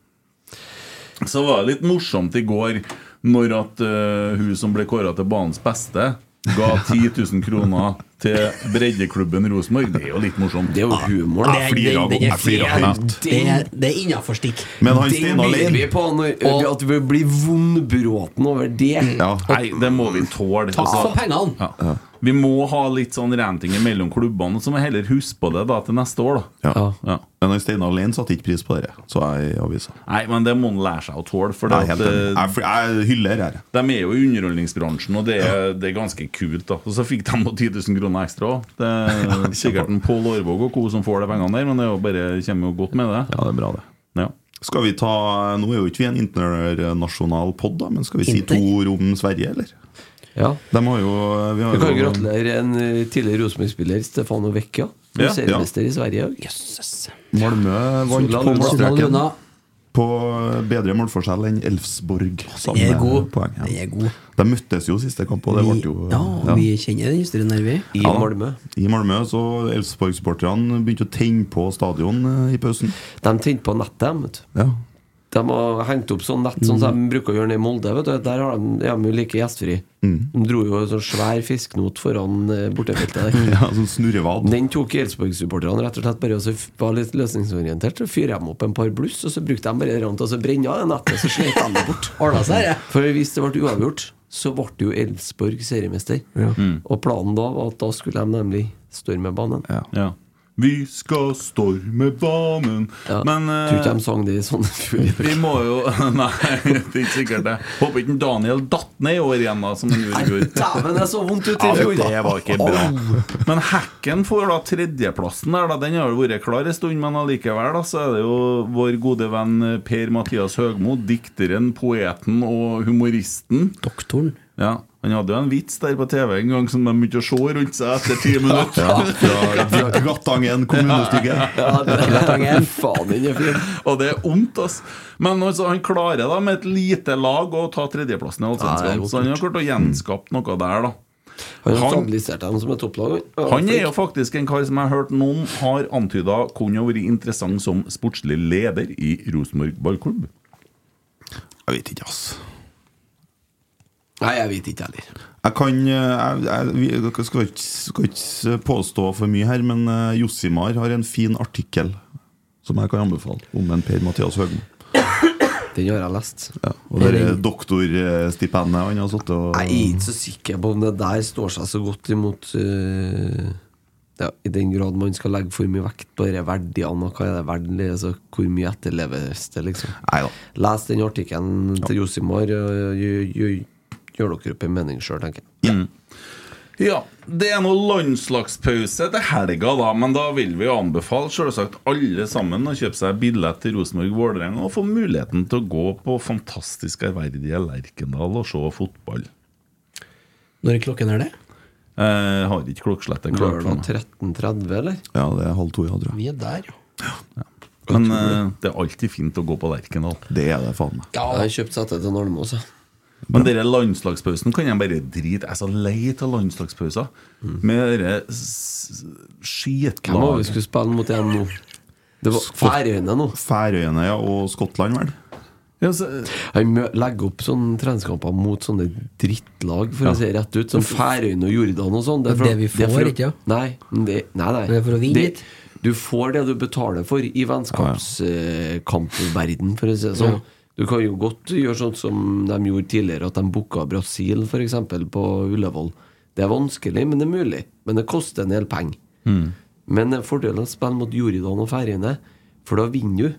Speaker 3: Så var det litt morsomt i går når at eh, hun som ble kåra til banens beste, ga 10 000 kroner til breddeklubben Rosenborg. Det er jo litt morsomt.
Speaker 5: Det er jo humor. da.
Speaker 4: Jeg flirer av
Speaker 7: den er
Speaker 4: jeg flirer av
Speaker 7: fin.
Speaker 4: høyt.
Speaker 7: Det er, det er innafor stikk.
Speaker 4: Men han
Speaker 5: Den
Speaker 4: Steinar
Speaker 5: blir vi
Speaker 4: Lein
Speaker 5: på når, at vi blir vondbråten over det.
Speaker 4: ja.
Speaker 3: Nei, det må vi tåle.
Speaker 7: Takk
Speaker 3: Altså,
Speaker 7: for pengene!
Speaker 3: Ja. Vi må ha litt sånn renting mellom klubbene, så må jeg heller huske på det da til neste år. da
Speaker 4: Ja.
Speaker 3: ja.
Speaker 4: Men han Steinar Lein satte ikke pris på det, så jeg i avisa.
Speaker 3: Nei, men det må en lære seg å tåle. For det
Speaker 4: Jeg, er
Speaker 3: at,
Speaker 4: helt enig.
Speaker 3: eh,
Speaker 4: jeg, fl- jeg hyller her.
Speaker 3: de er jo i underholdningsbransjen, og det er, det er ganske kult. da Og så fikk de noe 10 000 kroner ekstra òg. Det er sikkert en Pål Årvåg og co. som får de pengene der, men det er jo bare, kommer jo godt med det.
Speaker 4: Ja, det er bra, det.
Speaker 3: Ja.
Speaker 4: Skal vi ta Nå er jo ikke vi en internasjonal pod, da, men skal vi si
Speaker 7: Inter.
Speaker 4: to rom Sverige, eller?
Speaker 5: Ja.
Speaker 4: De har jo Vi
Speaker 5: Vi
Speaker 4: har
Speaker 5: kan
Speaker 4: jo
Speaker 5: gratulere en eh, tidligere Rosenborg-spiller, Stefano Vecchia.
Speaker 3: Ja, ja.
Speaker 5: Ja, seriemester i Sverige i dag.
Speaker 4: Malmö vant
Speaker 5: Sola
Speaker 4: på
Speaker 5: Luna.
Speaker 7: Sola
Speaker 4: målstreken
Speaker 7: Luna.
Speaker 4: på bedre målforskjell enn Elfsborg.
Speaker 7: Den er
Speaker 4: Samme
Speaker 7: god.
Speaker 4: poeng, ja.
Speaker 7: Den er god.
Speaker 4: De møttes jo siste kamp, og det ble jo
Speaker 7: ja, vi kjenner den historien her, vi.
Speaker 5: I
Speaker 4: Ja da.
Speaker 5: Malmö.
Speaker 4: I Malmö så Elfsborg-supporterne begynte å tenne på stadion eh, i pausen.
Speaker 5: De tente på nettet, dem, vet du.
Speaker 4: Ja.
Speaker 5: De har hengt opp sånn nett sånn
Speaker 4: Mm.
Speaker 5: som de bruker å gjøre nede i Molde. Vet du. Der har de, er de jo like gjestfri.
Speaker 4: Mm.
Speaker 5: De dro jo en sånn svær fiskenot foran eh, bortefeltet der.
Speaker 4: ja, sånn snurrevad.
Speaker 5: Den tok Elsborg-supporterne rett og slett bare og så f- var litt løsningsorientert. Så fyrer de opp en par bluss, og så brukte de bare det til å brenne av det nettet. Så slet de det bort.
Speaker 7: Ordna seg, det.
Speaker 5: For hvis det ble uavgjort, så ble jo Elsborg seriemester.
Speaker 3: Mm.
Speaker 5: Og planen da var at da skulle de nemlig storme banen.
Speaker 4: Ja.
Speaker 3: Ja. Vi skal storme banen
Speaker 5: Ja.
Speaker 3: Men eh,
Speaker 5: Tror ikke de sang det i sånn full
Speaker 3: vi må jo Nei, det er ikke sikkert det. Håper ikke Daniel datt ned i år igjen, da, som han gjorde i fjor.
Speaker 5: Dæven, det er så vondt ut i
Speaker 3: Ja,
Speaker 5: fjor!
Speaker 3: det var ikke bra. Men hacken får da tredjeplassen der, da. Den har jo vært klar en stund, men allikevel da, så er det jo vår gode venn Per-Mathias Høgmo, dikteren, poeten og humoristen.
Speaker 7: Doktoren.
Speaker 3: Ja, Han hadde jo en vits der på TV en gang som de begynte å se rundt seg etter ti minutter.
Speaker 4: Ja, fra, fra Gratangen kommunestykke.
Speaker 5: Ja, det er faen den er fin.
Speaker 3: Og det er vondt, ass. Men altså, han klarer da med et lite lag å ta tredjeplassen i
Speaker 5: Ja, det er
Speaker 3: Allsvenskan.
Speaker 5: godt
Speaker 3: Så han har klart å gjenskape noe der, da.
Speaker 5: Han har
Speaker 3: Han-
Speaker 5: stabilisert dem som et topplag. han.
Speaker 3: Han er jo faktisk en kar som jeg har hørt noen har antyda kunne ha vært interessant som sportslig leder i Rosenborg ballklubb.
Speaker 4: Jeg vet ikke, ass.
Speaker 5: Nei, jeg vet ikke heller.
Speaker 4: Jeg kan eh, jeg, jeg, vi- Dere skal ikke, skal ikke påstå for mye her, men eh, Jossimar har en fin artikkel som jeg kan anbefale om en Per-Mathias Høgmo.
Speaker 5: Den har jeg lest.
Speaker 4: Ja, og det er doktorstipendet han har sittet og
Speaker 5: Jeg er ikke så sikker på om det der står seg så godt imot eh, ja, I den grad man skal legge for mye vekt på disse verdiene og hva er det verden er, altså, hvor mye etterleves det, liksom.
Speaker 4: Nei da.
Speaker 5: Les den artikkelen til Josimar, og gjør, gjør, gjør dere opp en mening sjøl, tenker jeg.
Speaker 3: Ja, Det er nå landslagspause til helga, da, men da vil vi anbefale selvsagt alle sammen å kjøpe seg billett til Rosenborg-Vålerenga og få muligheten til å gå på fantastisk ærverdige Lerkendal og se fotball.
Speaker 7: Når klokken er det?
Speaker 3: Jeg har ikke klokkeslettet klart for
Speaker 5: Lørdag
Speaker 3: meg.
Speaker 5: 13.30, eller?
Speaker 4: Ja, det er halv to, ja, tror jeg.
Speaker 7: Vi er der, jo.
Speaker 3: Men eh, det er alltid fint å gå på Lerkendal.
Speaker 4: Det er det, faen meg.
Speaker 5: Ja. Jeg har kjøpt sette til Nordmås, jeg.
Speaker 3: Men dere landslagspausen kan jeg bare drite Jeg er så lei av landslagspauser. Med dere s-
Speaker 5: Hvem var vi
Speaker 3: skitlaget
Speaker 5: skulle spille mot igjen nå? Det var Færøyene nå.
Speaker 4: Færøyene ja, og Skottland, vel?
Speaker 3: ja, så-
Speaker 5: Han mø- legger opp sånne treningskamper mot sånne drittlag, for å si det rett ut. Som Færøyene og Jordan og sånn.
Speaker 7: Det er det vi
Speaker 5: for
Speaker 7: får,
Speaker 5: å-
Speaker 7: ikke, ja?
Speaker 5: Nei, men det, nei, nei.
Speaker 7: Det er for å vinne litt.
Speaker 5: Du får det du betaler for i vennskapskamperverden, for å si det sånn. Du kan jo godt gjøre sånn som de gjorde tidligere, at de booka Brasil f.eks. på Ullevål. Det er vanskelig, men det er mulig. Men det koster en del penger. Hmm. Men det er fordelen av å spille mot Jordan og Færøyene, for da vinner du.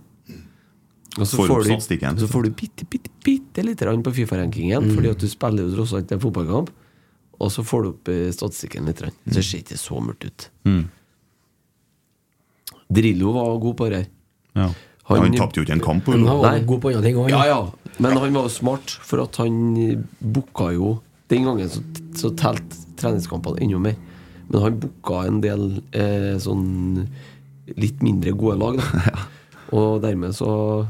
Speaker 5: Og
Speaker 4: Får
Speaker 5: så får,
Speaker 4: opp
Speaker 5: du,
Speaker 4: statistikken.
Speaker 5: så får du bitte, bitte, bitte lite grann på Fifa-rankingen, fordi at du spiller jo tross alt en fotballkamp. Og så får du opp eh, statistikken litt. grann. Så det ser ikke så mørkt ut. Drillo var god på det her.
Speaker 3: ja.
Speaker 4: Han tapte jo ikke en kamp.
Speaker 7: Men han var
Speaker 5: Nei.
Speaker 7: jo god på andre ting òg.
Speaker 5: Ja, ja. Men han var jo smart, for at han booka jo Den gangen så, så telte treningskampene enda mer. Men han booka en del eh, sånn litt mindre gode lag, da. Og dermed så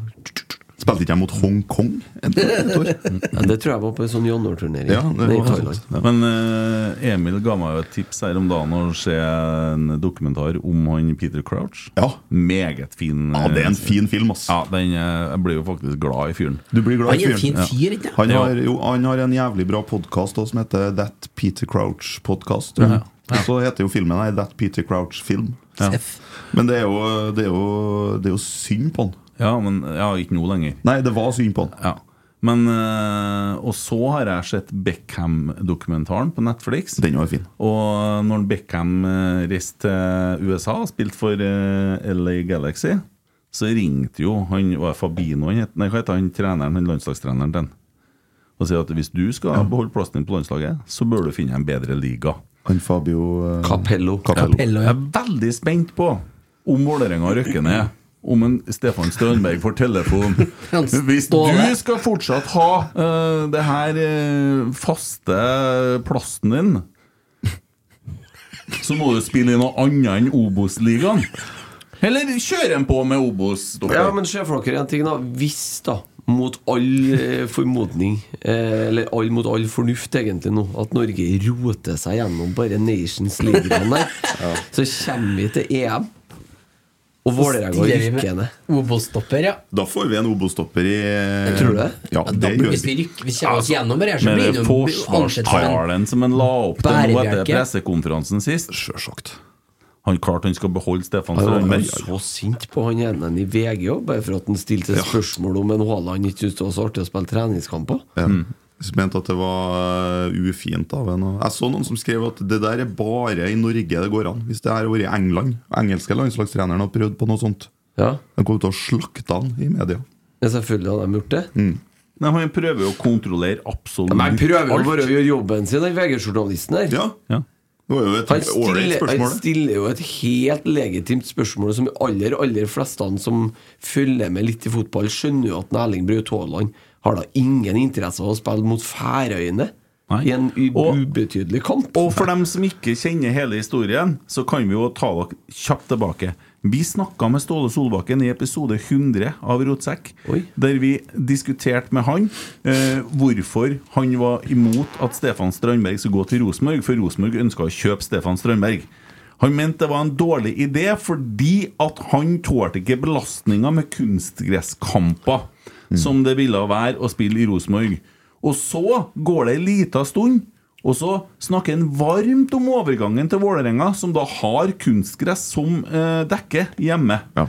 Speaker 4: Spilte ikke jeg mot Hongkong?
Speaker 5: Ja, det tror jeg var på en sånn januarturnering.
Speaker 4: Ja, det
Speaker 5: nede i
Speaker 4: var
Speaker 5: Thailand.
Speaker 4: sant.
Speaker 3: Men eh, Emil ga meg jo et tips her om dagen å se en dokumentar om han Peter Crouch.
Speaker 4: Ja.
Speaker 3: Meget fin.
Speaker 4: ja, det er en
Speaker 3: eh,
Speaker 4: fin film, ass.
Speaker 3: Ja, den, eh, jeg blir jo faktisk glad i fyren.
Speaker 4: Du blir glad
Speaker 7: Han
Speaker 4: i
Speaker 7: er en fin
Speaker 4: fyren. Ja.
Speaker 7: fyr, ikke
Speaker 4: Han
Speaker 3: Ja.
Speaker 4: har, jo, han har en jævlig bra podkast som heter That Peter Crouch Podcast. tror jeg. Og så heter jo filmen nei, That Peter Crouch Film.
Speaker 7: Seff.
Speaker 4: Men det er, jo, det, er jo, det er jo synd på han.
Speaker 3: Ja, men ja, ikke nå lenger.
Speaker 4: Nei, det var synd på han.
Speaker 3: Ja. Men, eh, og så har jeg sett Beckham-dokumentaren på Netflix.
Speaker 4: Den var fin.
Speaker 3: Og når Beckham eh, reiste til USA og spilte for eh, LA Galaxy, så ringte jo han var det Fabino han het, nei, hva heter han treneren, han landslagstreneren den, og sa at hvis du skal beholde plassen din på landslaget, så bør du finne en bedre liga.
Speaker 4: Han Fabio eh,
Speaker 5: Capello.
Speaker 4: Capello.
Speaker 7: Pello, ja.
Speaker 3: Jeg er veldig spent på om Vålerenga rykker ned. Om en Stefan Strandberg får telefon.
Speaker 7: Han
Speaker 3: Hvis du
Speaker 7: står der.
Speaker 3: skal fortsatt ha eh, det her eh, faste plassen din, så må du spille i noe annet enn Obos-ligaen. Eller kjør en på med Obos. dere.
Speaker 5: Ja, men se for dere en ting, da. Hvis, da, mot all eh, formodning, eh, eller all, mot all fornuft egentlig nå, at Norge roter seg gjennom bare Nations League-greiene der, så kommer vi til EM, og Vålerenga
Speaker 7: Stiller vi med
Speaker 5: rykker ned.
Speaker 7: Obos-stopper, ja.
Speaker 4: Da får vi en Obos-stopper i
Speaker 5: Tror du det?
Speaker 4: Ja,
Speaker 7: Da,
Speaker 4: det
Speaker 7: blir-
Speaker 4: gjør
Speaker 7: hvis vi
Speaker 4: vi.
Speaker 7: rykker Hvis vi kommer oss gjennom det her, så
Speaker 3: Med
Speaker 7: blir
Speaker 3: den
Speaker 7: det jo ansett som en
Speaker 3: forsvarstalen som han la opp til nå etter
Speaker 7: bærebjelke.
Speaker 3: pressekonferansen sist.
Speaker 4: Sjølsagt.
Speaker 3: Han klarte han skal beholde Stefan
Speaker 5: Han var
Speaker 3: Strandberg.
Speaker 5: jo så sint på han ene i VG òg, bare for at han stilte spørsmål om en Haaland ikke syntes det var så artig å spille treningskamper.
Speaker 4: Ja. Jeg mente at det var eh, ufint av en å- Jeg så noen som skrev at det der er bare i Norge det går an. Hvis det her hadde vært i England, engelske landslagstreneren hadde prøvd på noe sånt,
Speaker 5: Ja,
Speaker 4: de kom til å slakte han i media.
Speaker 5: ja, selvfølgelig hadde de gjort det.
Speaker 3: Nei, han prøver jo å kontrollere absolutt
Speaker 5: Men han prøver jo
Speaker 3: alt.
Speaker 5: bare å gjøre jobben sin, den VG-journalisten der.
Speaker 4: Ja,
Speaker 3: Ja.
Speaker 4: det var jo et
Speaker 5: Han
Speaker 4: ålreit
Speaker 5: stiller, han
Speaker 4: spørsmål. det.
Speaker 5: stiller jo et helt legitimt spørsmål som de aller, aller fleste som følger med litt i fotball, skjønner jo at Erling Braut Haaland har da ingen interesse av å spille mot Færøyene
Speaker 3: Nei.
Speaker 5: i en u-
Speaker 3: Og-
Speaker 5: ubetydelig kamp.
Speaker 3: Og for dem som ikke kjenner hele historien, så kan vi jo ta dere kjapt tilbake. Vi snakka med Ståle Solbakken i episode 100 av Rotsekk,
Speaker 5: Oi.
Speaker 3: der vi diskuterte med han eh, hvorfor han var imot at Stefan Strandberg skulle gå til Rosenborg, for Rosenborg ønska å kjøpe Stefan Strandberg. Han mente det var en dårlig idé fordi at han tålte ikke belastninga med kunstgresskamper, som det ville være å spille i Rosenborg. Og så går det ei lita stund, og så snakker han varmt om overgangen til Vålerenga, som da har kunstgress som eh, dekke hjemme.
Speaker 4: Ja.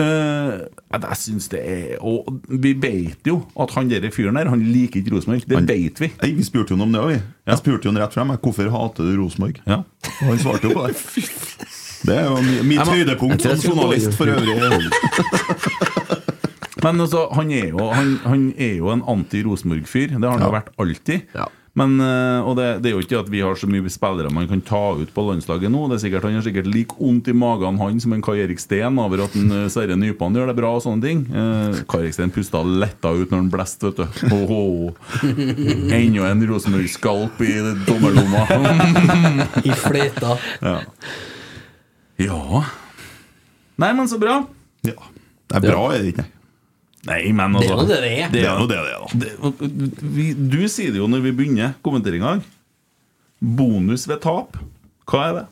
Speaker 3: Eh, jeg syns det er Og vi vet jo at han der fyren der, han liker ikke Rosenborg. Det vet vi.
Speaker 4: Nei, vi spurte jo han om det òg, vi.
Speaker 3: Ja.
Speaker 4: Jeg spurte jo han rett frem. jeg, Hvorfor hater du Rosenborg?
Speaker 3: Ja.
Speaker 4: Og han svarte jo på det. Det er jo mi- mitt
Speaker 3: må-
Speaker 4: høydepunkt som journalist for øvrig.
Speaker 3: Men altså, han er jo, han, han er jo en anti-Rosenborg-fyr. Det har han jo
Speaker 4: Ja.
Speaker 3: vært alltid.
Speaker 5: Ja.
Speaker 3: Men, eh, og det, det er jo ikke at vi har så mye spillere man kan ta ut på landslaget nå. Det er sikkert, han har sikkert like vondt i magen han som en Kai Erik Steen over at en, eh, Sverre Nypan gjør det bra og sånne ting. Eh, Kai Erik Steen pusta letta ut når han blåste, vet du. Ho, ho. Enda en Rosenborg-skalp i dommerlomma.
Speaker 7: I fløyta.
Speaker 3: ja Nei, men så bra.
Speaker 4: Ja. Det er bra, er det ikke?
Speaker 3: Nei, men
Speaker 7: Det er jo
Speaker 3: altså
Speaker 7: det det er.
Speaker 4: Det er jo det, det, er, da.
Speaker 3: det, vi, Du sier det jo når vi begynner kommenteringa. Bonus ved tap. Hva er det?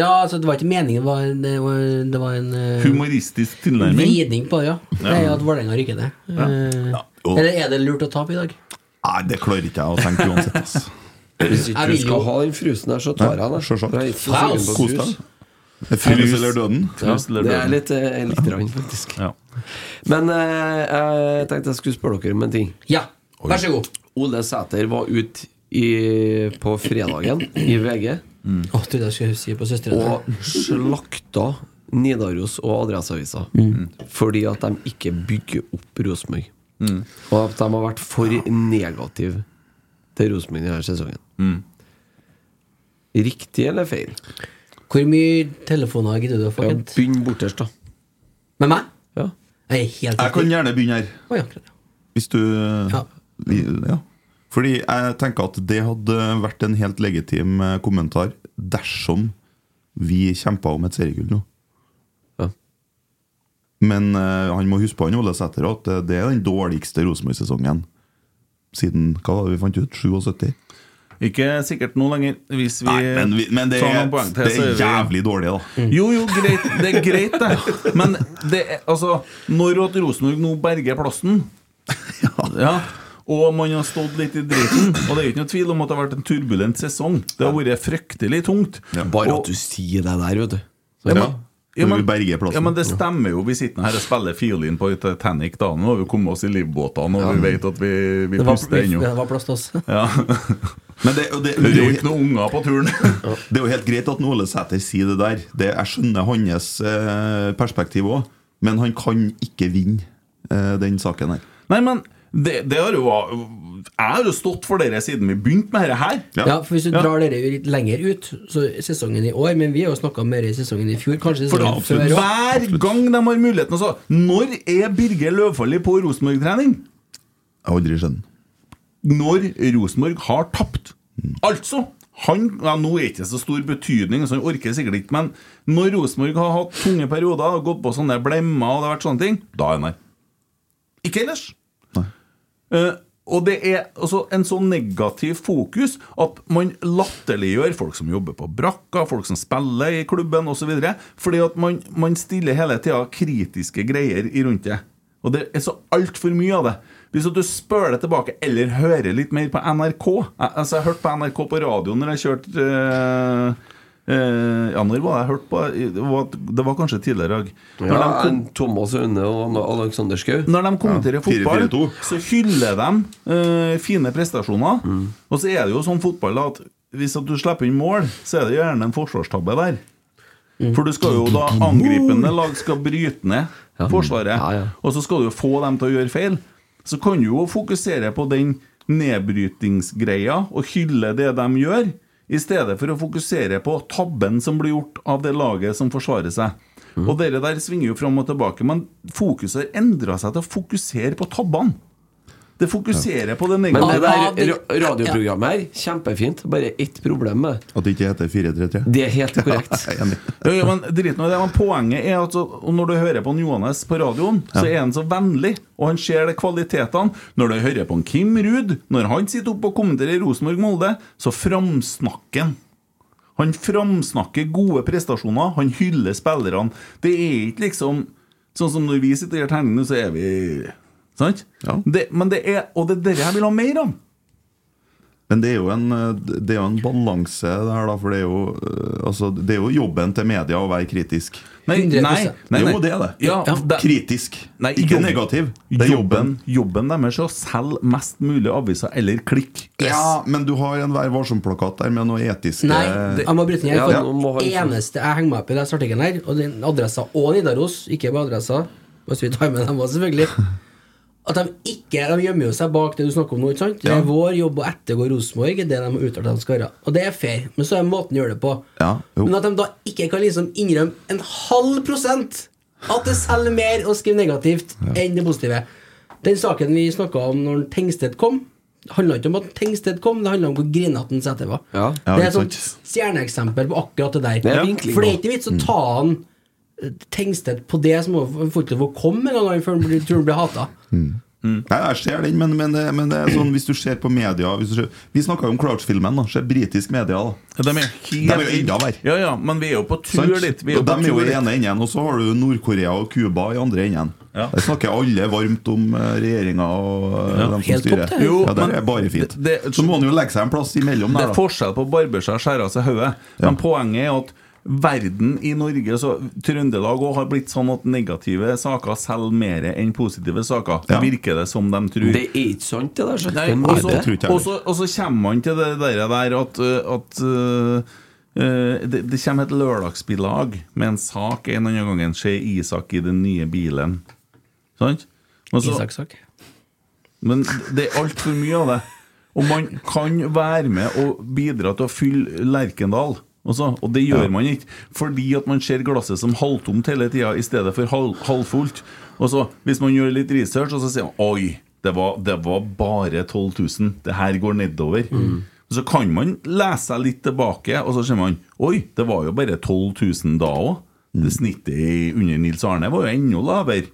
Speaker 7: Ja, altså, det var ikke meningen, det var en, det var, det var en eh,
Speaker 3: Humoristisk tilnærming.
Speaker 7: vridning på det, ja. Det er jo at Vålerenga rykker ned. Eh,
Speaker 4: Ja. Og-
Speaker 7: Eller er det lurt å tape i dag?
Speaker 4: Nei, det klarer ikke jeg å tenke uansett. ass.
Speaker 5: Hvis ikke
Speaker 7: Jeg
Speaker 5: du
Speaker 7: vil jo-
Speaker 5: skal ha den frusen der, så tar jeg den.
Speaker 4: Sjølsagt.
Speaker 5: For jeg er ikke så sugen på
Speaker 4: Kos
Speaker 5: frus.
Speaker 4: deg. Frus eller døden?
Speaker 5: Ja,
Speaker 3: Frus eller
Speaker 5: det er
Speaker 3: døden.
Speaker 5: litt, eh, jeg likte den faktisk.
Speaker 3: Ja.
Speaker 5: Men eh, jeg tenkte jeg skulle spørre dere om en ting.
Speaker 7: Ja, vær så god.
Speaker 5: Ole Sæter var ute i- på fredagen i VG
Speaker 7: Å, trodde jeg skulle si på søstrene.
Speaker 5: og slakta Nidaros og Adresseavisa
Speaker 7: Mm.
Speaker 5: fordi at de ikke bygger opp Rosenborg.
Speaker 3: Mm.
Speaker 5: Og at de har vært for negative til Rosenborg denne sesongen.
Speaker 3: Mm.
Speaker 5: Riktig eller feil?
Speaker 7: Hvor mye telefoner gidder du å få,
Speaker 5: Ja,
Speaker 7: Kent?
Speaker 5: Begynn borterst, da.
Speaker 7: Med meg?
Speaker 5: Ja.
Speaker 7: Jeg er helt
Speaker 4: Jeg kan gjerne begynne her.
Speaker 7: Å, ja, akkurat, ja.
Speaker 4: Hvis du
Speaker 7: Ja.
Speaker 4: vi, ja. Fordi jeg tenker at det hadde vært en helt legitim eh, kommentar dersom vi kjempa om et seriegull nå.
Speaker 5: Ja.
Speaker 4: Men eh, han må huske på han Ole Sæter at eh, det er den dårligste Rosenborg-sesongen siden hva var det vi fant ut? 77?
Speaker 3: Ikke sikkert nå lenger. Hvis vi
Speaker 4: Nei, men, vi, men det,
Speaker 3: tar
Speaker 4: er,
Speaker 3: noen poeng til,
Speaker 4: det
Speaker 3: så
Speaker 4: er
Speaker 3: vi-
Speaker 4: jævlig dårlig, da.
Speaker 3: Jo, jo, greit, det er greit, det. Men det er, altså, når at Rosenborg nå berger plassen ja, og man har stått litt i driten Og det er ikke noe tvil om at det har vært en turbulent sesong. Det har vært fryktelig tungt.
Speaker 5: Bare
Speaker 3: Og-
Speaker 5: at du sier det der, vet du. Så,
Speaker 3: Ja,
Speaker 5: ja.
Speaker 3: men, ja,
Speaker 4: Når vi
Speaker 3: men,
Speaker 4: berger plassen.
Speaker 3: ja, men det stemmer jo. Vi sitter her og spiller fiolin på Titanic. da Nå har vi kommet oss i livbåtene, og vi vet at vi, vi
Speaker 7: Det var,
Speaker 3: puster
Speaker 7: vi-
Speaker 3: ennå.
Speaker 7: det var plass til oss.
Speaker 3: Ja.
Speaker 4: Men det, og det,
Speaker 3: Det
Speaker 4: det,
Speaker 3: er
Speaker 4: er
Speaker 3: jo
Speaker 4: jo
Speaker 3: ikke noen unger på turen.
Speaker 4: Det er jo helt greit at Ole Sæter sier det der. Det, jeg skjønner hans eh, perspektiv òg, men han kan ikke vinne eh, den saken her.
Speaker 3: Nei, men det, det har jo Jeg har jo stått for dere siden vi begynte med dette her.
Speaker 4: Ja.
Speaker 7: Ja, for Hvis du drar dere litt lenger ut, så sesongen i år Men vi har jo snakka mer i sesongen i fjor. Kanskje
Speaker 3: For da,
Speaker 7: sesongen før også.
Speaker 3: hver gang de har muligheten altså, Når er Birger Løvfalli på Rosenborg-trening?
Speaker 4: Jeg har aldri skjønt.
Speaker 3: Når Rosenborg har tapt. Altså han, ja, Nå er det ikke så stor betydning, så han orker sikkert ikke, men når Rosenborg har hatt tunge perioder og gått på sånne blemmer, og det har vært sånne ting, da er han der. Ikke ellers. Eh, og det er altså en så negativ fokus at man latterliggjør folk som jobber på brakka, folk som spiller i klubben osv. Fordi at man, man stiller hele tida kritiske greier i rundt det. Og det er så altfor mye av det. Hvis at du spør deg tilbake, eller hører litt mer på NRK Jeg- Altså, jeg hørte på NRK på radioen når jeg kjørte eh, eh, Ja, når var det jeg hørte på? Det var, det var kanskje tidligere i dag. Når de kom-
Speaker 5: en Thomas Aune og Alexander Schou.
Speaker 7: Mm.
Speaker 3: når de kommenterer fotball,
Speaker 4: 4-4-2.
Speaker 3: så hyller de eh, fine prestasjoner. Og så er det jo sånn fotball da, at hvis at du slipper inn mål, så er det gjerne en forsvarstabbe der.
Speaker 5: Mm.
Speaker 3: For du skal jo da angripende lag skal bryte ned forsvaret,
Speaker 5: Ja, ja.
Speaker 3: og så skal du jo få dem til å gjøre feil. Så kan du jo fokusere på den nedbrytingsgreia og hylle det de gjør, i stedet for å fokusere på tabben som blir gjort av det laget som forsvarer seg.
Speaker 5: Mm.
Speaker 3: Og dere der svinger jo fram og tilbake, men fokuset har endra seg til å fokusere på tabbene. Det fokuserer på det
Speaker 5: Men
Speaker 3: negative.
Speaker 5: det
Speaker 7: Ja,
Speaker 5: der
Speaker 7: det-
Speaker 5: ra- radioprogrammet her, kjempefint. Bare ett problem med det.
Speaker 4: At det ikke heter 433.
Speaker 5: det. er helt korrekt.
Speaker 4: Jeg er enig.
Speaker 3: Ja, ja, men drit nå i det, men Poenget er at så, og når du hører på en Johannes på radioen, så er han så vennlig, og han ser de kvalitetene. Når du hører på en Kim Ruud, når han sitter oppe og kommenterer Rosenborg-Molde, så framsnakker han. Han framsnakker gode prestasjoner, han hyller spillerne. Det er ikke liksom Sånn som når vi sitter og gjør tegningene, så er vi Sant?
Speaker 4: Ja.
Speaker 3: Det, men det er, og det er dette jeg vil ha mer av.
Speaker 4: Men det er jo en, eh, det er jo en balanse det her, da. For det er, jo, eh, altså, det er jo jobben til media å være kritisk.
Speaker 3: Nei, nei,
Speaker 7: 100%.
Speaker 3: nei, nei.
Speaker 4: Jo, det er det.
Speaker 3: Ja, det-
Speaker 4: Kritisk.
Speaker 3: Nei,
Speaker 4: ikke
Speaker 3: jobben-
Speaker 4: negativ. Det er jobben.
Speaker 3: Jobben, jobben deres er å selge mest mulig aviser eller klikk.
Speaker 4: Ja, men du har en Vær varsom-plakat der med noe etiske
Speaker 7: Nei, jeg må bryte ned.
Speaker 5: Ja,
Speaker 7: For
Speaker 5: nå må
Speaker 7: det
Speaker 5: han-
Speaker 7: eneste jeg liksom- henger meg opp i, den artikkelen her, og den adressa og Nidaros, ikke bare adressa Hvis vi tar med dem også selvfølgelig At de ikke De gjemmer jo seg bak det du snakker om nå. ikke sant? Det
Speaker 4: Ja.
Speaker 7: er vår jobb å ettergå Rosenborg. Det er det de har uttalt at de skal gjøre. Og det er fair, men så er måten de gjør det på.
Speaker 4: Ja, jo.
Speaker 7: men at de da ikke kan liksom innrømme en halv prosent at det selger mer å skrive negativt enn det positive. Den saken vi snakka om når Tengsted kom, handla ikke om at Tengsted kom, det handla om hvor grinete han Sæther var.
Speaker 5: Ja.
Speaker 4: Ja,
Speaker 7: det er
Speaker 4: ikke
Speaker 7: et sånt
Speaker 4: sant.
Speaker 7: stjerneeksempel på akkurat det der.
Speaker 5: Det er vinkling
Speaker 7: For det
Speaker 5: nå.
Speaker 7: er ikke vits å
Speaker 4: Mm.
Speaker 7: ta han eh, Tengsted på det som han får ikke lov å komme engang før han blir- tror han blir hata.
Speaker 4: Nei, jeg ser den, men, men, det- men det er sånn hvis du ser på media hvis du ser, Vi snakka jo om Crouch-filmen. da, Se britisk media, da.
Speaker 3: De er
Speaker 4: De er jo enda verre.
Speaker 3: Ja, ja, men vi er jo på tur
Speaker 4: Sant?
Speaker 3: litt. Vi er
Speaker 4: og
Speaker 3: jo
Speaker 4: de
Speaker 3: på
Speaker 4: er jo
Speaker 3: tur
Speaker 4: i
Speaker 3: litt.
Speaker 4: ene enden, og så har du Nord-Korea og Cuba i andre enden.
Speaker 3: Ja.
Speaker 4: Der snakker alle varmt om eh, regjeringa og eh, dem som
Speaker 7: Helt
Speaker 4: styrer.
Speaker 7: topp, det.
Speaker 3: Jo,
Speaker 4: ja,
Speaker 3: men
Speaker 4: der er bare fint.
Speaker 3: det- det-
Speaker 4: så må han jo legge seg en plass imellom
Speaker 3: Det
Speaker 4: der,
Speaker 3: er
Speaker 4: da.
Speaker 3: forskjell på å barbere seg og skjære av seg hodet. Men poenget er at verden i Norge, så Trøndelag òg, har blitt sånn at negative saker selger mer enn positive saker.
Speaker 4: Ja.
Speaker 3: Virker det som de tror.
Speaker 5: Det er ikke sant, det der. Så.
Speaker 3: Nei,
Speaker 5: det er
Speaker 3: og
Speaker 5: mye
Speaker 3: så-
Speaker 4: det tror ikke jeg.
Speaker 3: og så- Og så kommer man til det der, der at, uh, at uh, uh, det, det kommer et lørdagsbilag med en sak en eller annen gang. Ser Isak i den nye bilen. Sant? Men så-
Speaker 7: Isak-sak.
Speaker 3: men det er altfor mye av det. Og man kan være med og bidra til å fylle Lerkendal. Også, og det gjør man ikke, fordi at man ser glasset som halvtomt hele tida i stedet for halv, halvfullt. Og så, hvis man gjør litt research, og så sier man oi, det var, det var bare 12 000. Det her går nedover. Og så kan man lese seg litt tilbake, og så ser man oi, det var jo bare 12 000 da òg. Det snittet i- under Nils Arne var jo enda lavere.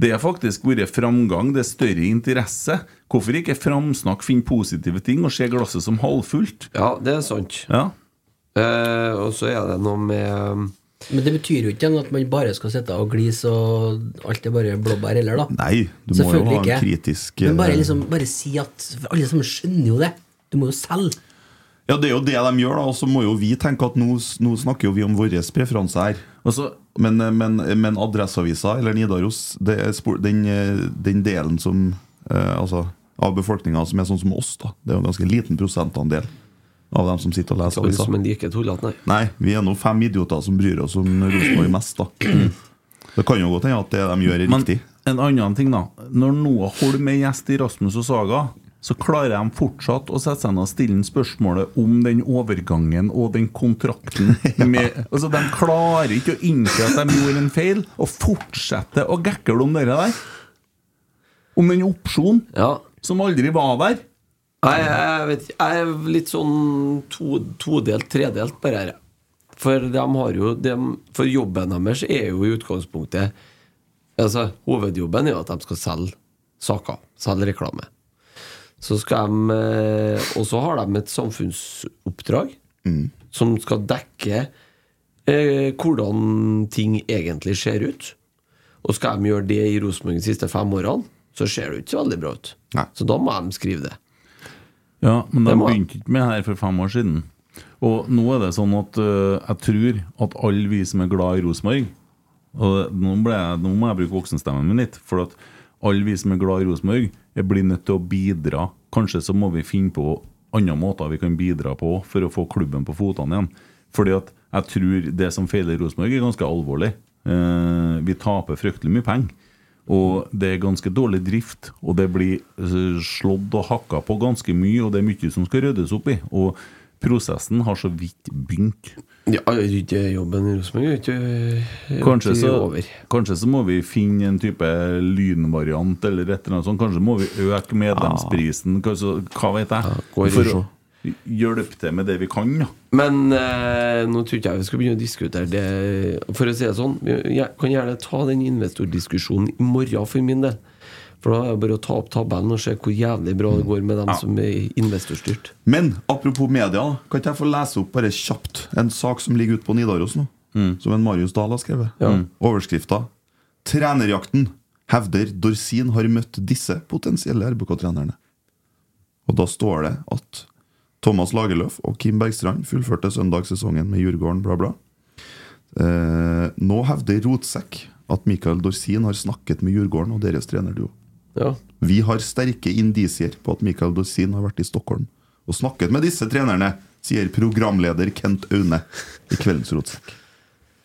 Speaker 3: Det har faktisk vært framgang, det er større interesse. Hvorfor ikke framsnakk, finne positive ting og se glasset som halvfullt?
Speaker 5: Ja, det er sant.
Speaker 3: Ja.
Speaker 5: Eh, og så er det noe med um,
Speaker 7: Men det betyr jo ikke at man bare skal sitte og glise og alt er bare blåbær heller, da.
Speaker 4: Nei, du må jo ha en kritisk
Speaker 7: Men bare,
Speaker 4: eh,
Speaker 7: liksom, bare si at for Alle sammen skjønner jo det. Du må jo selge.
Speaker 4: Ja, det er jo det de gjør, da. Og så må jo vi tenke at nå, s- nå snakker jo vi om våre preferanser her.
Speaker 3: Og så,
Speaker 4: Men, eh, men, men Adresseavisa eller Nidaros, det er spor- den, eh, den delen som eh, Altså av befolkninga som er sånn som oss, da. Det er jo en ganske liten prosentandel av dem som sitter og leser
Speaker 5: Oi,
Speaker 4: avisa.
Speaker 5: Som en like tullete, nei.
Speaker 4: Nei, vi er nå fem idioter som bryr oss om Rosenborg mest, da. Det kan jo godt hende at det de gjør, er
Speaker 3: men
Speaker 4: riktig.
Speaker 3: en annen ting, da. Når Noah Holm er gjest i Rasmus og Saga, så klarer de fortsatt å sette seg ned og stille ham spørsmålet om den overgangen og den kontrakten. Med, altså, De klarer ikke å innse at de gjorde en feil, og fortsetter å gekle om det der. Om den opsjonen
Speaker 5: Ja.
Speaker 3: som aldri var der.
Speaker 5: Jeg, jeg, vet, ikke, jeg er litt sånn to, todelt, tredelt bare her. jeg. For, de har jo, dem- for jobben deres er jo i utgangspunktet altså, Hovedjobben er jo at de skal selge saker. Selge reklame. Så skal de, eh, og så har de et samfunnsoppdrag som skal dekke eh, hvordan ting egentlig ser ut. Og skal de gjøre det i Rosenborg de siste fem årene, så ser det jo ikke så veldig bra ut.
Speaker 4: Nei.
Speaker 5: Så da må de skrive det.
Speaker 3: Ja, men de
Speaker 5: Det må-
Speaker 3: begynte ikke med det her for fem år siden. Og nå er det sånn at øh, jeg tror at alle vi som er glad i Rosenborg og nå, ble jeg, nå må jeg bruke voksenstemmen min litt. For at alle vi som er glad i Rosenborg, jeg blir nødt til å bidra. Kanskje så må vi finne på andre måter vi kan bidra på for å få klubben på fotene igjen. Fordi at jeg tror det som feiler Rosenborg, er ganske alvorlig. Eh, vi taper fryktelig mye penger. Og det er ganske dårlig drift, og det blir eh, slått og hakka på ganske mye, og det er mye som skal ryddes opp i. Og prosessen har så vidt begynt.
Speaker 5: Ja, jeg gjør ikke jobben i Rosenborg er ikke er
Speaker 3: Kanskje
Speaker 5: ikke
Speaker 3: så,
Speaker 5: over.
Speaker 3: kanskje så må vi finne en type lynvariant eller et eller annet sånt. Kanskje må vi øke medlemsprisen, kanskje, hva vet jeg.
Speaker 5: går i
Speaker 3: for å
Speaker 5: sjå.
Speaker 3: hjelpe til med det vi kan, ja.
Speaker 5: Men eh, nå tror ikke jeg vi skal begynne å diskutere det. For å si det sånn, vi- jeg kan gjerne ta den investordiskusjonen i morgen for min del. For da er det bare å ta opp tabellen og se hvor jævlig bra det går med dem som er investorstyrt.
Speaker 4: Men apropos media, da, kan ikke jeg få lese opp bare kjapt en sak som ligger ute på Nidaros nå? Som en Marius Dahl har skrevet. Overskrifta 'Trenerjakten hevder Dorsin har møtt disse potensielle RBK-trenerne'. Og da står det at Thomas Lagerløf og Kim Bergstrand fullførte søndag sesongen med Djurgården, bla, bla. Eh, nå hevder Rotsekk at Mikael Dorsin har snakket med Djurgården og deres trenerduo.
Speaker 5: Ja.
Speaker 4: Vi har sterke indisier på at Mikael Dorsin har vært i Stockholm og snakket med disse trenerne, sier programleder Kent Aune i Kveldens Rotsekk.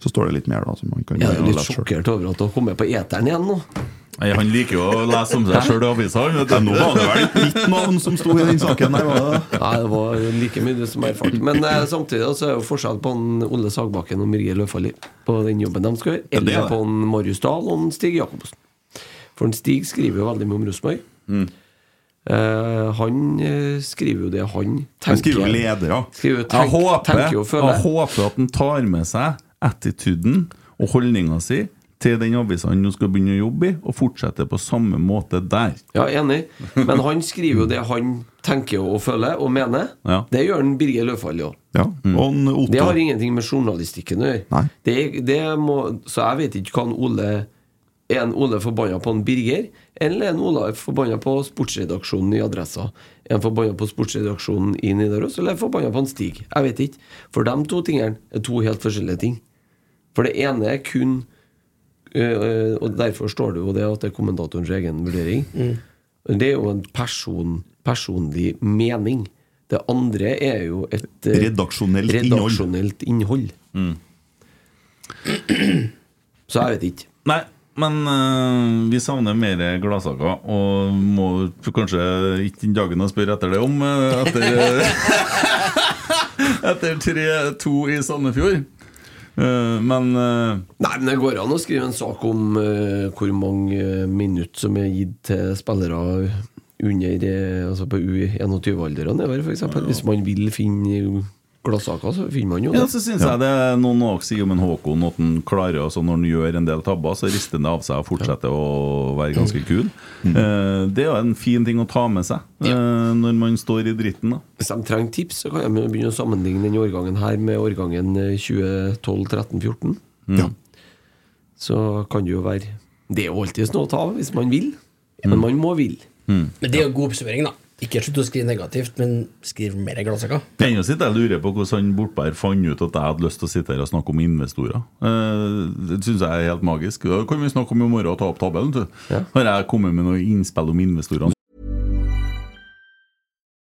Speaker 4: Så står det litt mer, da. Som man kan
Speaker 5: Jeg er
Speaker 4: gjøre og
Speaker 5: litt
Speaker 4: lese selv.
Speaker 5: sjokkert over at du har kommet på eteren igjen nå.
Speaker 3: Nei, Han liker jo å lese om seg sjøl i avisa. han, vet du.
Speaker 4: Ja, nå var det vel ikke mitt navn som sto i den saken. Nei, var det det?
Speaker 5: Nei, det var like mye det som erfart. Men eh, samtidig så er jo forskjell på en Ole Sagbakken og Mirje Løfali på den jobben de skal gjøre,
Speaker 4: Ja, det er
Speaker 5: eller
Speaker 4: det.
Speaker 5: på en Marius Dahl og en Stig Jacobsen. For en Stig skriver jo veldig mye om Rosenborg.
Speaker 4: Mm.
Speaker 5: Eh, han eh, skriver jo det han tenker.
Speaker 4: Han skriver jo ledere.
Speaker 5: Skriver,
Speaker 3: Jeg
Speaker 5: tenk,
Speaker 3: håper,
Speaker 5: tenker og
Speaker 3: jeg
Speaker 5: føler.
Speaker 3: håper at han tar med seg attituden og holdninga si til den avisa han nå skal begynne å jobbe i, og fortsette på samme måte der.
Speaker 5: Ja, enig. Men han skriver jo det han tenker og føler og mener.
Speaker 3: Ja.
Speaker 5: Det gjør han Birger Løfali òg.
Speaker 4: Ja. Mm. Og en
Speaker 5: Det
Speaker 4: Otto.
Speaker 5: har ingenting med journalistikken å gjøre.
Speaker 4: Nei.
Speaker 5: Det, det må, så jeg vet ikke hva en Ole Er en Ole forbanna på en Birger, eller er en Ole forbanna på sportsredaksjonen i Adressa? Er han forbanna på sportsredaksjonen i Nidaros, eller er han forbanna på en Stig? Jeg vet ikke. For de to tingene er to helt forskjellige ting. For det ene er kun øh, øh, Og derfor står det jo det at det er kommentatorens egen vurdering. Det er jo en person, personlig mening. Det andre er jo et øh,
Speaker 4: Redaksjonelt innhold. Mm.
Speaker 5: redaksjonelt innhold. Så jeg vet ikke.
Speaker 3: Nei, men øh, vi savner mer gladsaker, og må kanskje ikke den dagen å spørre etter det om, øh, etter, etter 3-2 i Sandefjord. Øh, men øh,
Speaker 5: Nei, men Det går an å skrive en sak om eh, hvor mange eh, minutt som er gitt til spillere under eh, Altså på U21-alderen i år, f.eks. Hvis man vil finne gladsaker, så finner man jo
Speaker 3: Ja,
Speaker 5: det.
Speaker 3: så syns jeg det er noen å si om en Håkon at han klarer altså Når han gjør en del tabber, så rister han det av seg og fortsetter å være ganske kul.
Speaker 4: Mm.
Speaker 3: Eh, Det er jo en fin ting å ta med seg eh, når man står i dritten. da
Speaker 5: Hvis de trenger tips, så kan de begynne å sammenligne den årgangen her med årgangen eh, 2012-13-14.
Speaker 4: Mm. Ja.
Speaker 5: Så kan det jo være Det er jo alltids noe å ta av hvis man vil. Men man må vil.
Speaker 7: Men det er jo god oppsummering, da. Ikke slutt å skrive negativt, men skriv mer gladsaker.
Speaker 3: Ennå sitter jeg og lurer på hvordan han Bortberg fant ut at jeg hadde lyst til å sitte her og snakke om investorer. Eh, Det syns jeg er helt magisk. Da kan vi snakke om i morgen og ta opp tabellen. du. Har jeg kommet med noen innspill om investorene?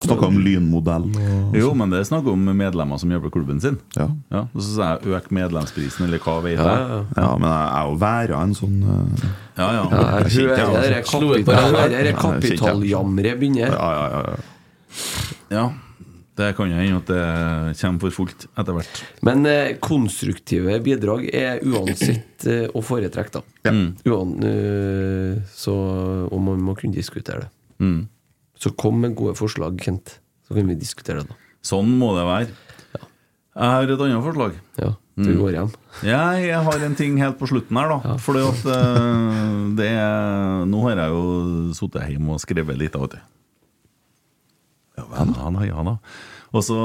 Speaker 4: Snakka om lynmodell.
Speaker 3: Jo, men det er snakk om medlemmer som jobber i klubben sin.
Speaker 4: Ja.
Speaker 3: Ja, og så sa jeg øk medlemsprisen, eller hva vet jeg.
Speaker 4: ja, men jeg er jo væra en sånn eh,
Speaker 3: Ja, ja.
Speaker 5: Her
Speaker 4: Jeg kjente jeg,
Speaker 5: er
Speaker 4: altså.
Speaker 5: kapital- her er det kapitaljamret begynner.
Speaker 4: Ja, ja, ja, ja.
Speaker 3: ja. Det kan jo hende at det kommer for fullt etter hvert.
Speaker 5: Men eh, konstruktive bidrag er uansett eh, å foretrekke, da.
Speaker 3: Mm,
Speaker 5: Uan, eh, så, og man må kunne diskutere det.
Speaker 3: mm.
Speaker 5: Så kom med gode forslag, Kent. Så kan vi diskutere det, da.
Speaker 3: Sånn må det være. Jeg har et annet forslag.
Speaker 5: Ja,
Speaker 4: Mm.
Speaker 5: til vi går hjem.
Speaker 3: Jeg, jeg har en ting helt på slutten her, da. Fordi at eh, det er Nå har jeg jo sittet hjemme og skrevet litt, da, vet du. Ja vel. Ja da, ja da. Og så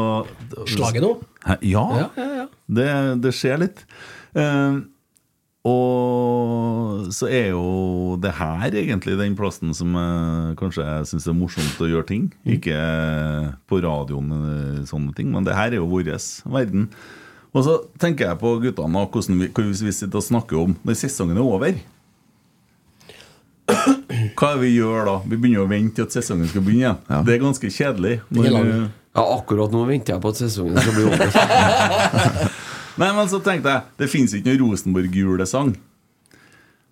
Speaker 7: Slaget nå?
Speaker 3: Hæ? Ja. Det, det skjer litt. Eh, og så er jo det her egentlig den plassen som jeg kanskje syns er morsomt å gjøre ting. eh, Ikke på radioen, eh, sånne ting, men det her er jo vår verden. Og så tenker jeg på guttene og hvordan vi, hvordan vi sitter og snakker om når sesongen er over. Hva er det vi gjør da? Vi begynner å vente til at sesongen skal begynne igjen. Det er ganske kjedelig.
Speaker 5: er
Speaker 3: Når,
Speaker 5: lang. Ja, akkurat nå venter jeg på at sesongen skal bli over.
Speaker 3: Nei, men så tenkte jeg Det finnes ikke noen Rosenborg-julesang.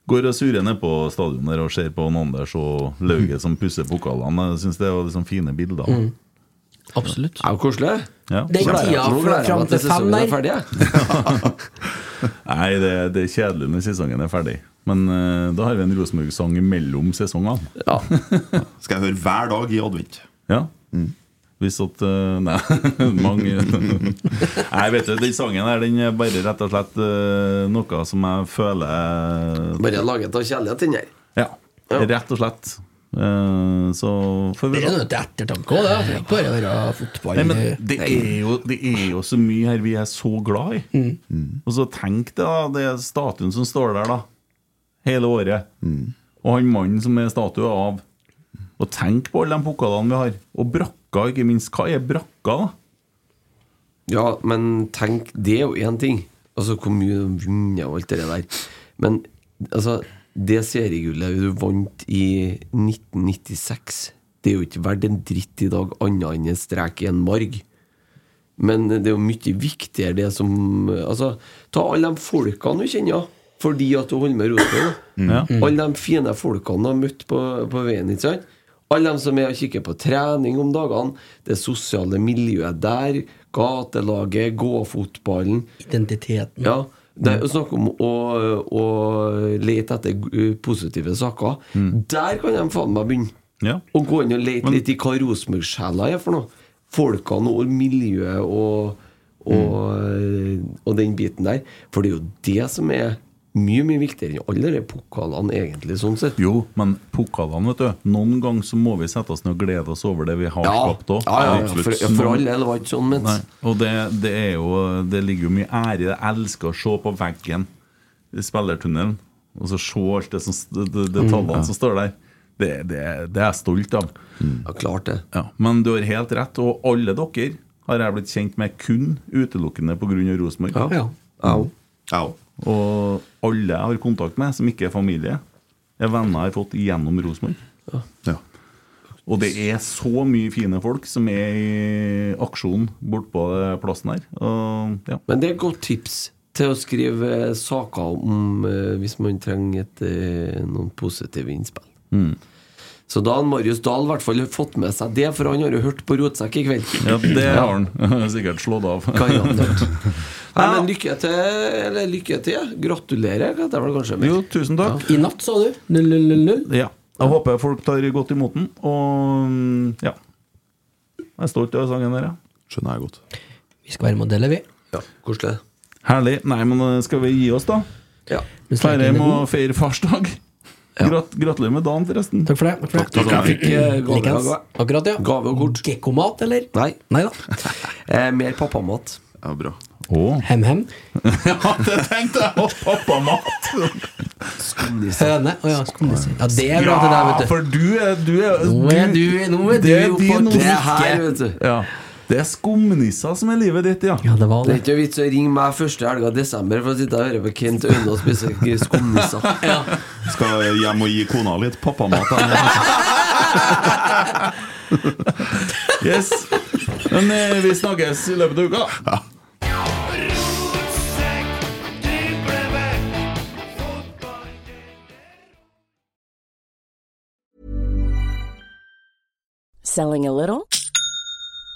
Speaker 3: Går og surrer ned på stadion der og ser på han Anders og Lauget som pusser pokalene. Jeg syns det var liksom fine bilder.
Speaker 7: Absolutt.
Speaker 5: Er jo koselig.
Speaker 3: Ja.
Speaker 7: Den
Speaker 5: Nå gleder jeg-
Speaker 7: tida
Speaker 5: nå gleder
Speaker 7: fra,
Speaker 5: jeg
Speaker 7: fram
Speaker 5: meg
Speaker 7: til fem
Speaker 5: sesongen er
Speaker 7: der
Speaker 5: ferdig, jeg.
Speaker 3: Nei, det, det er kjedelig når sesongen er ferdig. Men eh, da har vi en Rosenborg-sang mellom sesongene.
Speaker 4: Skal jeg høre hver dag i advent.
Speaker 3: Ja.
Speaker 7: Mm.
Speaker 3: Hvis at eh, Nei, mange Nei, vet du, den sangen her, den er bare rett og slett eh, noe som jeg føler
Speaker 5: Bare laget av kjærlighet, den der.
Speaker 3: Ja, rett og slett. Eh, så får vi
Speaker 7: Det er noe til ettertanke òg, det. Det er ikke bare å være fotball. eh,
Speaker 3: Nei, men det er, jo, det er jo så mye her vi er så glad i.
Speaker 7: Mm.
Speaker 3: Mm. Og så tenk deg da, det er statuen som står der da hele året.
Speaker 7: Mm.
Speaker 3: Og han mannen som er statue av. Og tenk på alle de pokalene vi har. Og brakka, ikke minst. Hva er brakka, da?
Speaker 5: Ja, men tenk, det er jo én ting. Altså hvor mye de vinner og alt det der. Men altså, det seriegullet du vant i 1996, det er jo ikke verdt en dritt i dag, annet enn en strek i en marg. Men det er jo mye viktigere det som Altså, ta alle de folkene du kjenner fordi at du holder med Rosenborg. da. Alle de fine folkene du har møtt på, på veien. ikke sant? Alle de som er og kikker på trening om dagene. Det sosiale miljøet der. Gatelaget, gåfotballen.
Speaker 7: Identiteten.
Speaker 5: Ja, det
Speaker 3: Mm.
Speaker 5: er jo snakk om å, å lete etter uh, positive saker. Der kan de faen meg begynne.
Speaker 3: Mm. Ja.
Speaker 5: Og gå inn og lete litt i hva Rosenborg-sjela er for noe. Folkene og miljøet og, og,
Speaker 3: Mm.
Speaker 5: eh, og den biten der. For det er jo det som er mye mye viktigere enn alle de pokalene, egentlig, sånn sett.
Speaker 3: Jo, men pokalene, vet du. Noen ganger så må vi sette oss ned og glede oss over det vi har
Speaker 5: Ja,
Speaker 3: skapt òg.
Speaker 5: ja, ja, ja, for, ja, for all del var det ikke sånn ment.
Speaker 3: Nei, og det, det er jo Det ligger jo mye ære i det. Jeg elsker å se på veggen i spillertunnelen. Og så se alt det som det, det, det
Speaker 5: Mm,
Speaker 3: tallene som står der. Det, det, det er jeg stolt av.
Speaker 5: Ja, klart det.
Speaker 3: Ja, men du har helt rett, og alle dere har jeg blitt kjent med kun utelukkende pga. Rosenborg.
Speaker 7: Ja.
Speaker 3: Mm.
Speaker 4: Ja, og-
Speaker 3: Og alle jeg har kontakt med som ikke er familie, er venner jeg har fått gjennom Rosenborg.
Speaker 4: ja.
Speaker 3: Og det er så mye fine folk som er i aksjon bortpå plassen her. Og, ja.
Speaker 5: Men det er et godt tips til å skrive eh, saker om eh, hvis man trenger et, eh, noen positive innspill.
Speaker 3: Mm.
Speaker 5: Så da har Marius Dahl i hvert fall fått med seg det, for han har jo hørt på Rotsekk i kveld.
Speaker 3: ja, det har han sikkert slått av.
Speaker 5: Garantert. Nei, men lykke til. Eller lykke til. ja. Gratulerer, heter det vel kanskje. mer.
Speaker 3: Jo, tusen takk.
Speaker 7: I natt, sa du? 0000?
Speaker 3: Ja. Jeg håper folk tar godt imot den. Og ja. Jeg er stolt av sangen der, ja.
Speaker 4: Skjønner jeg godt.
Speaker 7: Vi skal være modeller, vi.
Speaker 5: Ja, Koselig.
Speaker 3: Herlig. Nei, men eh, skal vi gi oss, da?
Speaker 5: Ja.
Speaker 7: Hvis leken er
Speaker 3: Tarjei må
Speaker 7: god.
Speaker 3: feire farsdag. Grat gratulerer med dagen, forresten.
Speaker 7: Takk for det. Takk for det.
Speaker 5: Jeg fikk eh, gave,
Speaker 7: Likens.
Speaker 5: gave.
Speaker 7: Akkurat, ja.
Speaker 5: Gave og kort.
Speaker 7: Gekkomat, eller?
Speaker 5: Nei.
Speaker 7: Nei da.
Speaker 5: Eh, mer pappamat.
Speaker 4: Ja, bra.
Speaker 3: Å.
Speaker 7: Hem-hem.
Speaker 3: Ja, det tenkte jeg! Og pappamat!
Speaker 7: Høne. Å ja, skumnisser. Ja, det er bra til deg,
Speaker 3: Ja,
Speaker 7: vet du.
Speaker 3: for du er, du er
Speaker 7: Nå er du, nå er du
Speaker 3: Det er
Speaker 7: jo
Speaker 3: din
Speaker 7: på
Speaker 3: nå.
Speaker 5: Det er her, vet du.
Speaker 3: Ja. Det er skumnisser som er livet ditt, ja.
Speaker 7: Ja, det var
Speaker 5: Det er
Speaker 7: det.
Speaker 5: ikke vits å ringe meg første helga i desember for å sitte og høre på Kent Aune og spise skumnisser.
Speaker 4: Skal hjem og gi kona litt pappamat. her.
Speaker 3: Yes. Men eh, vi snakkes i løpet av uka.
Speaker 8: Selling a little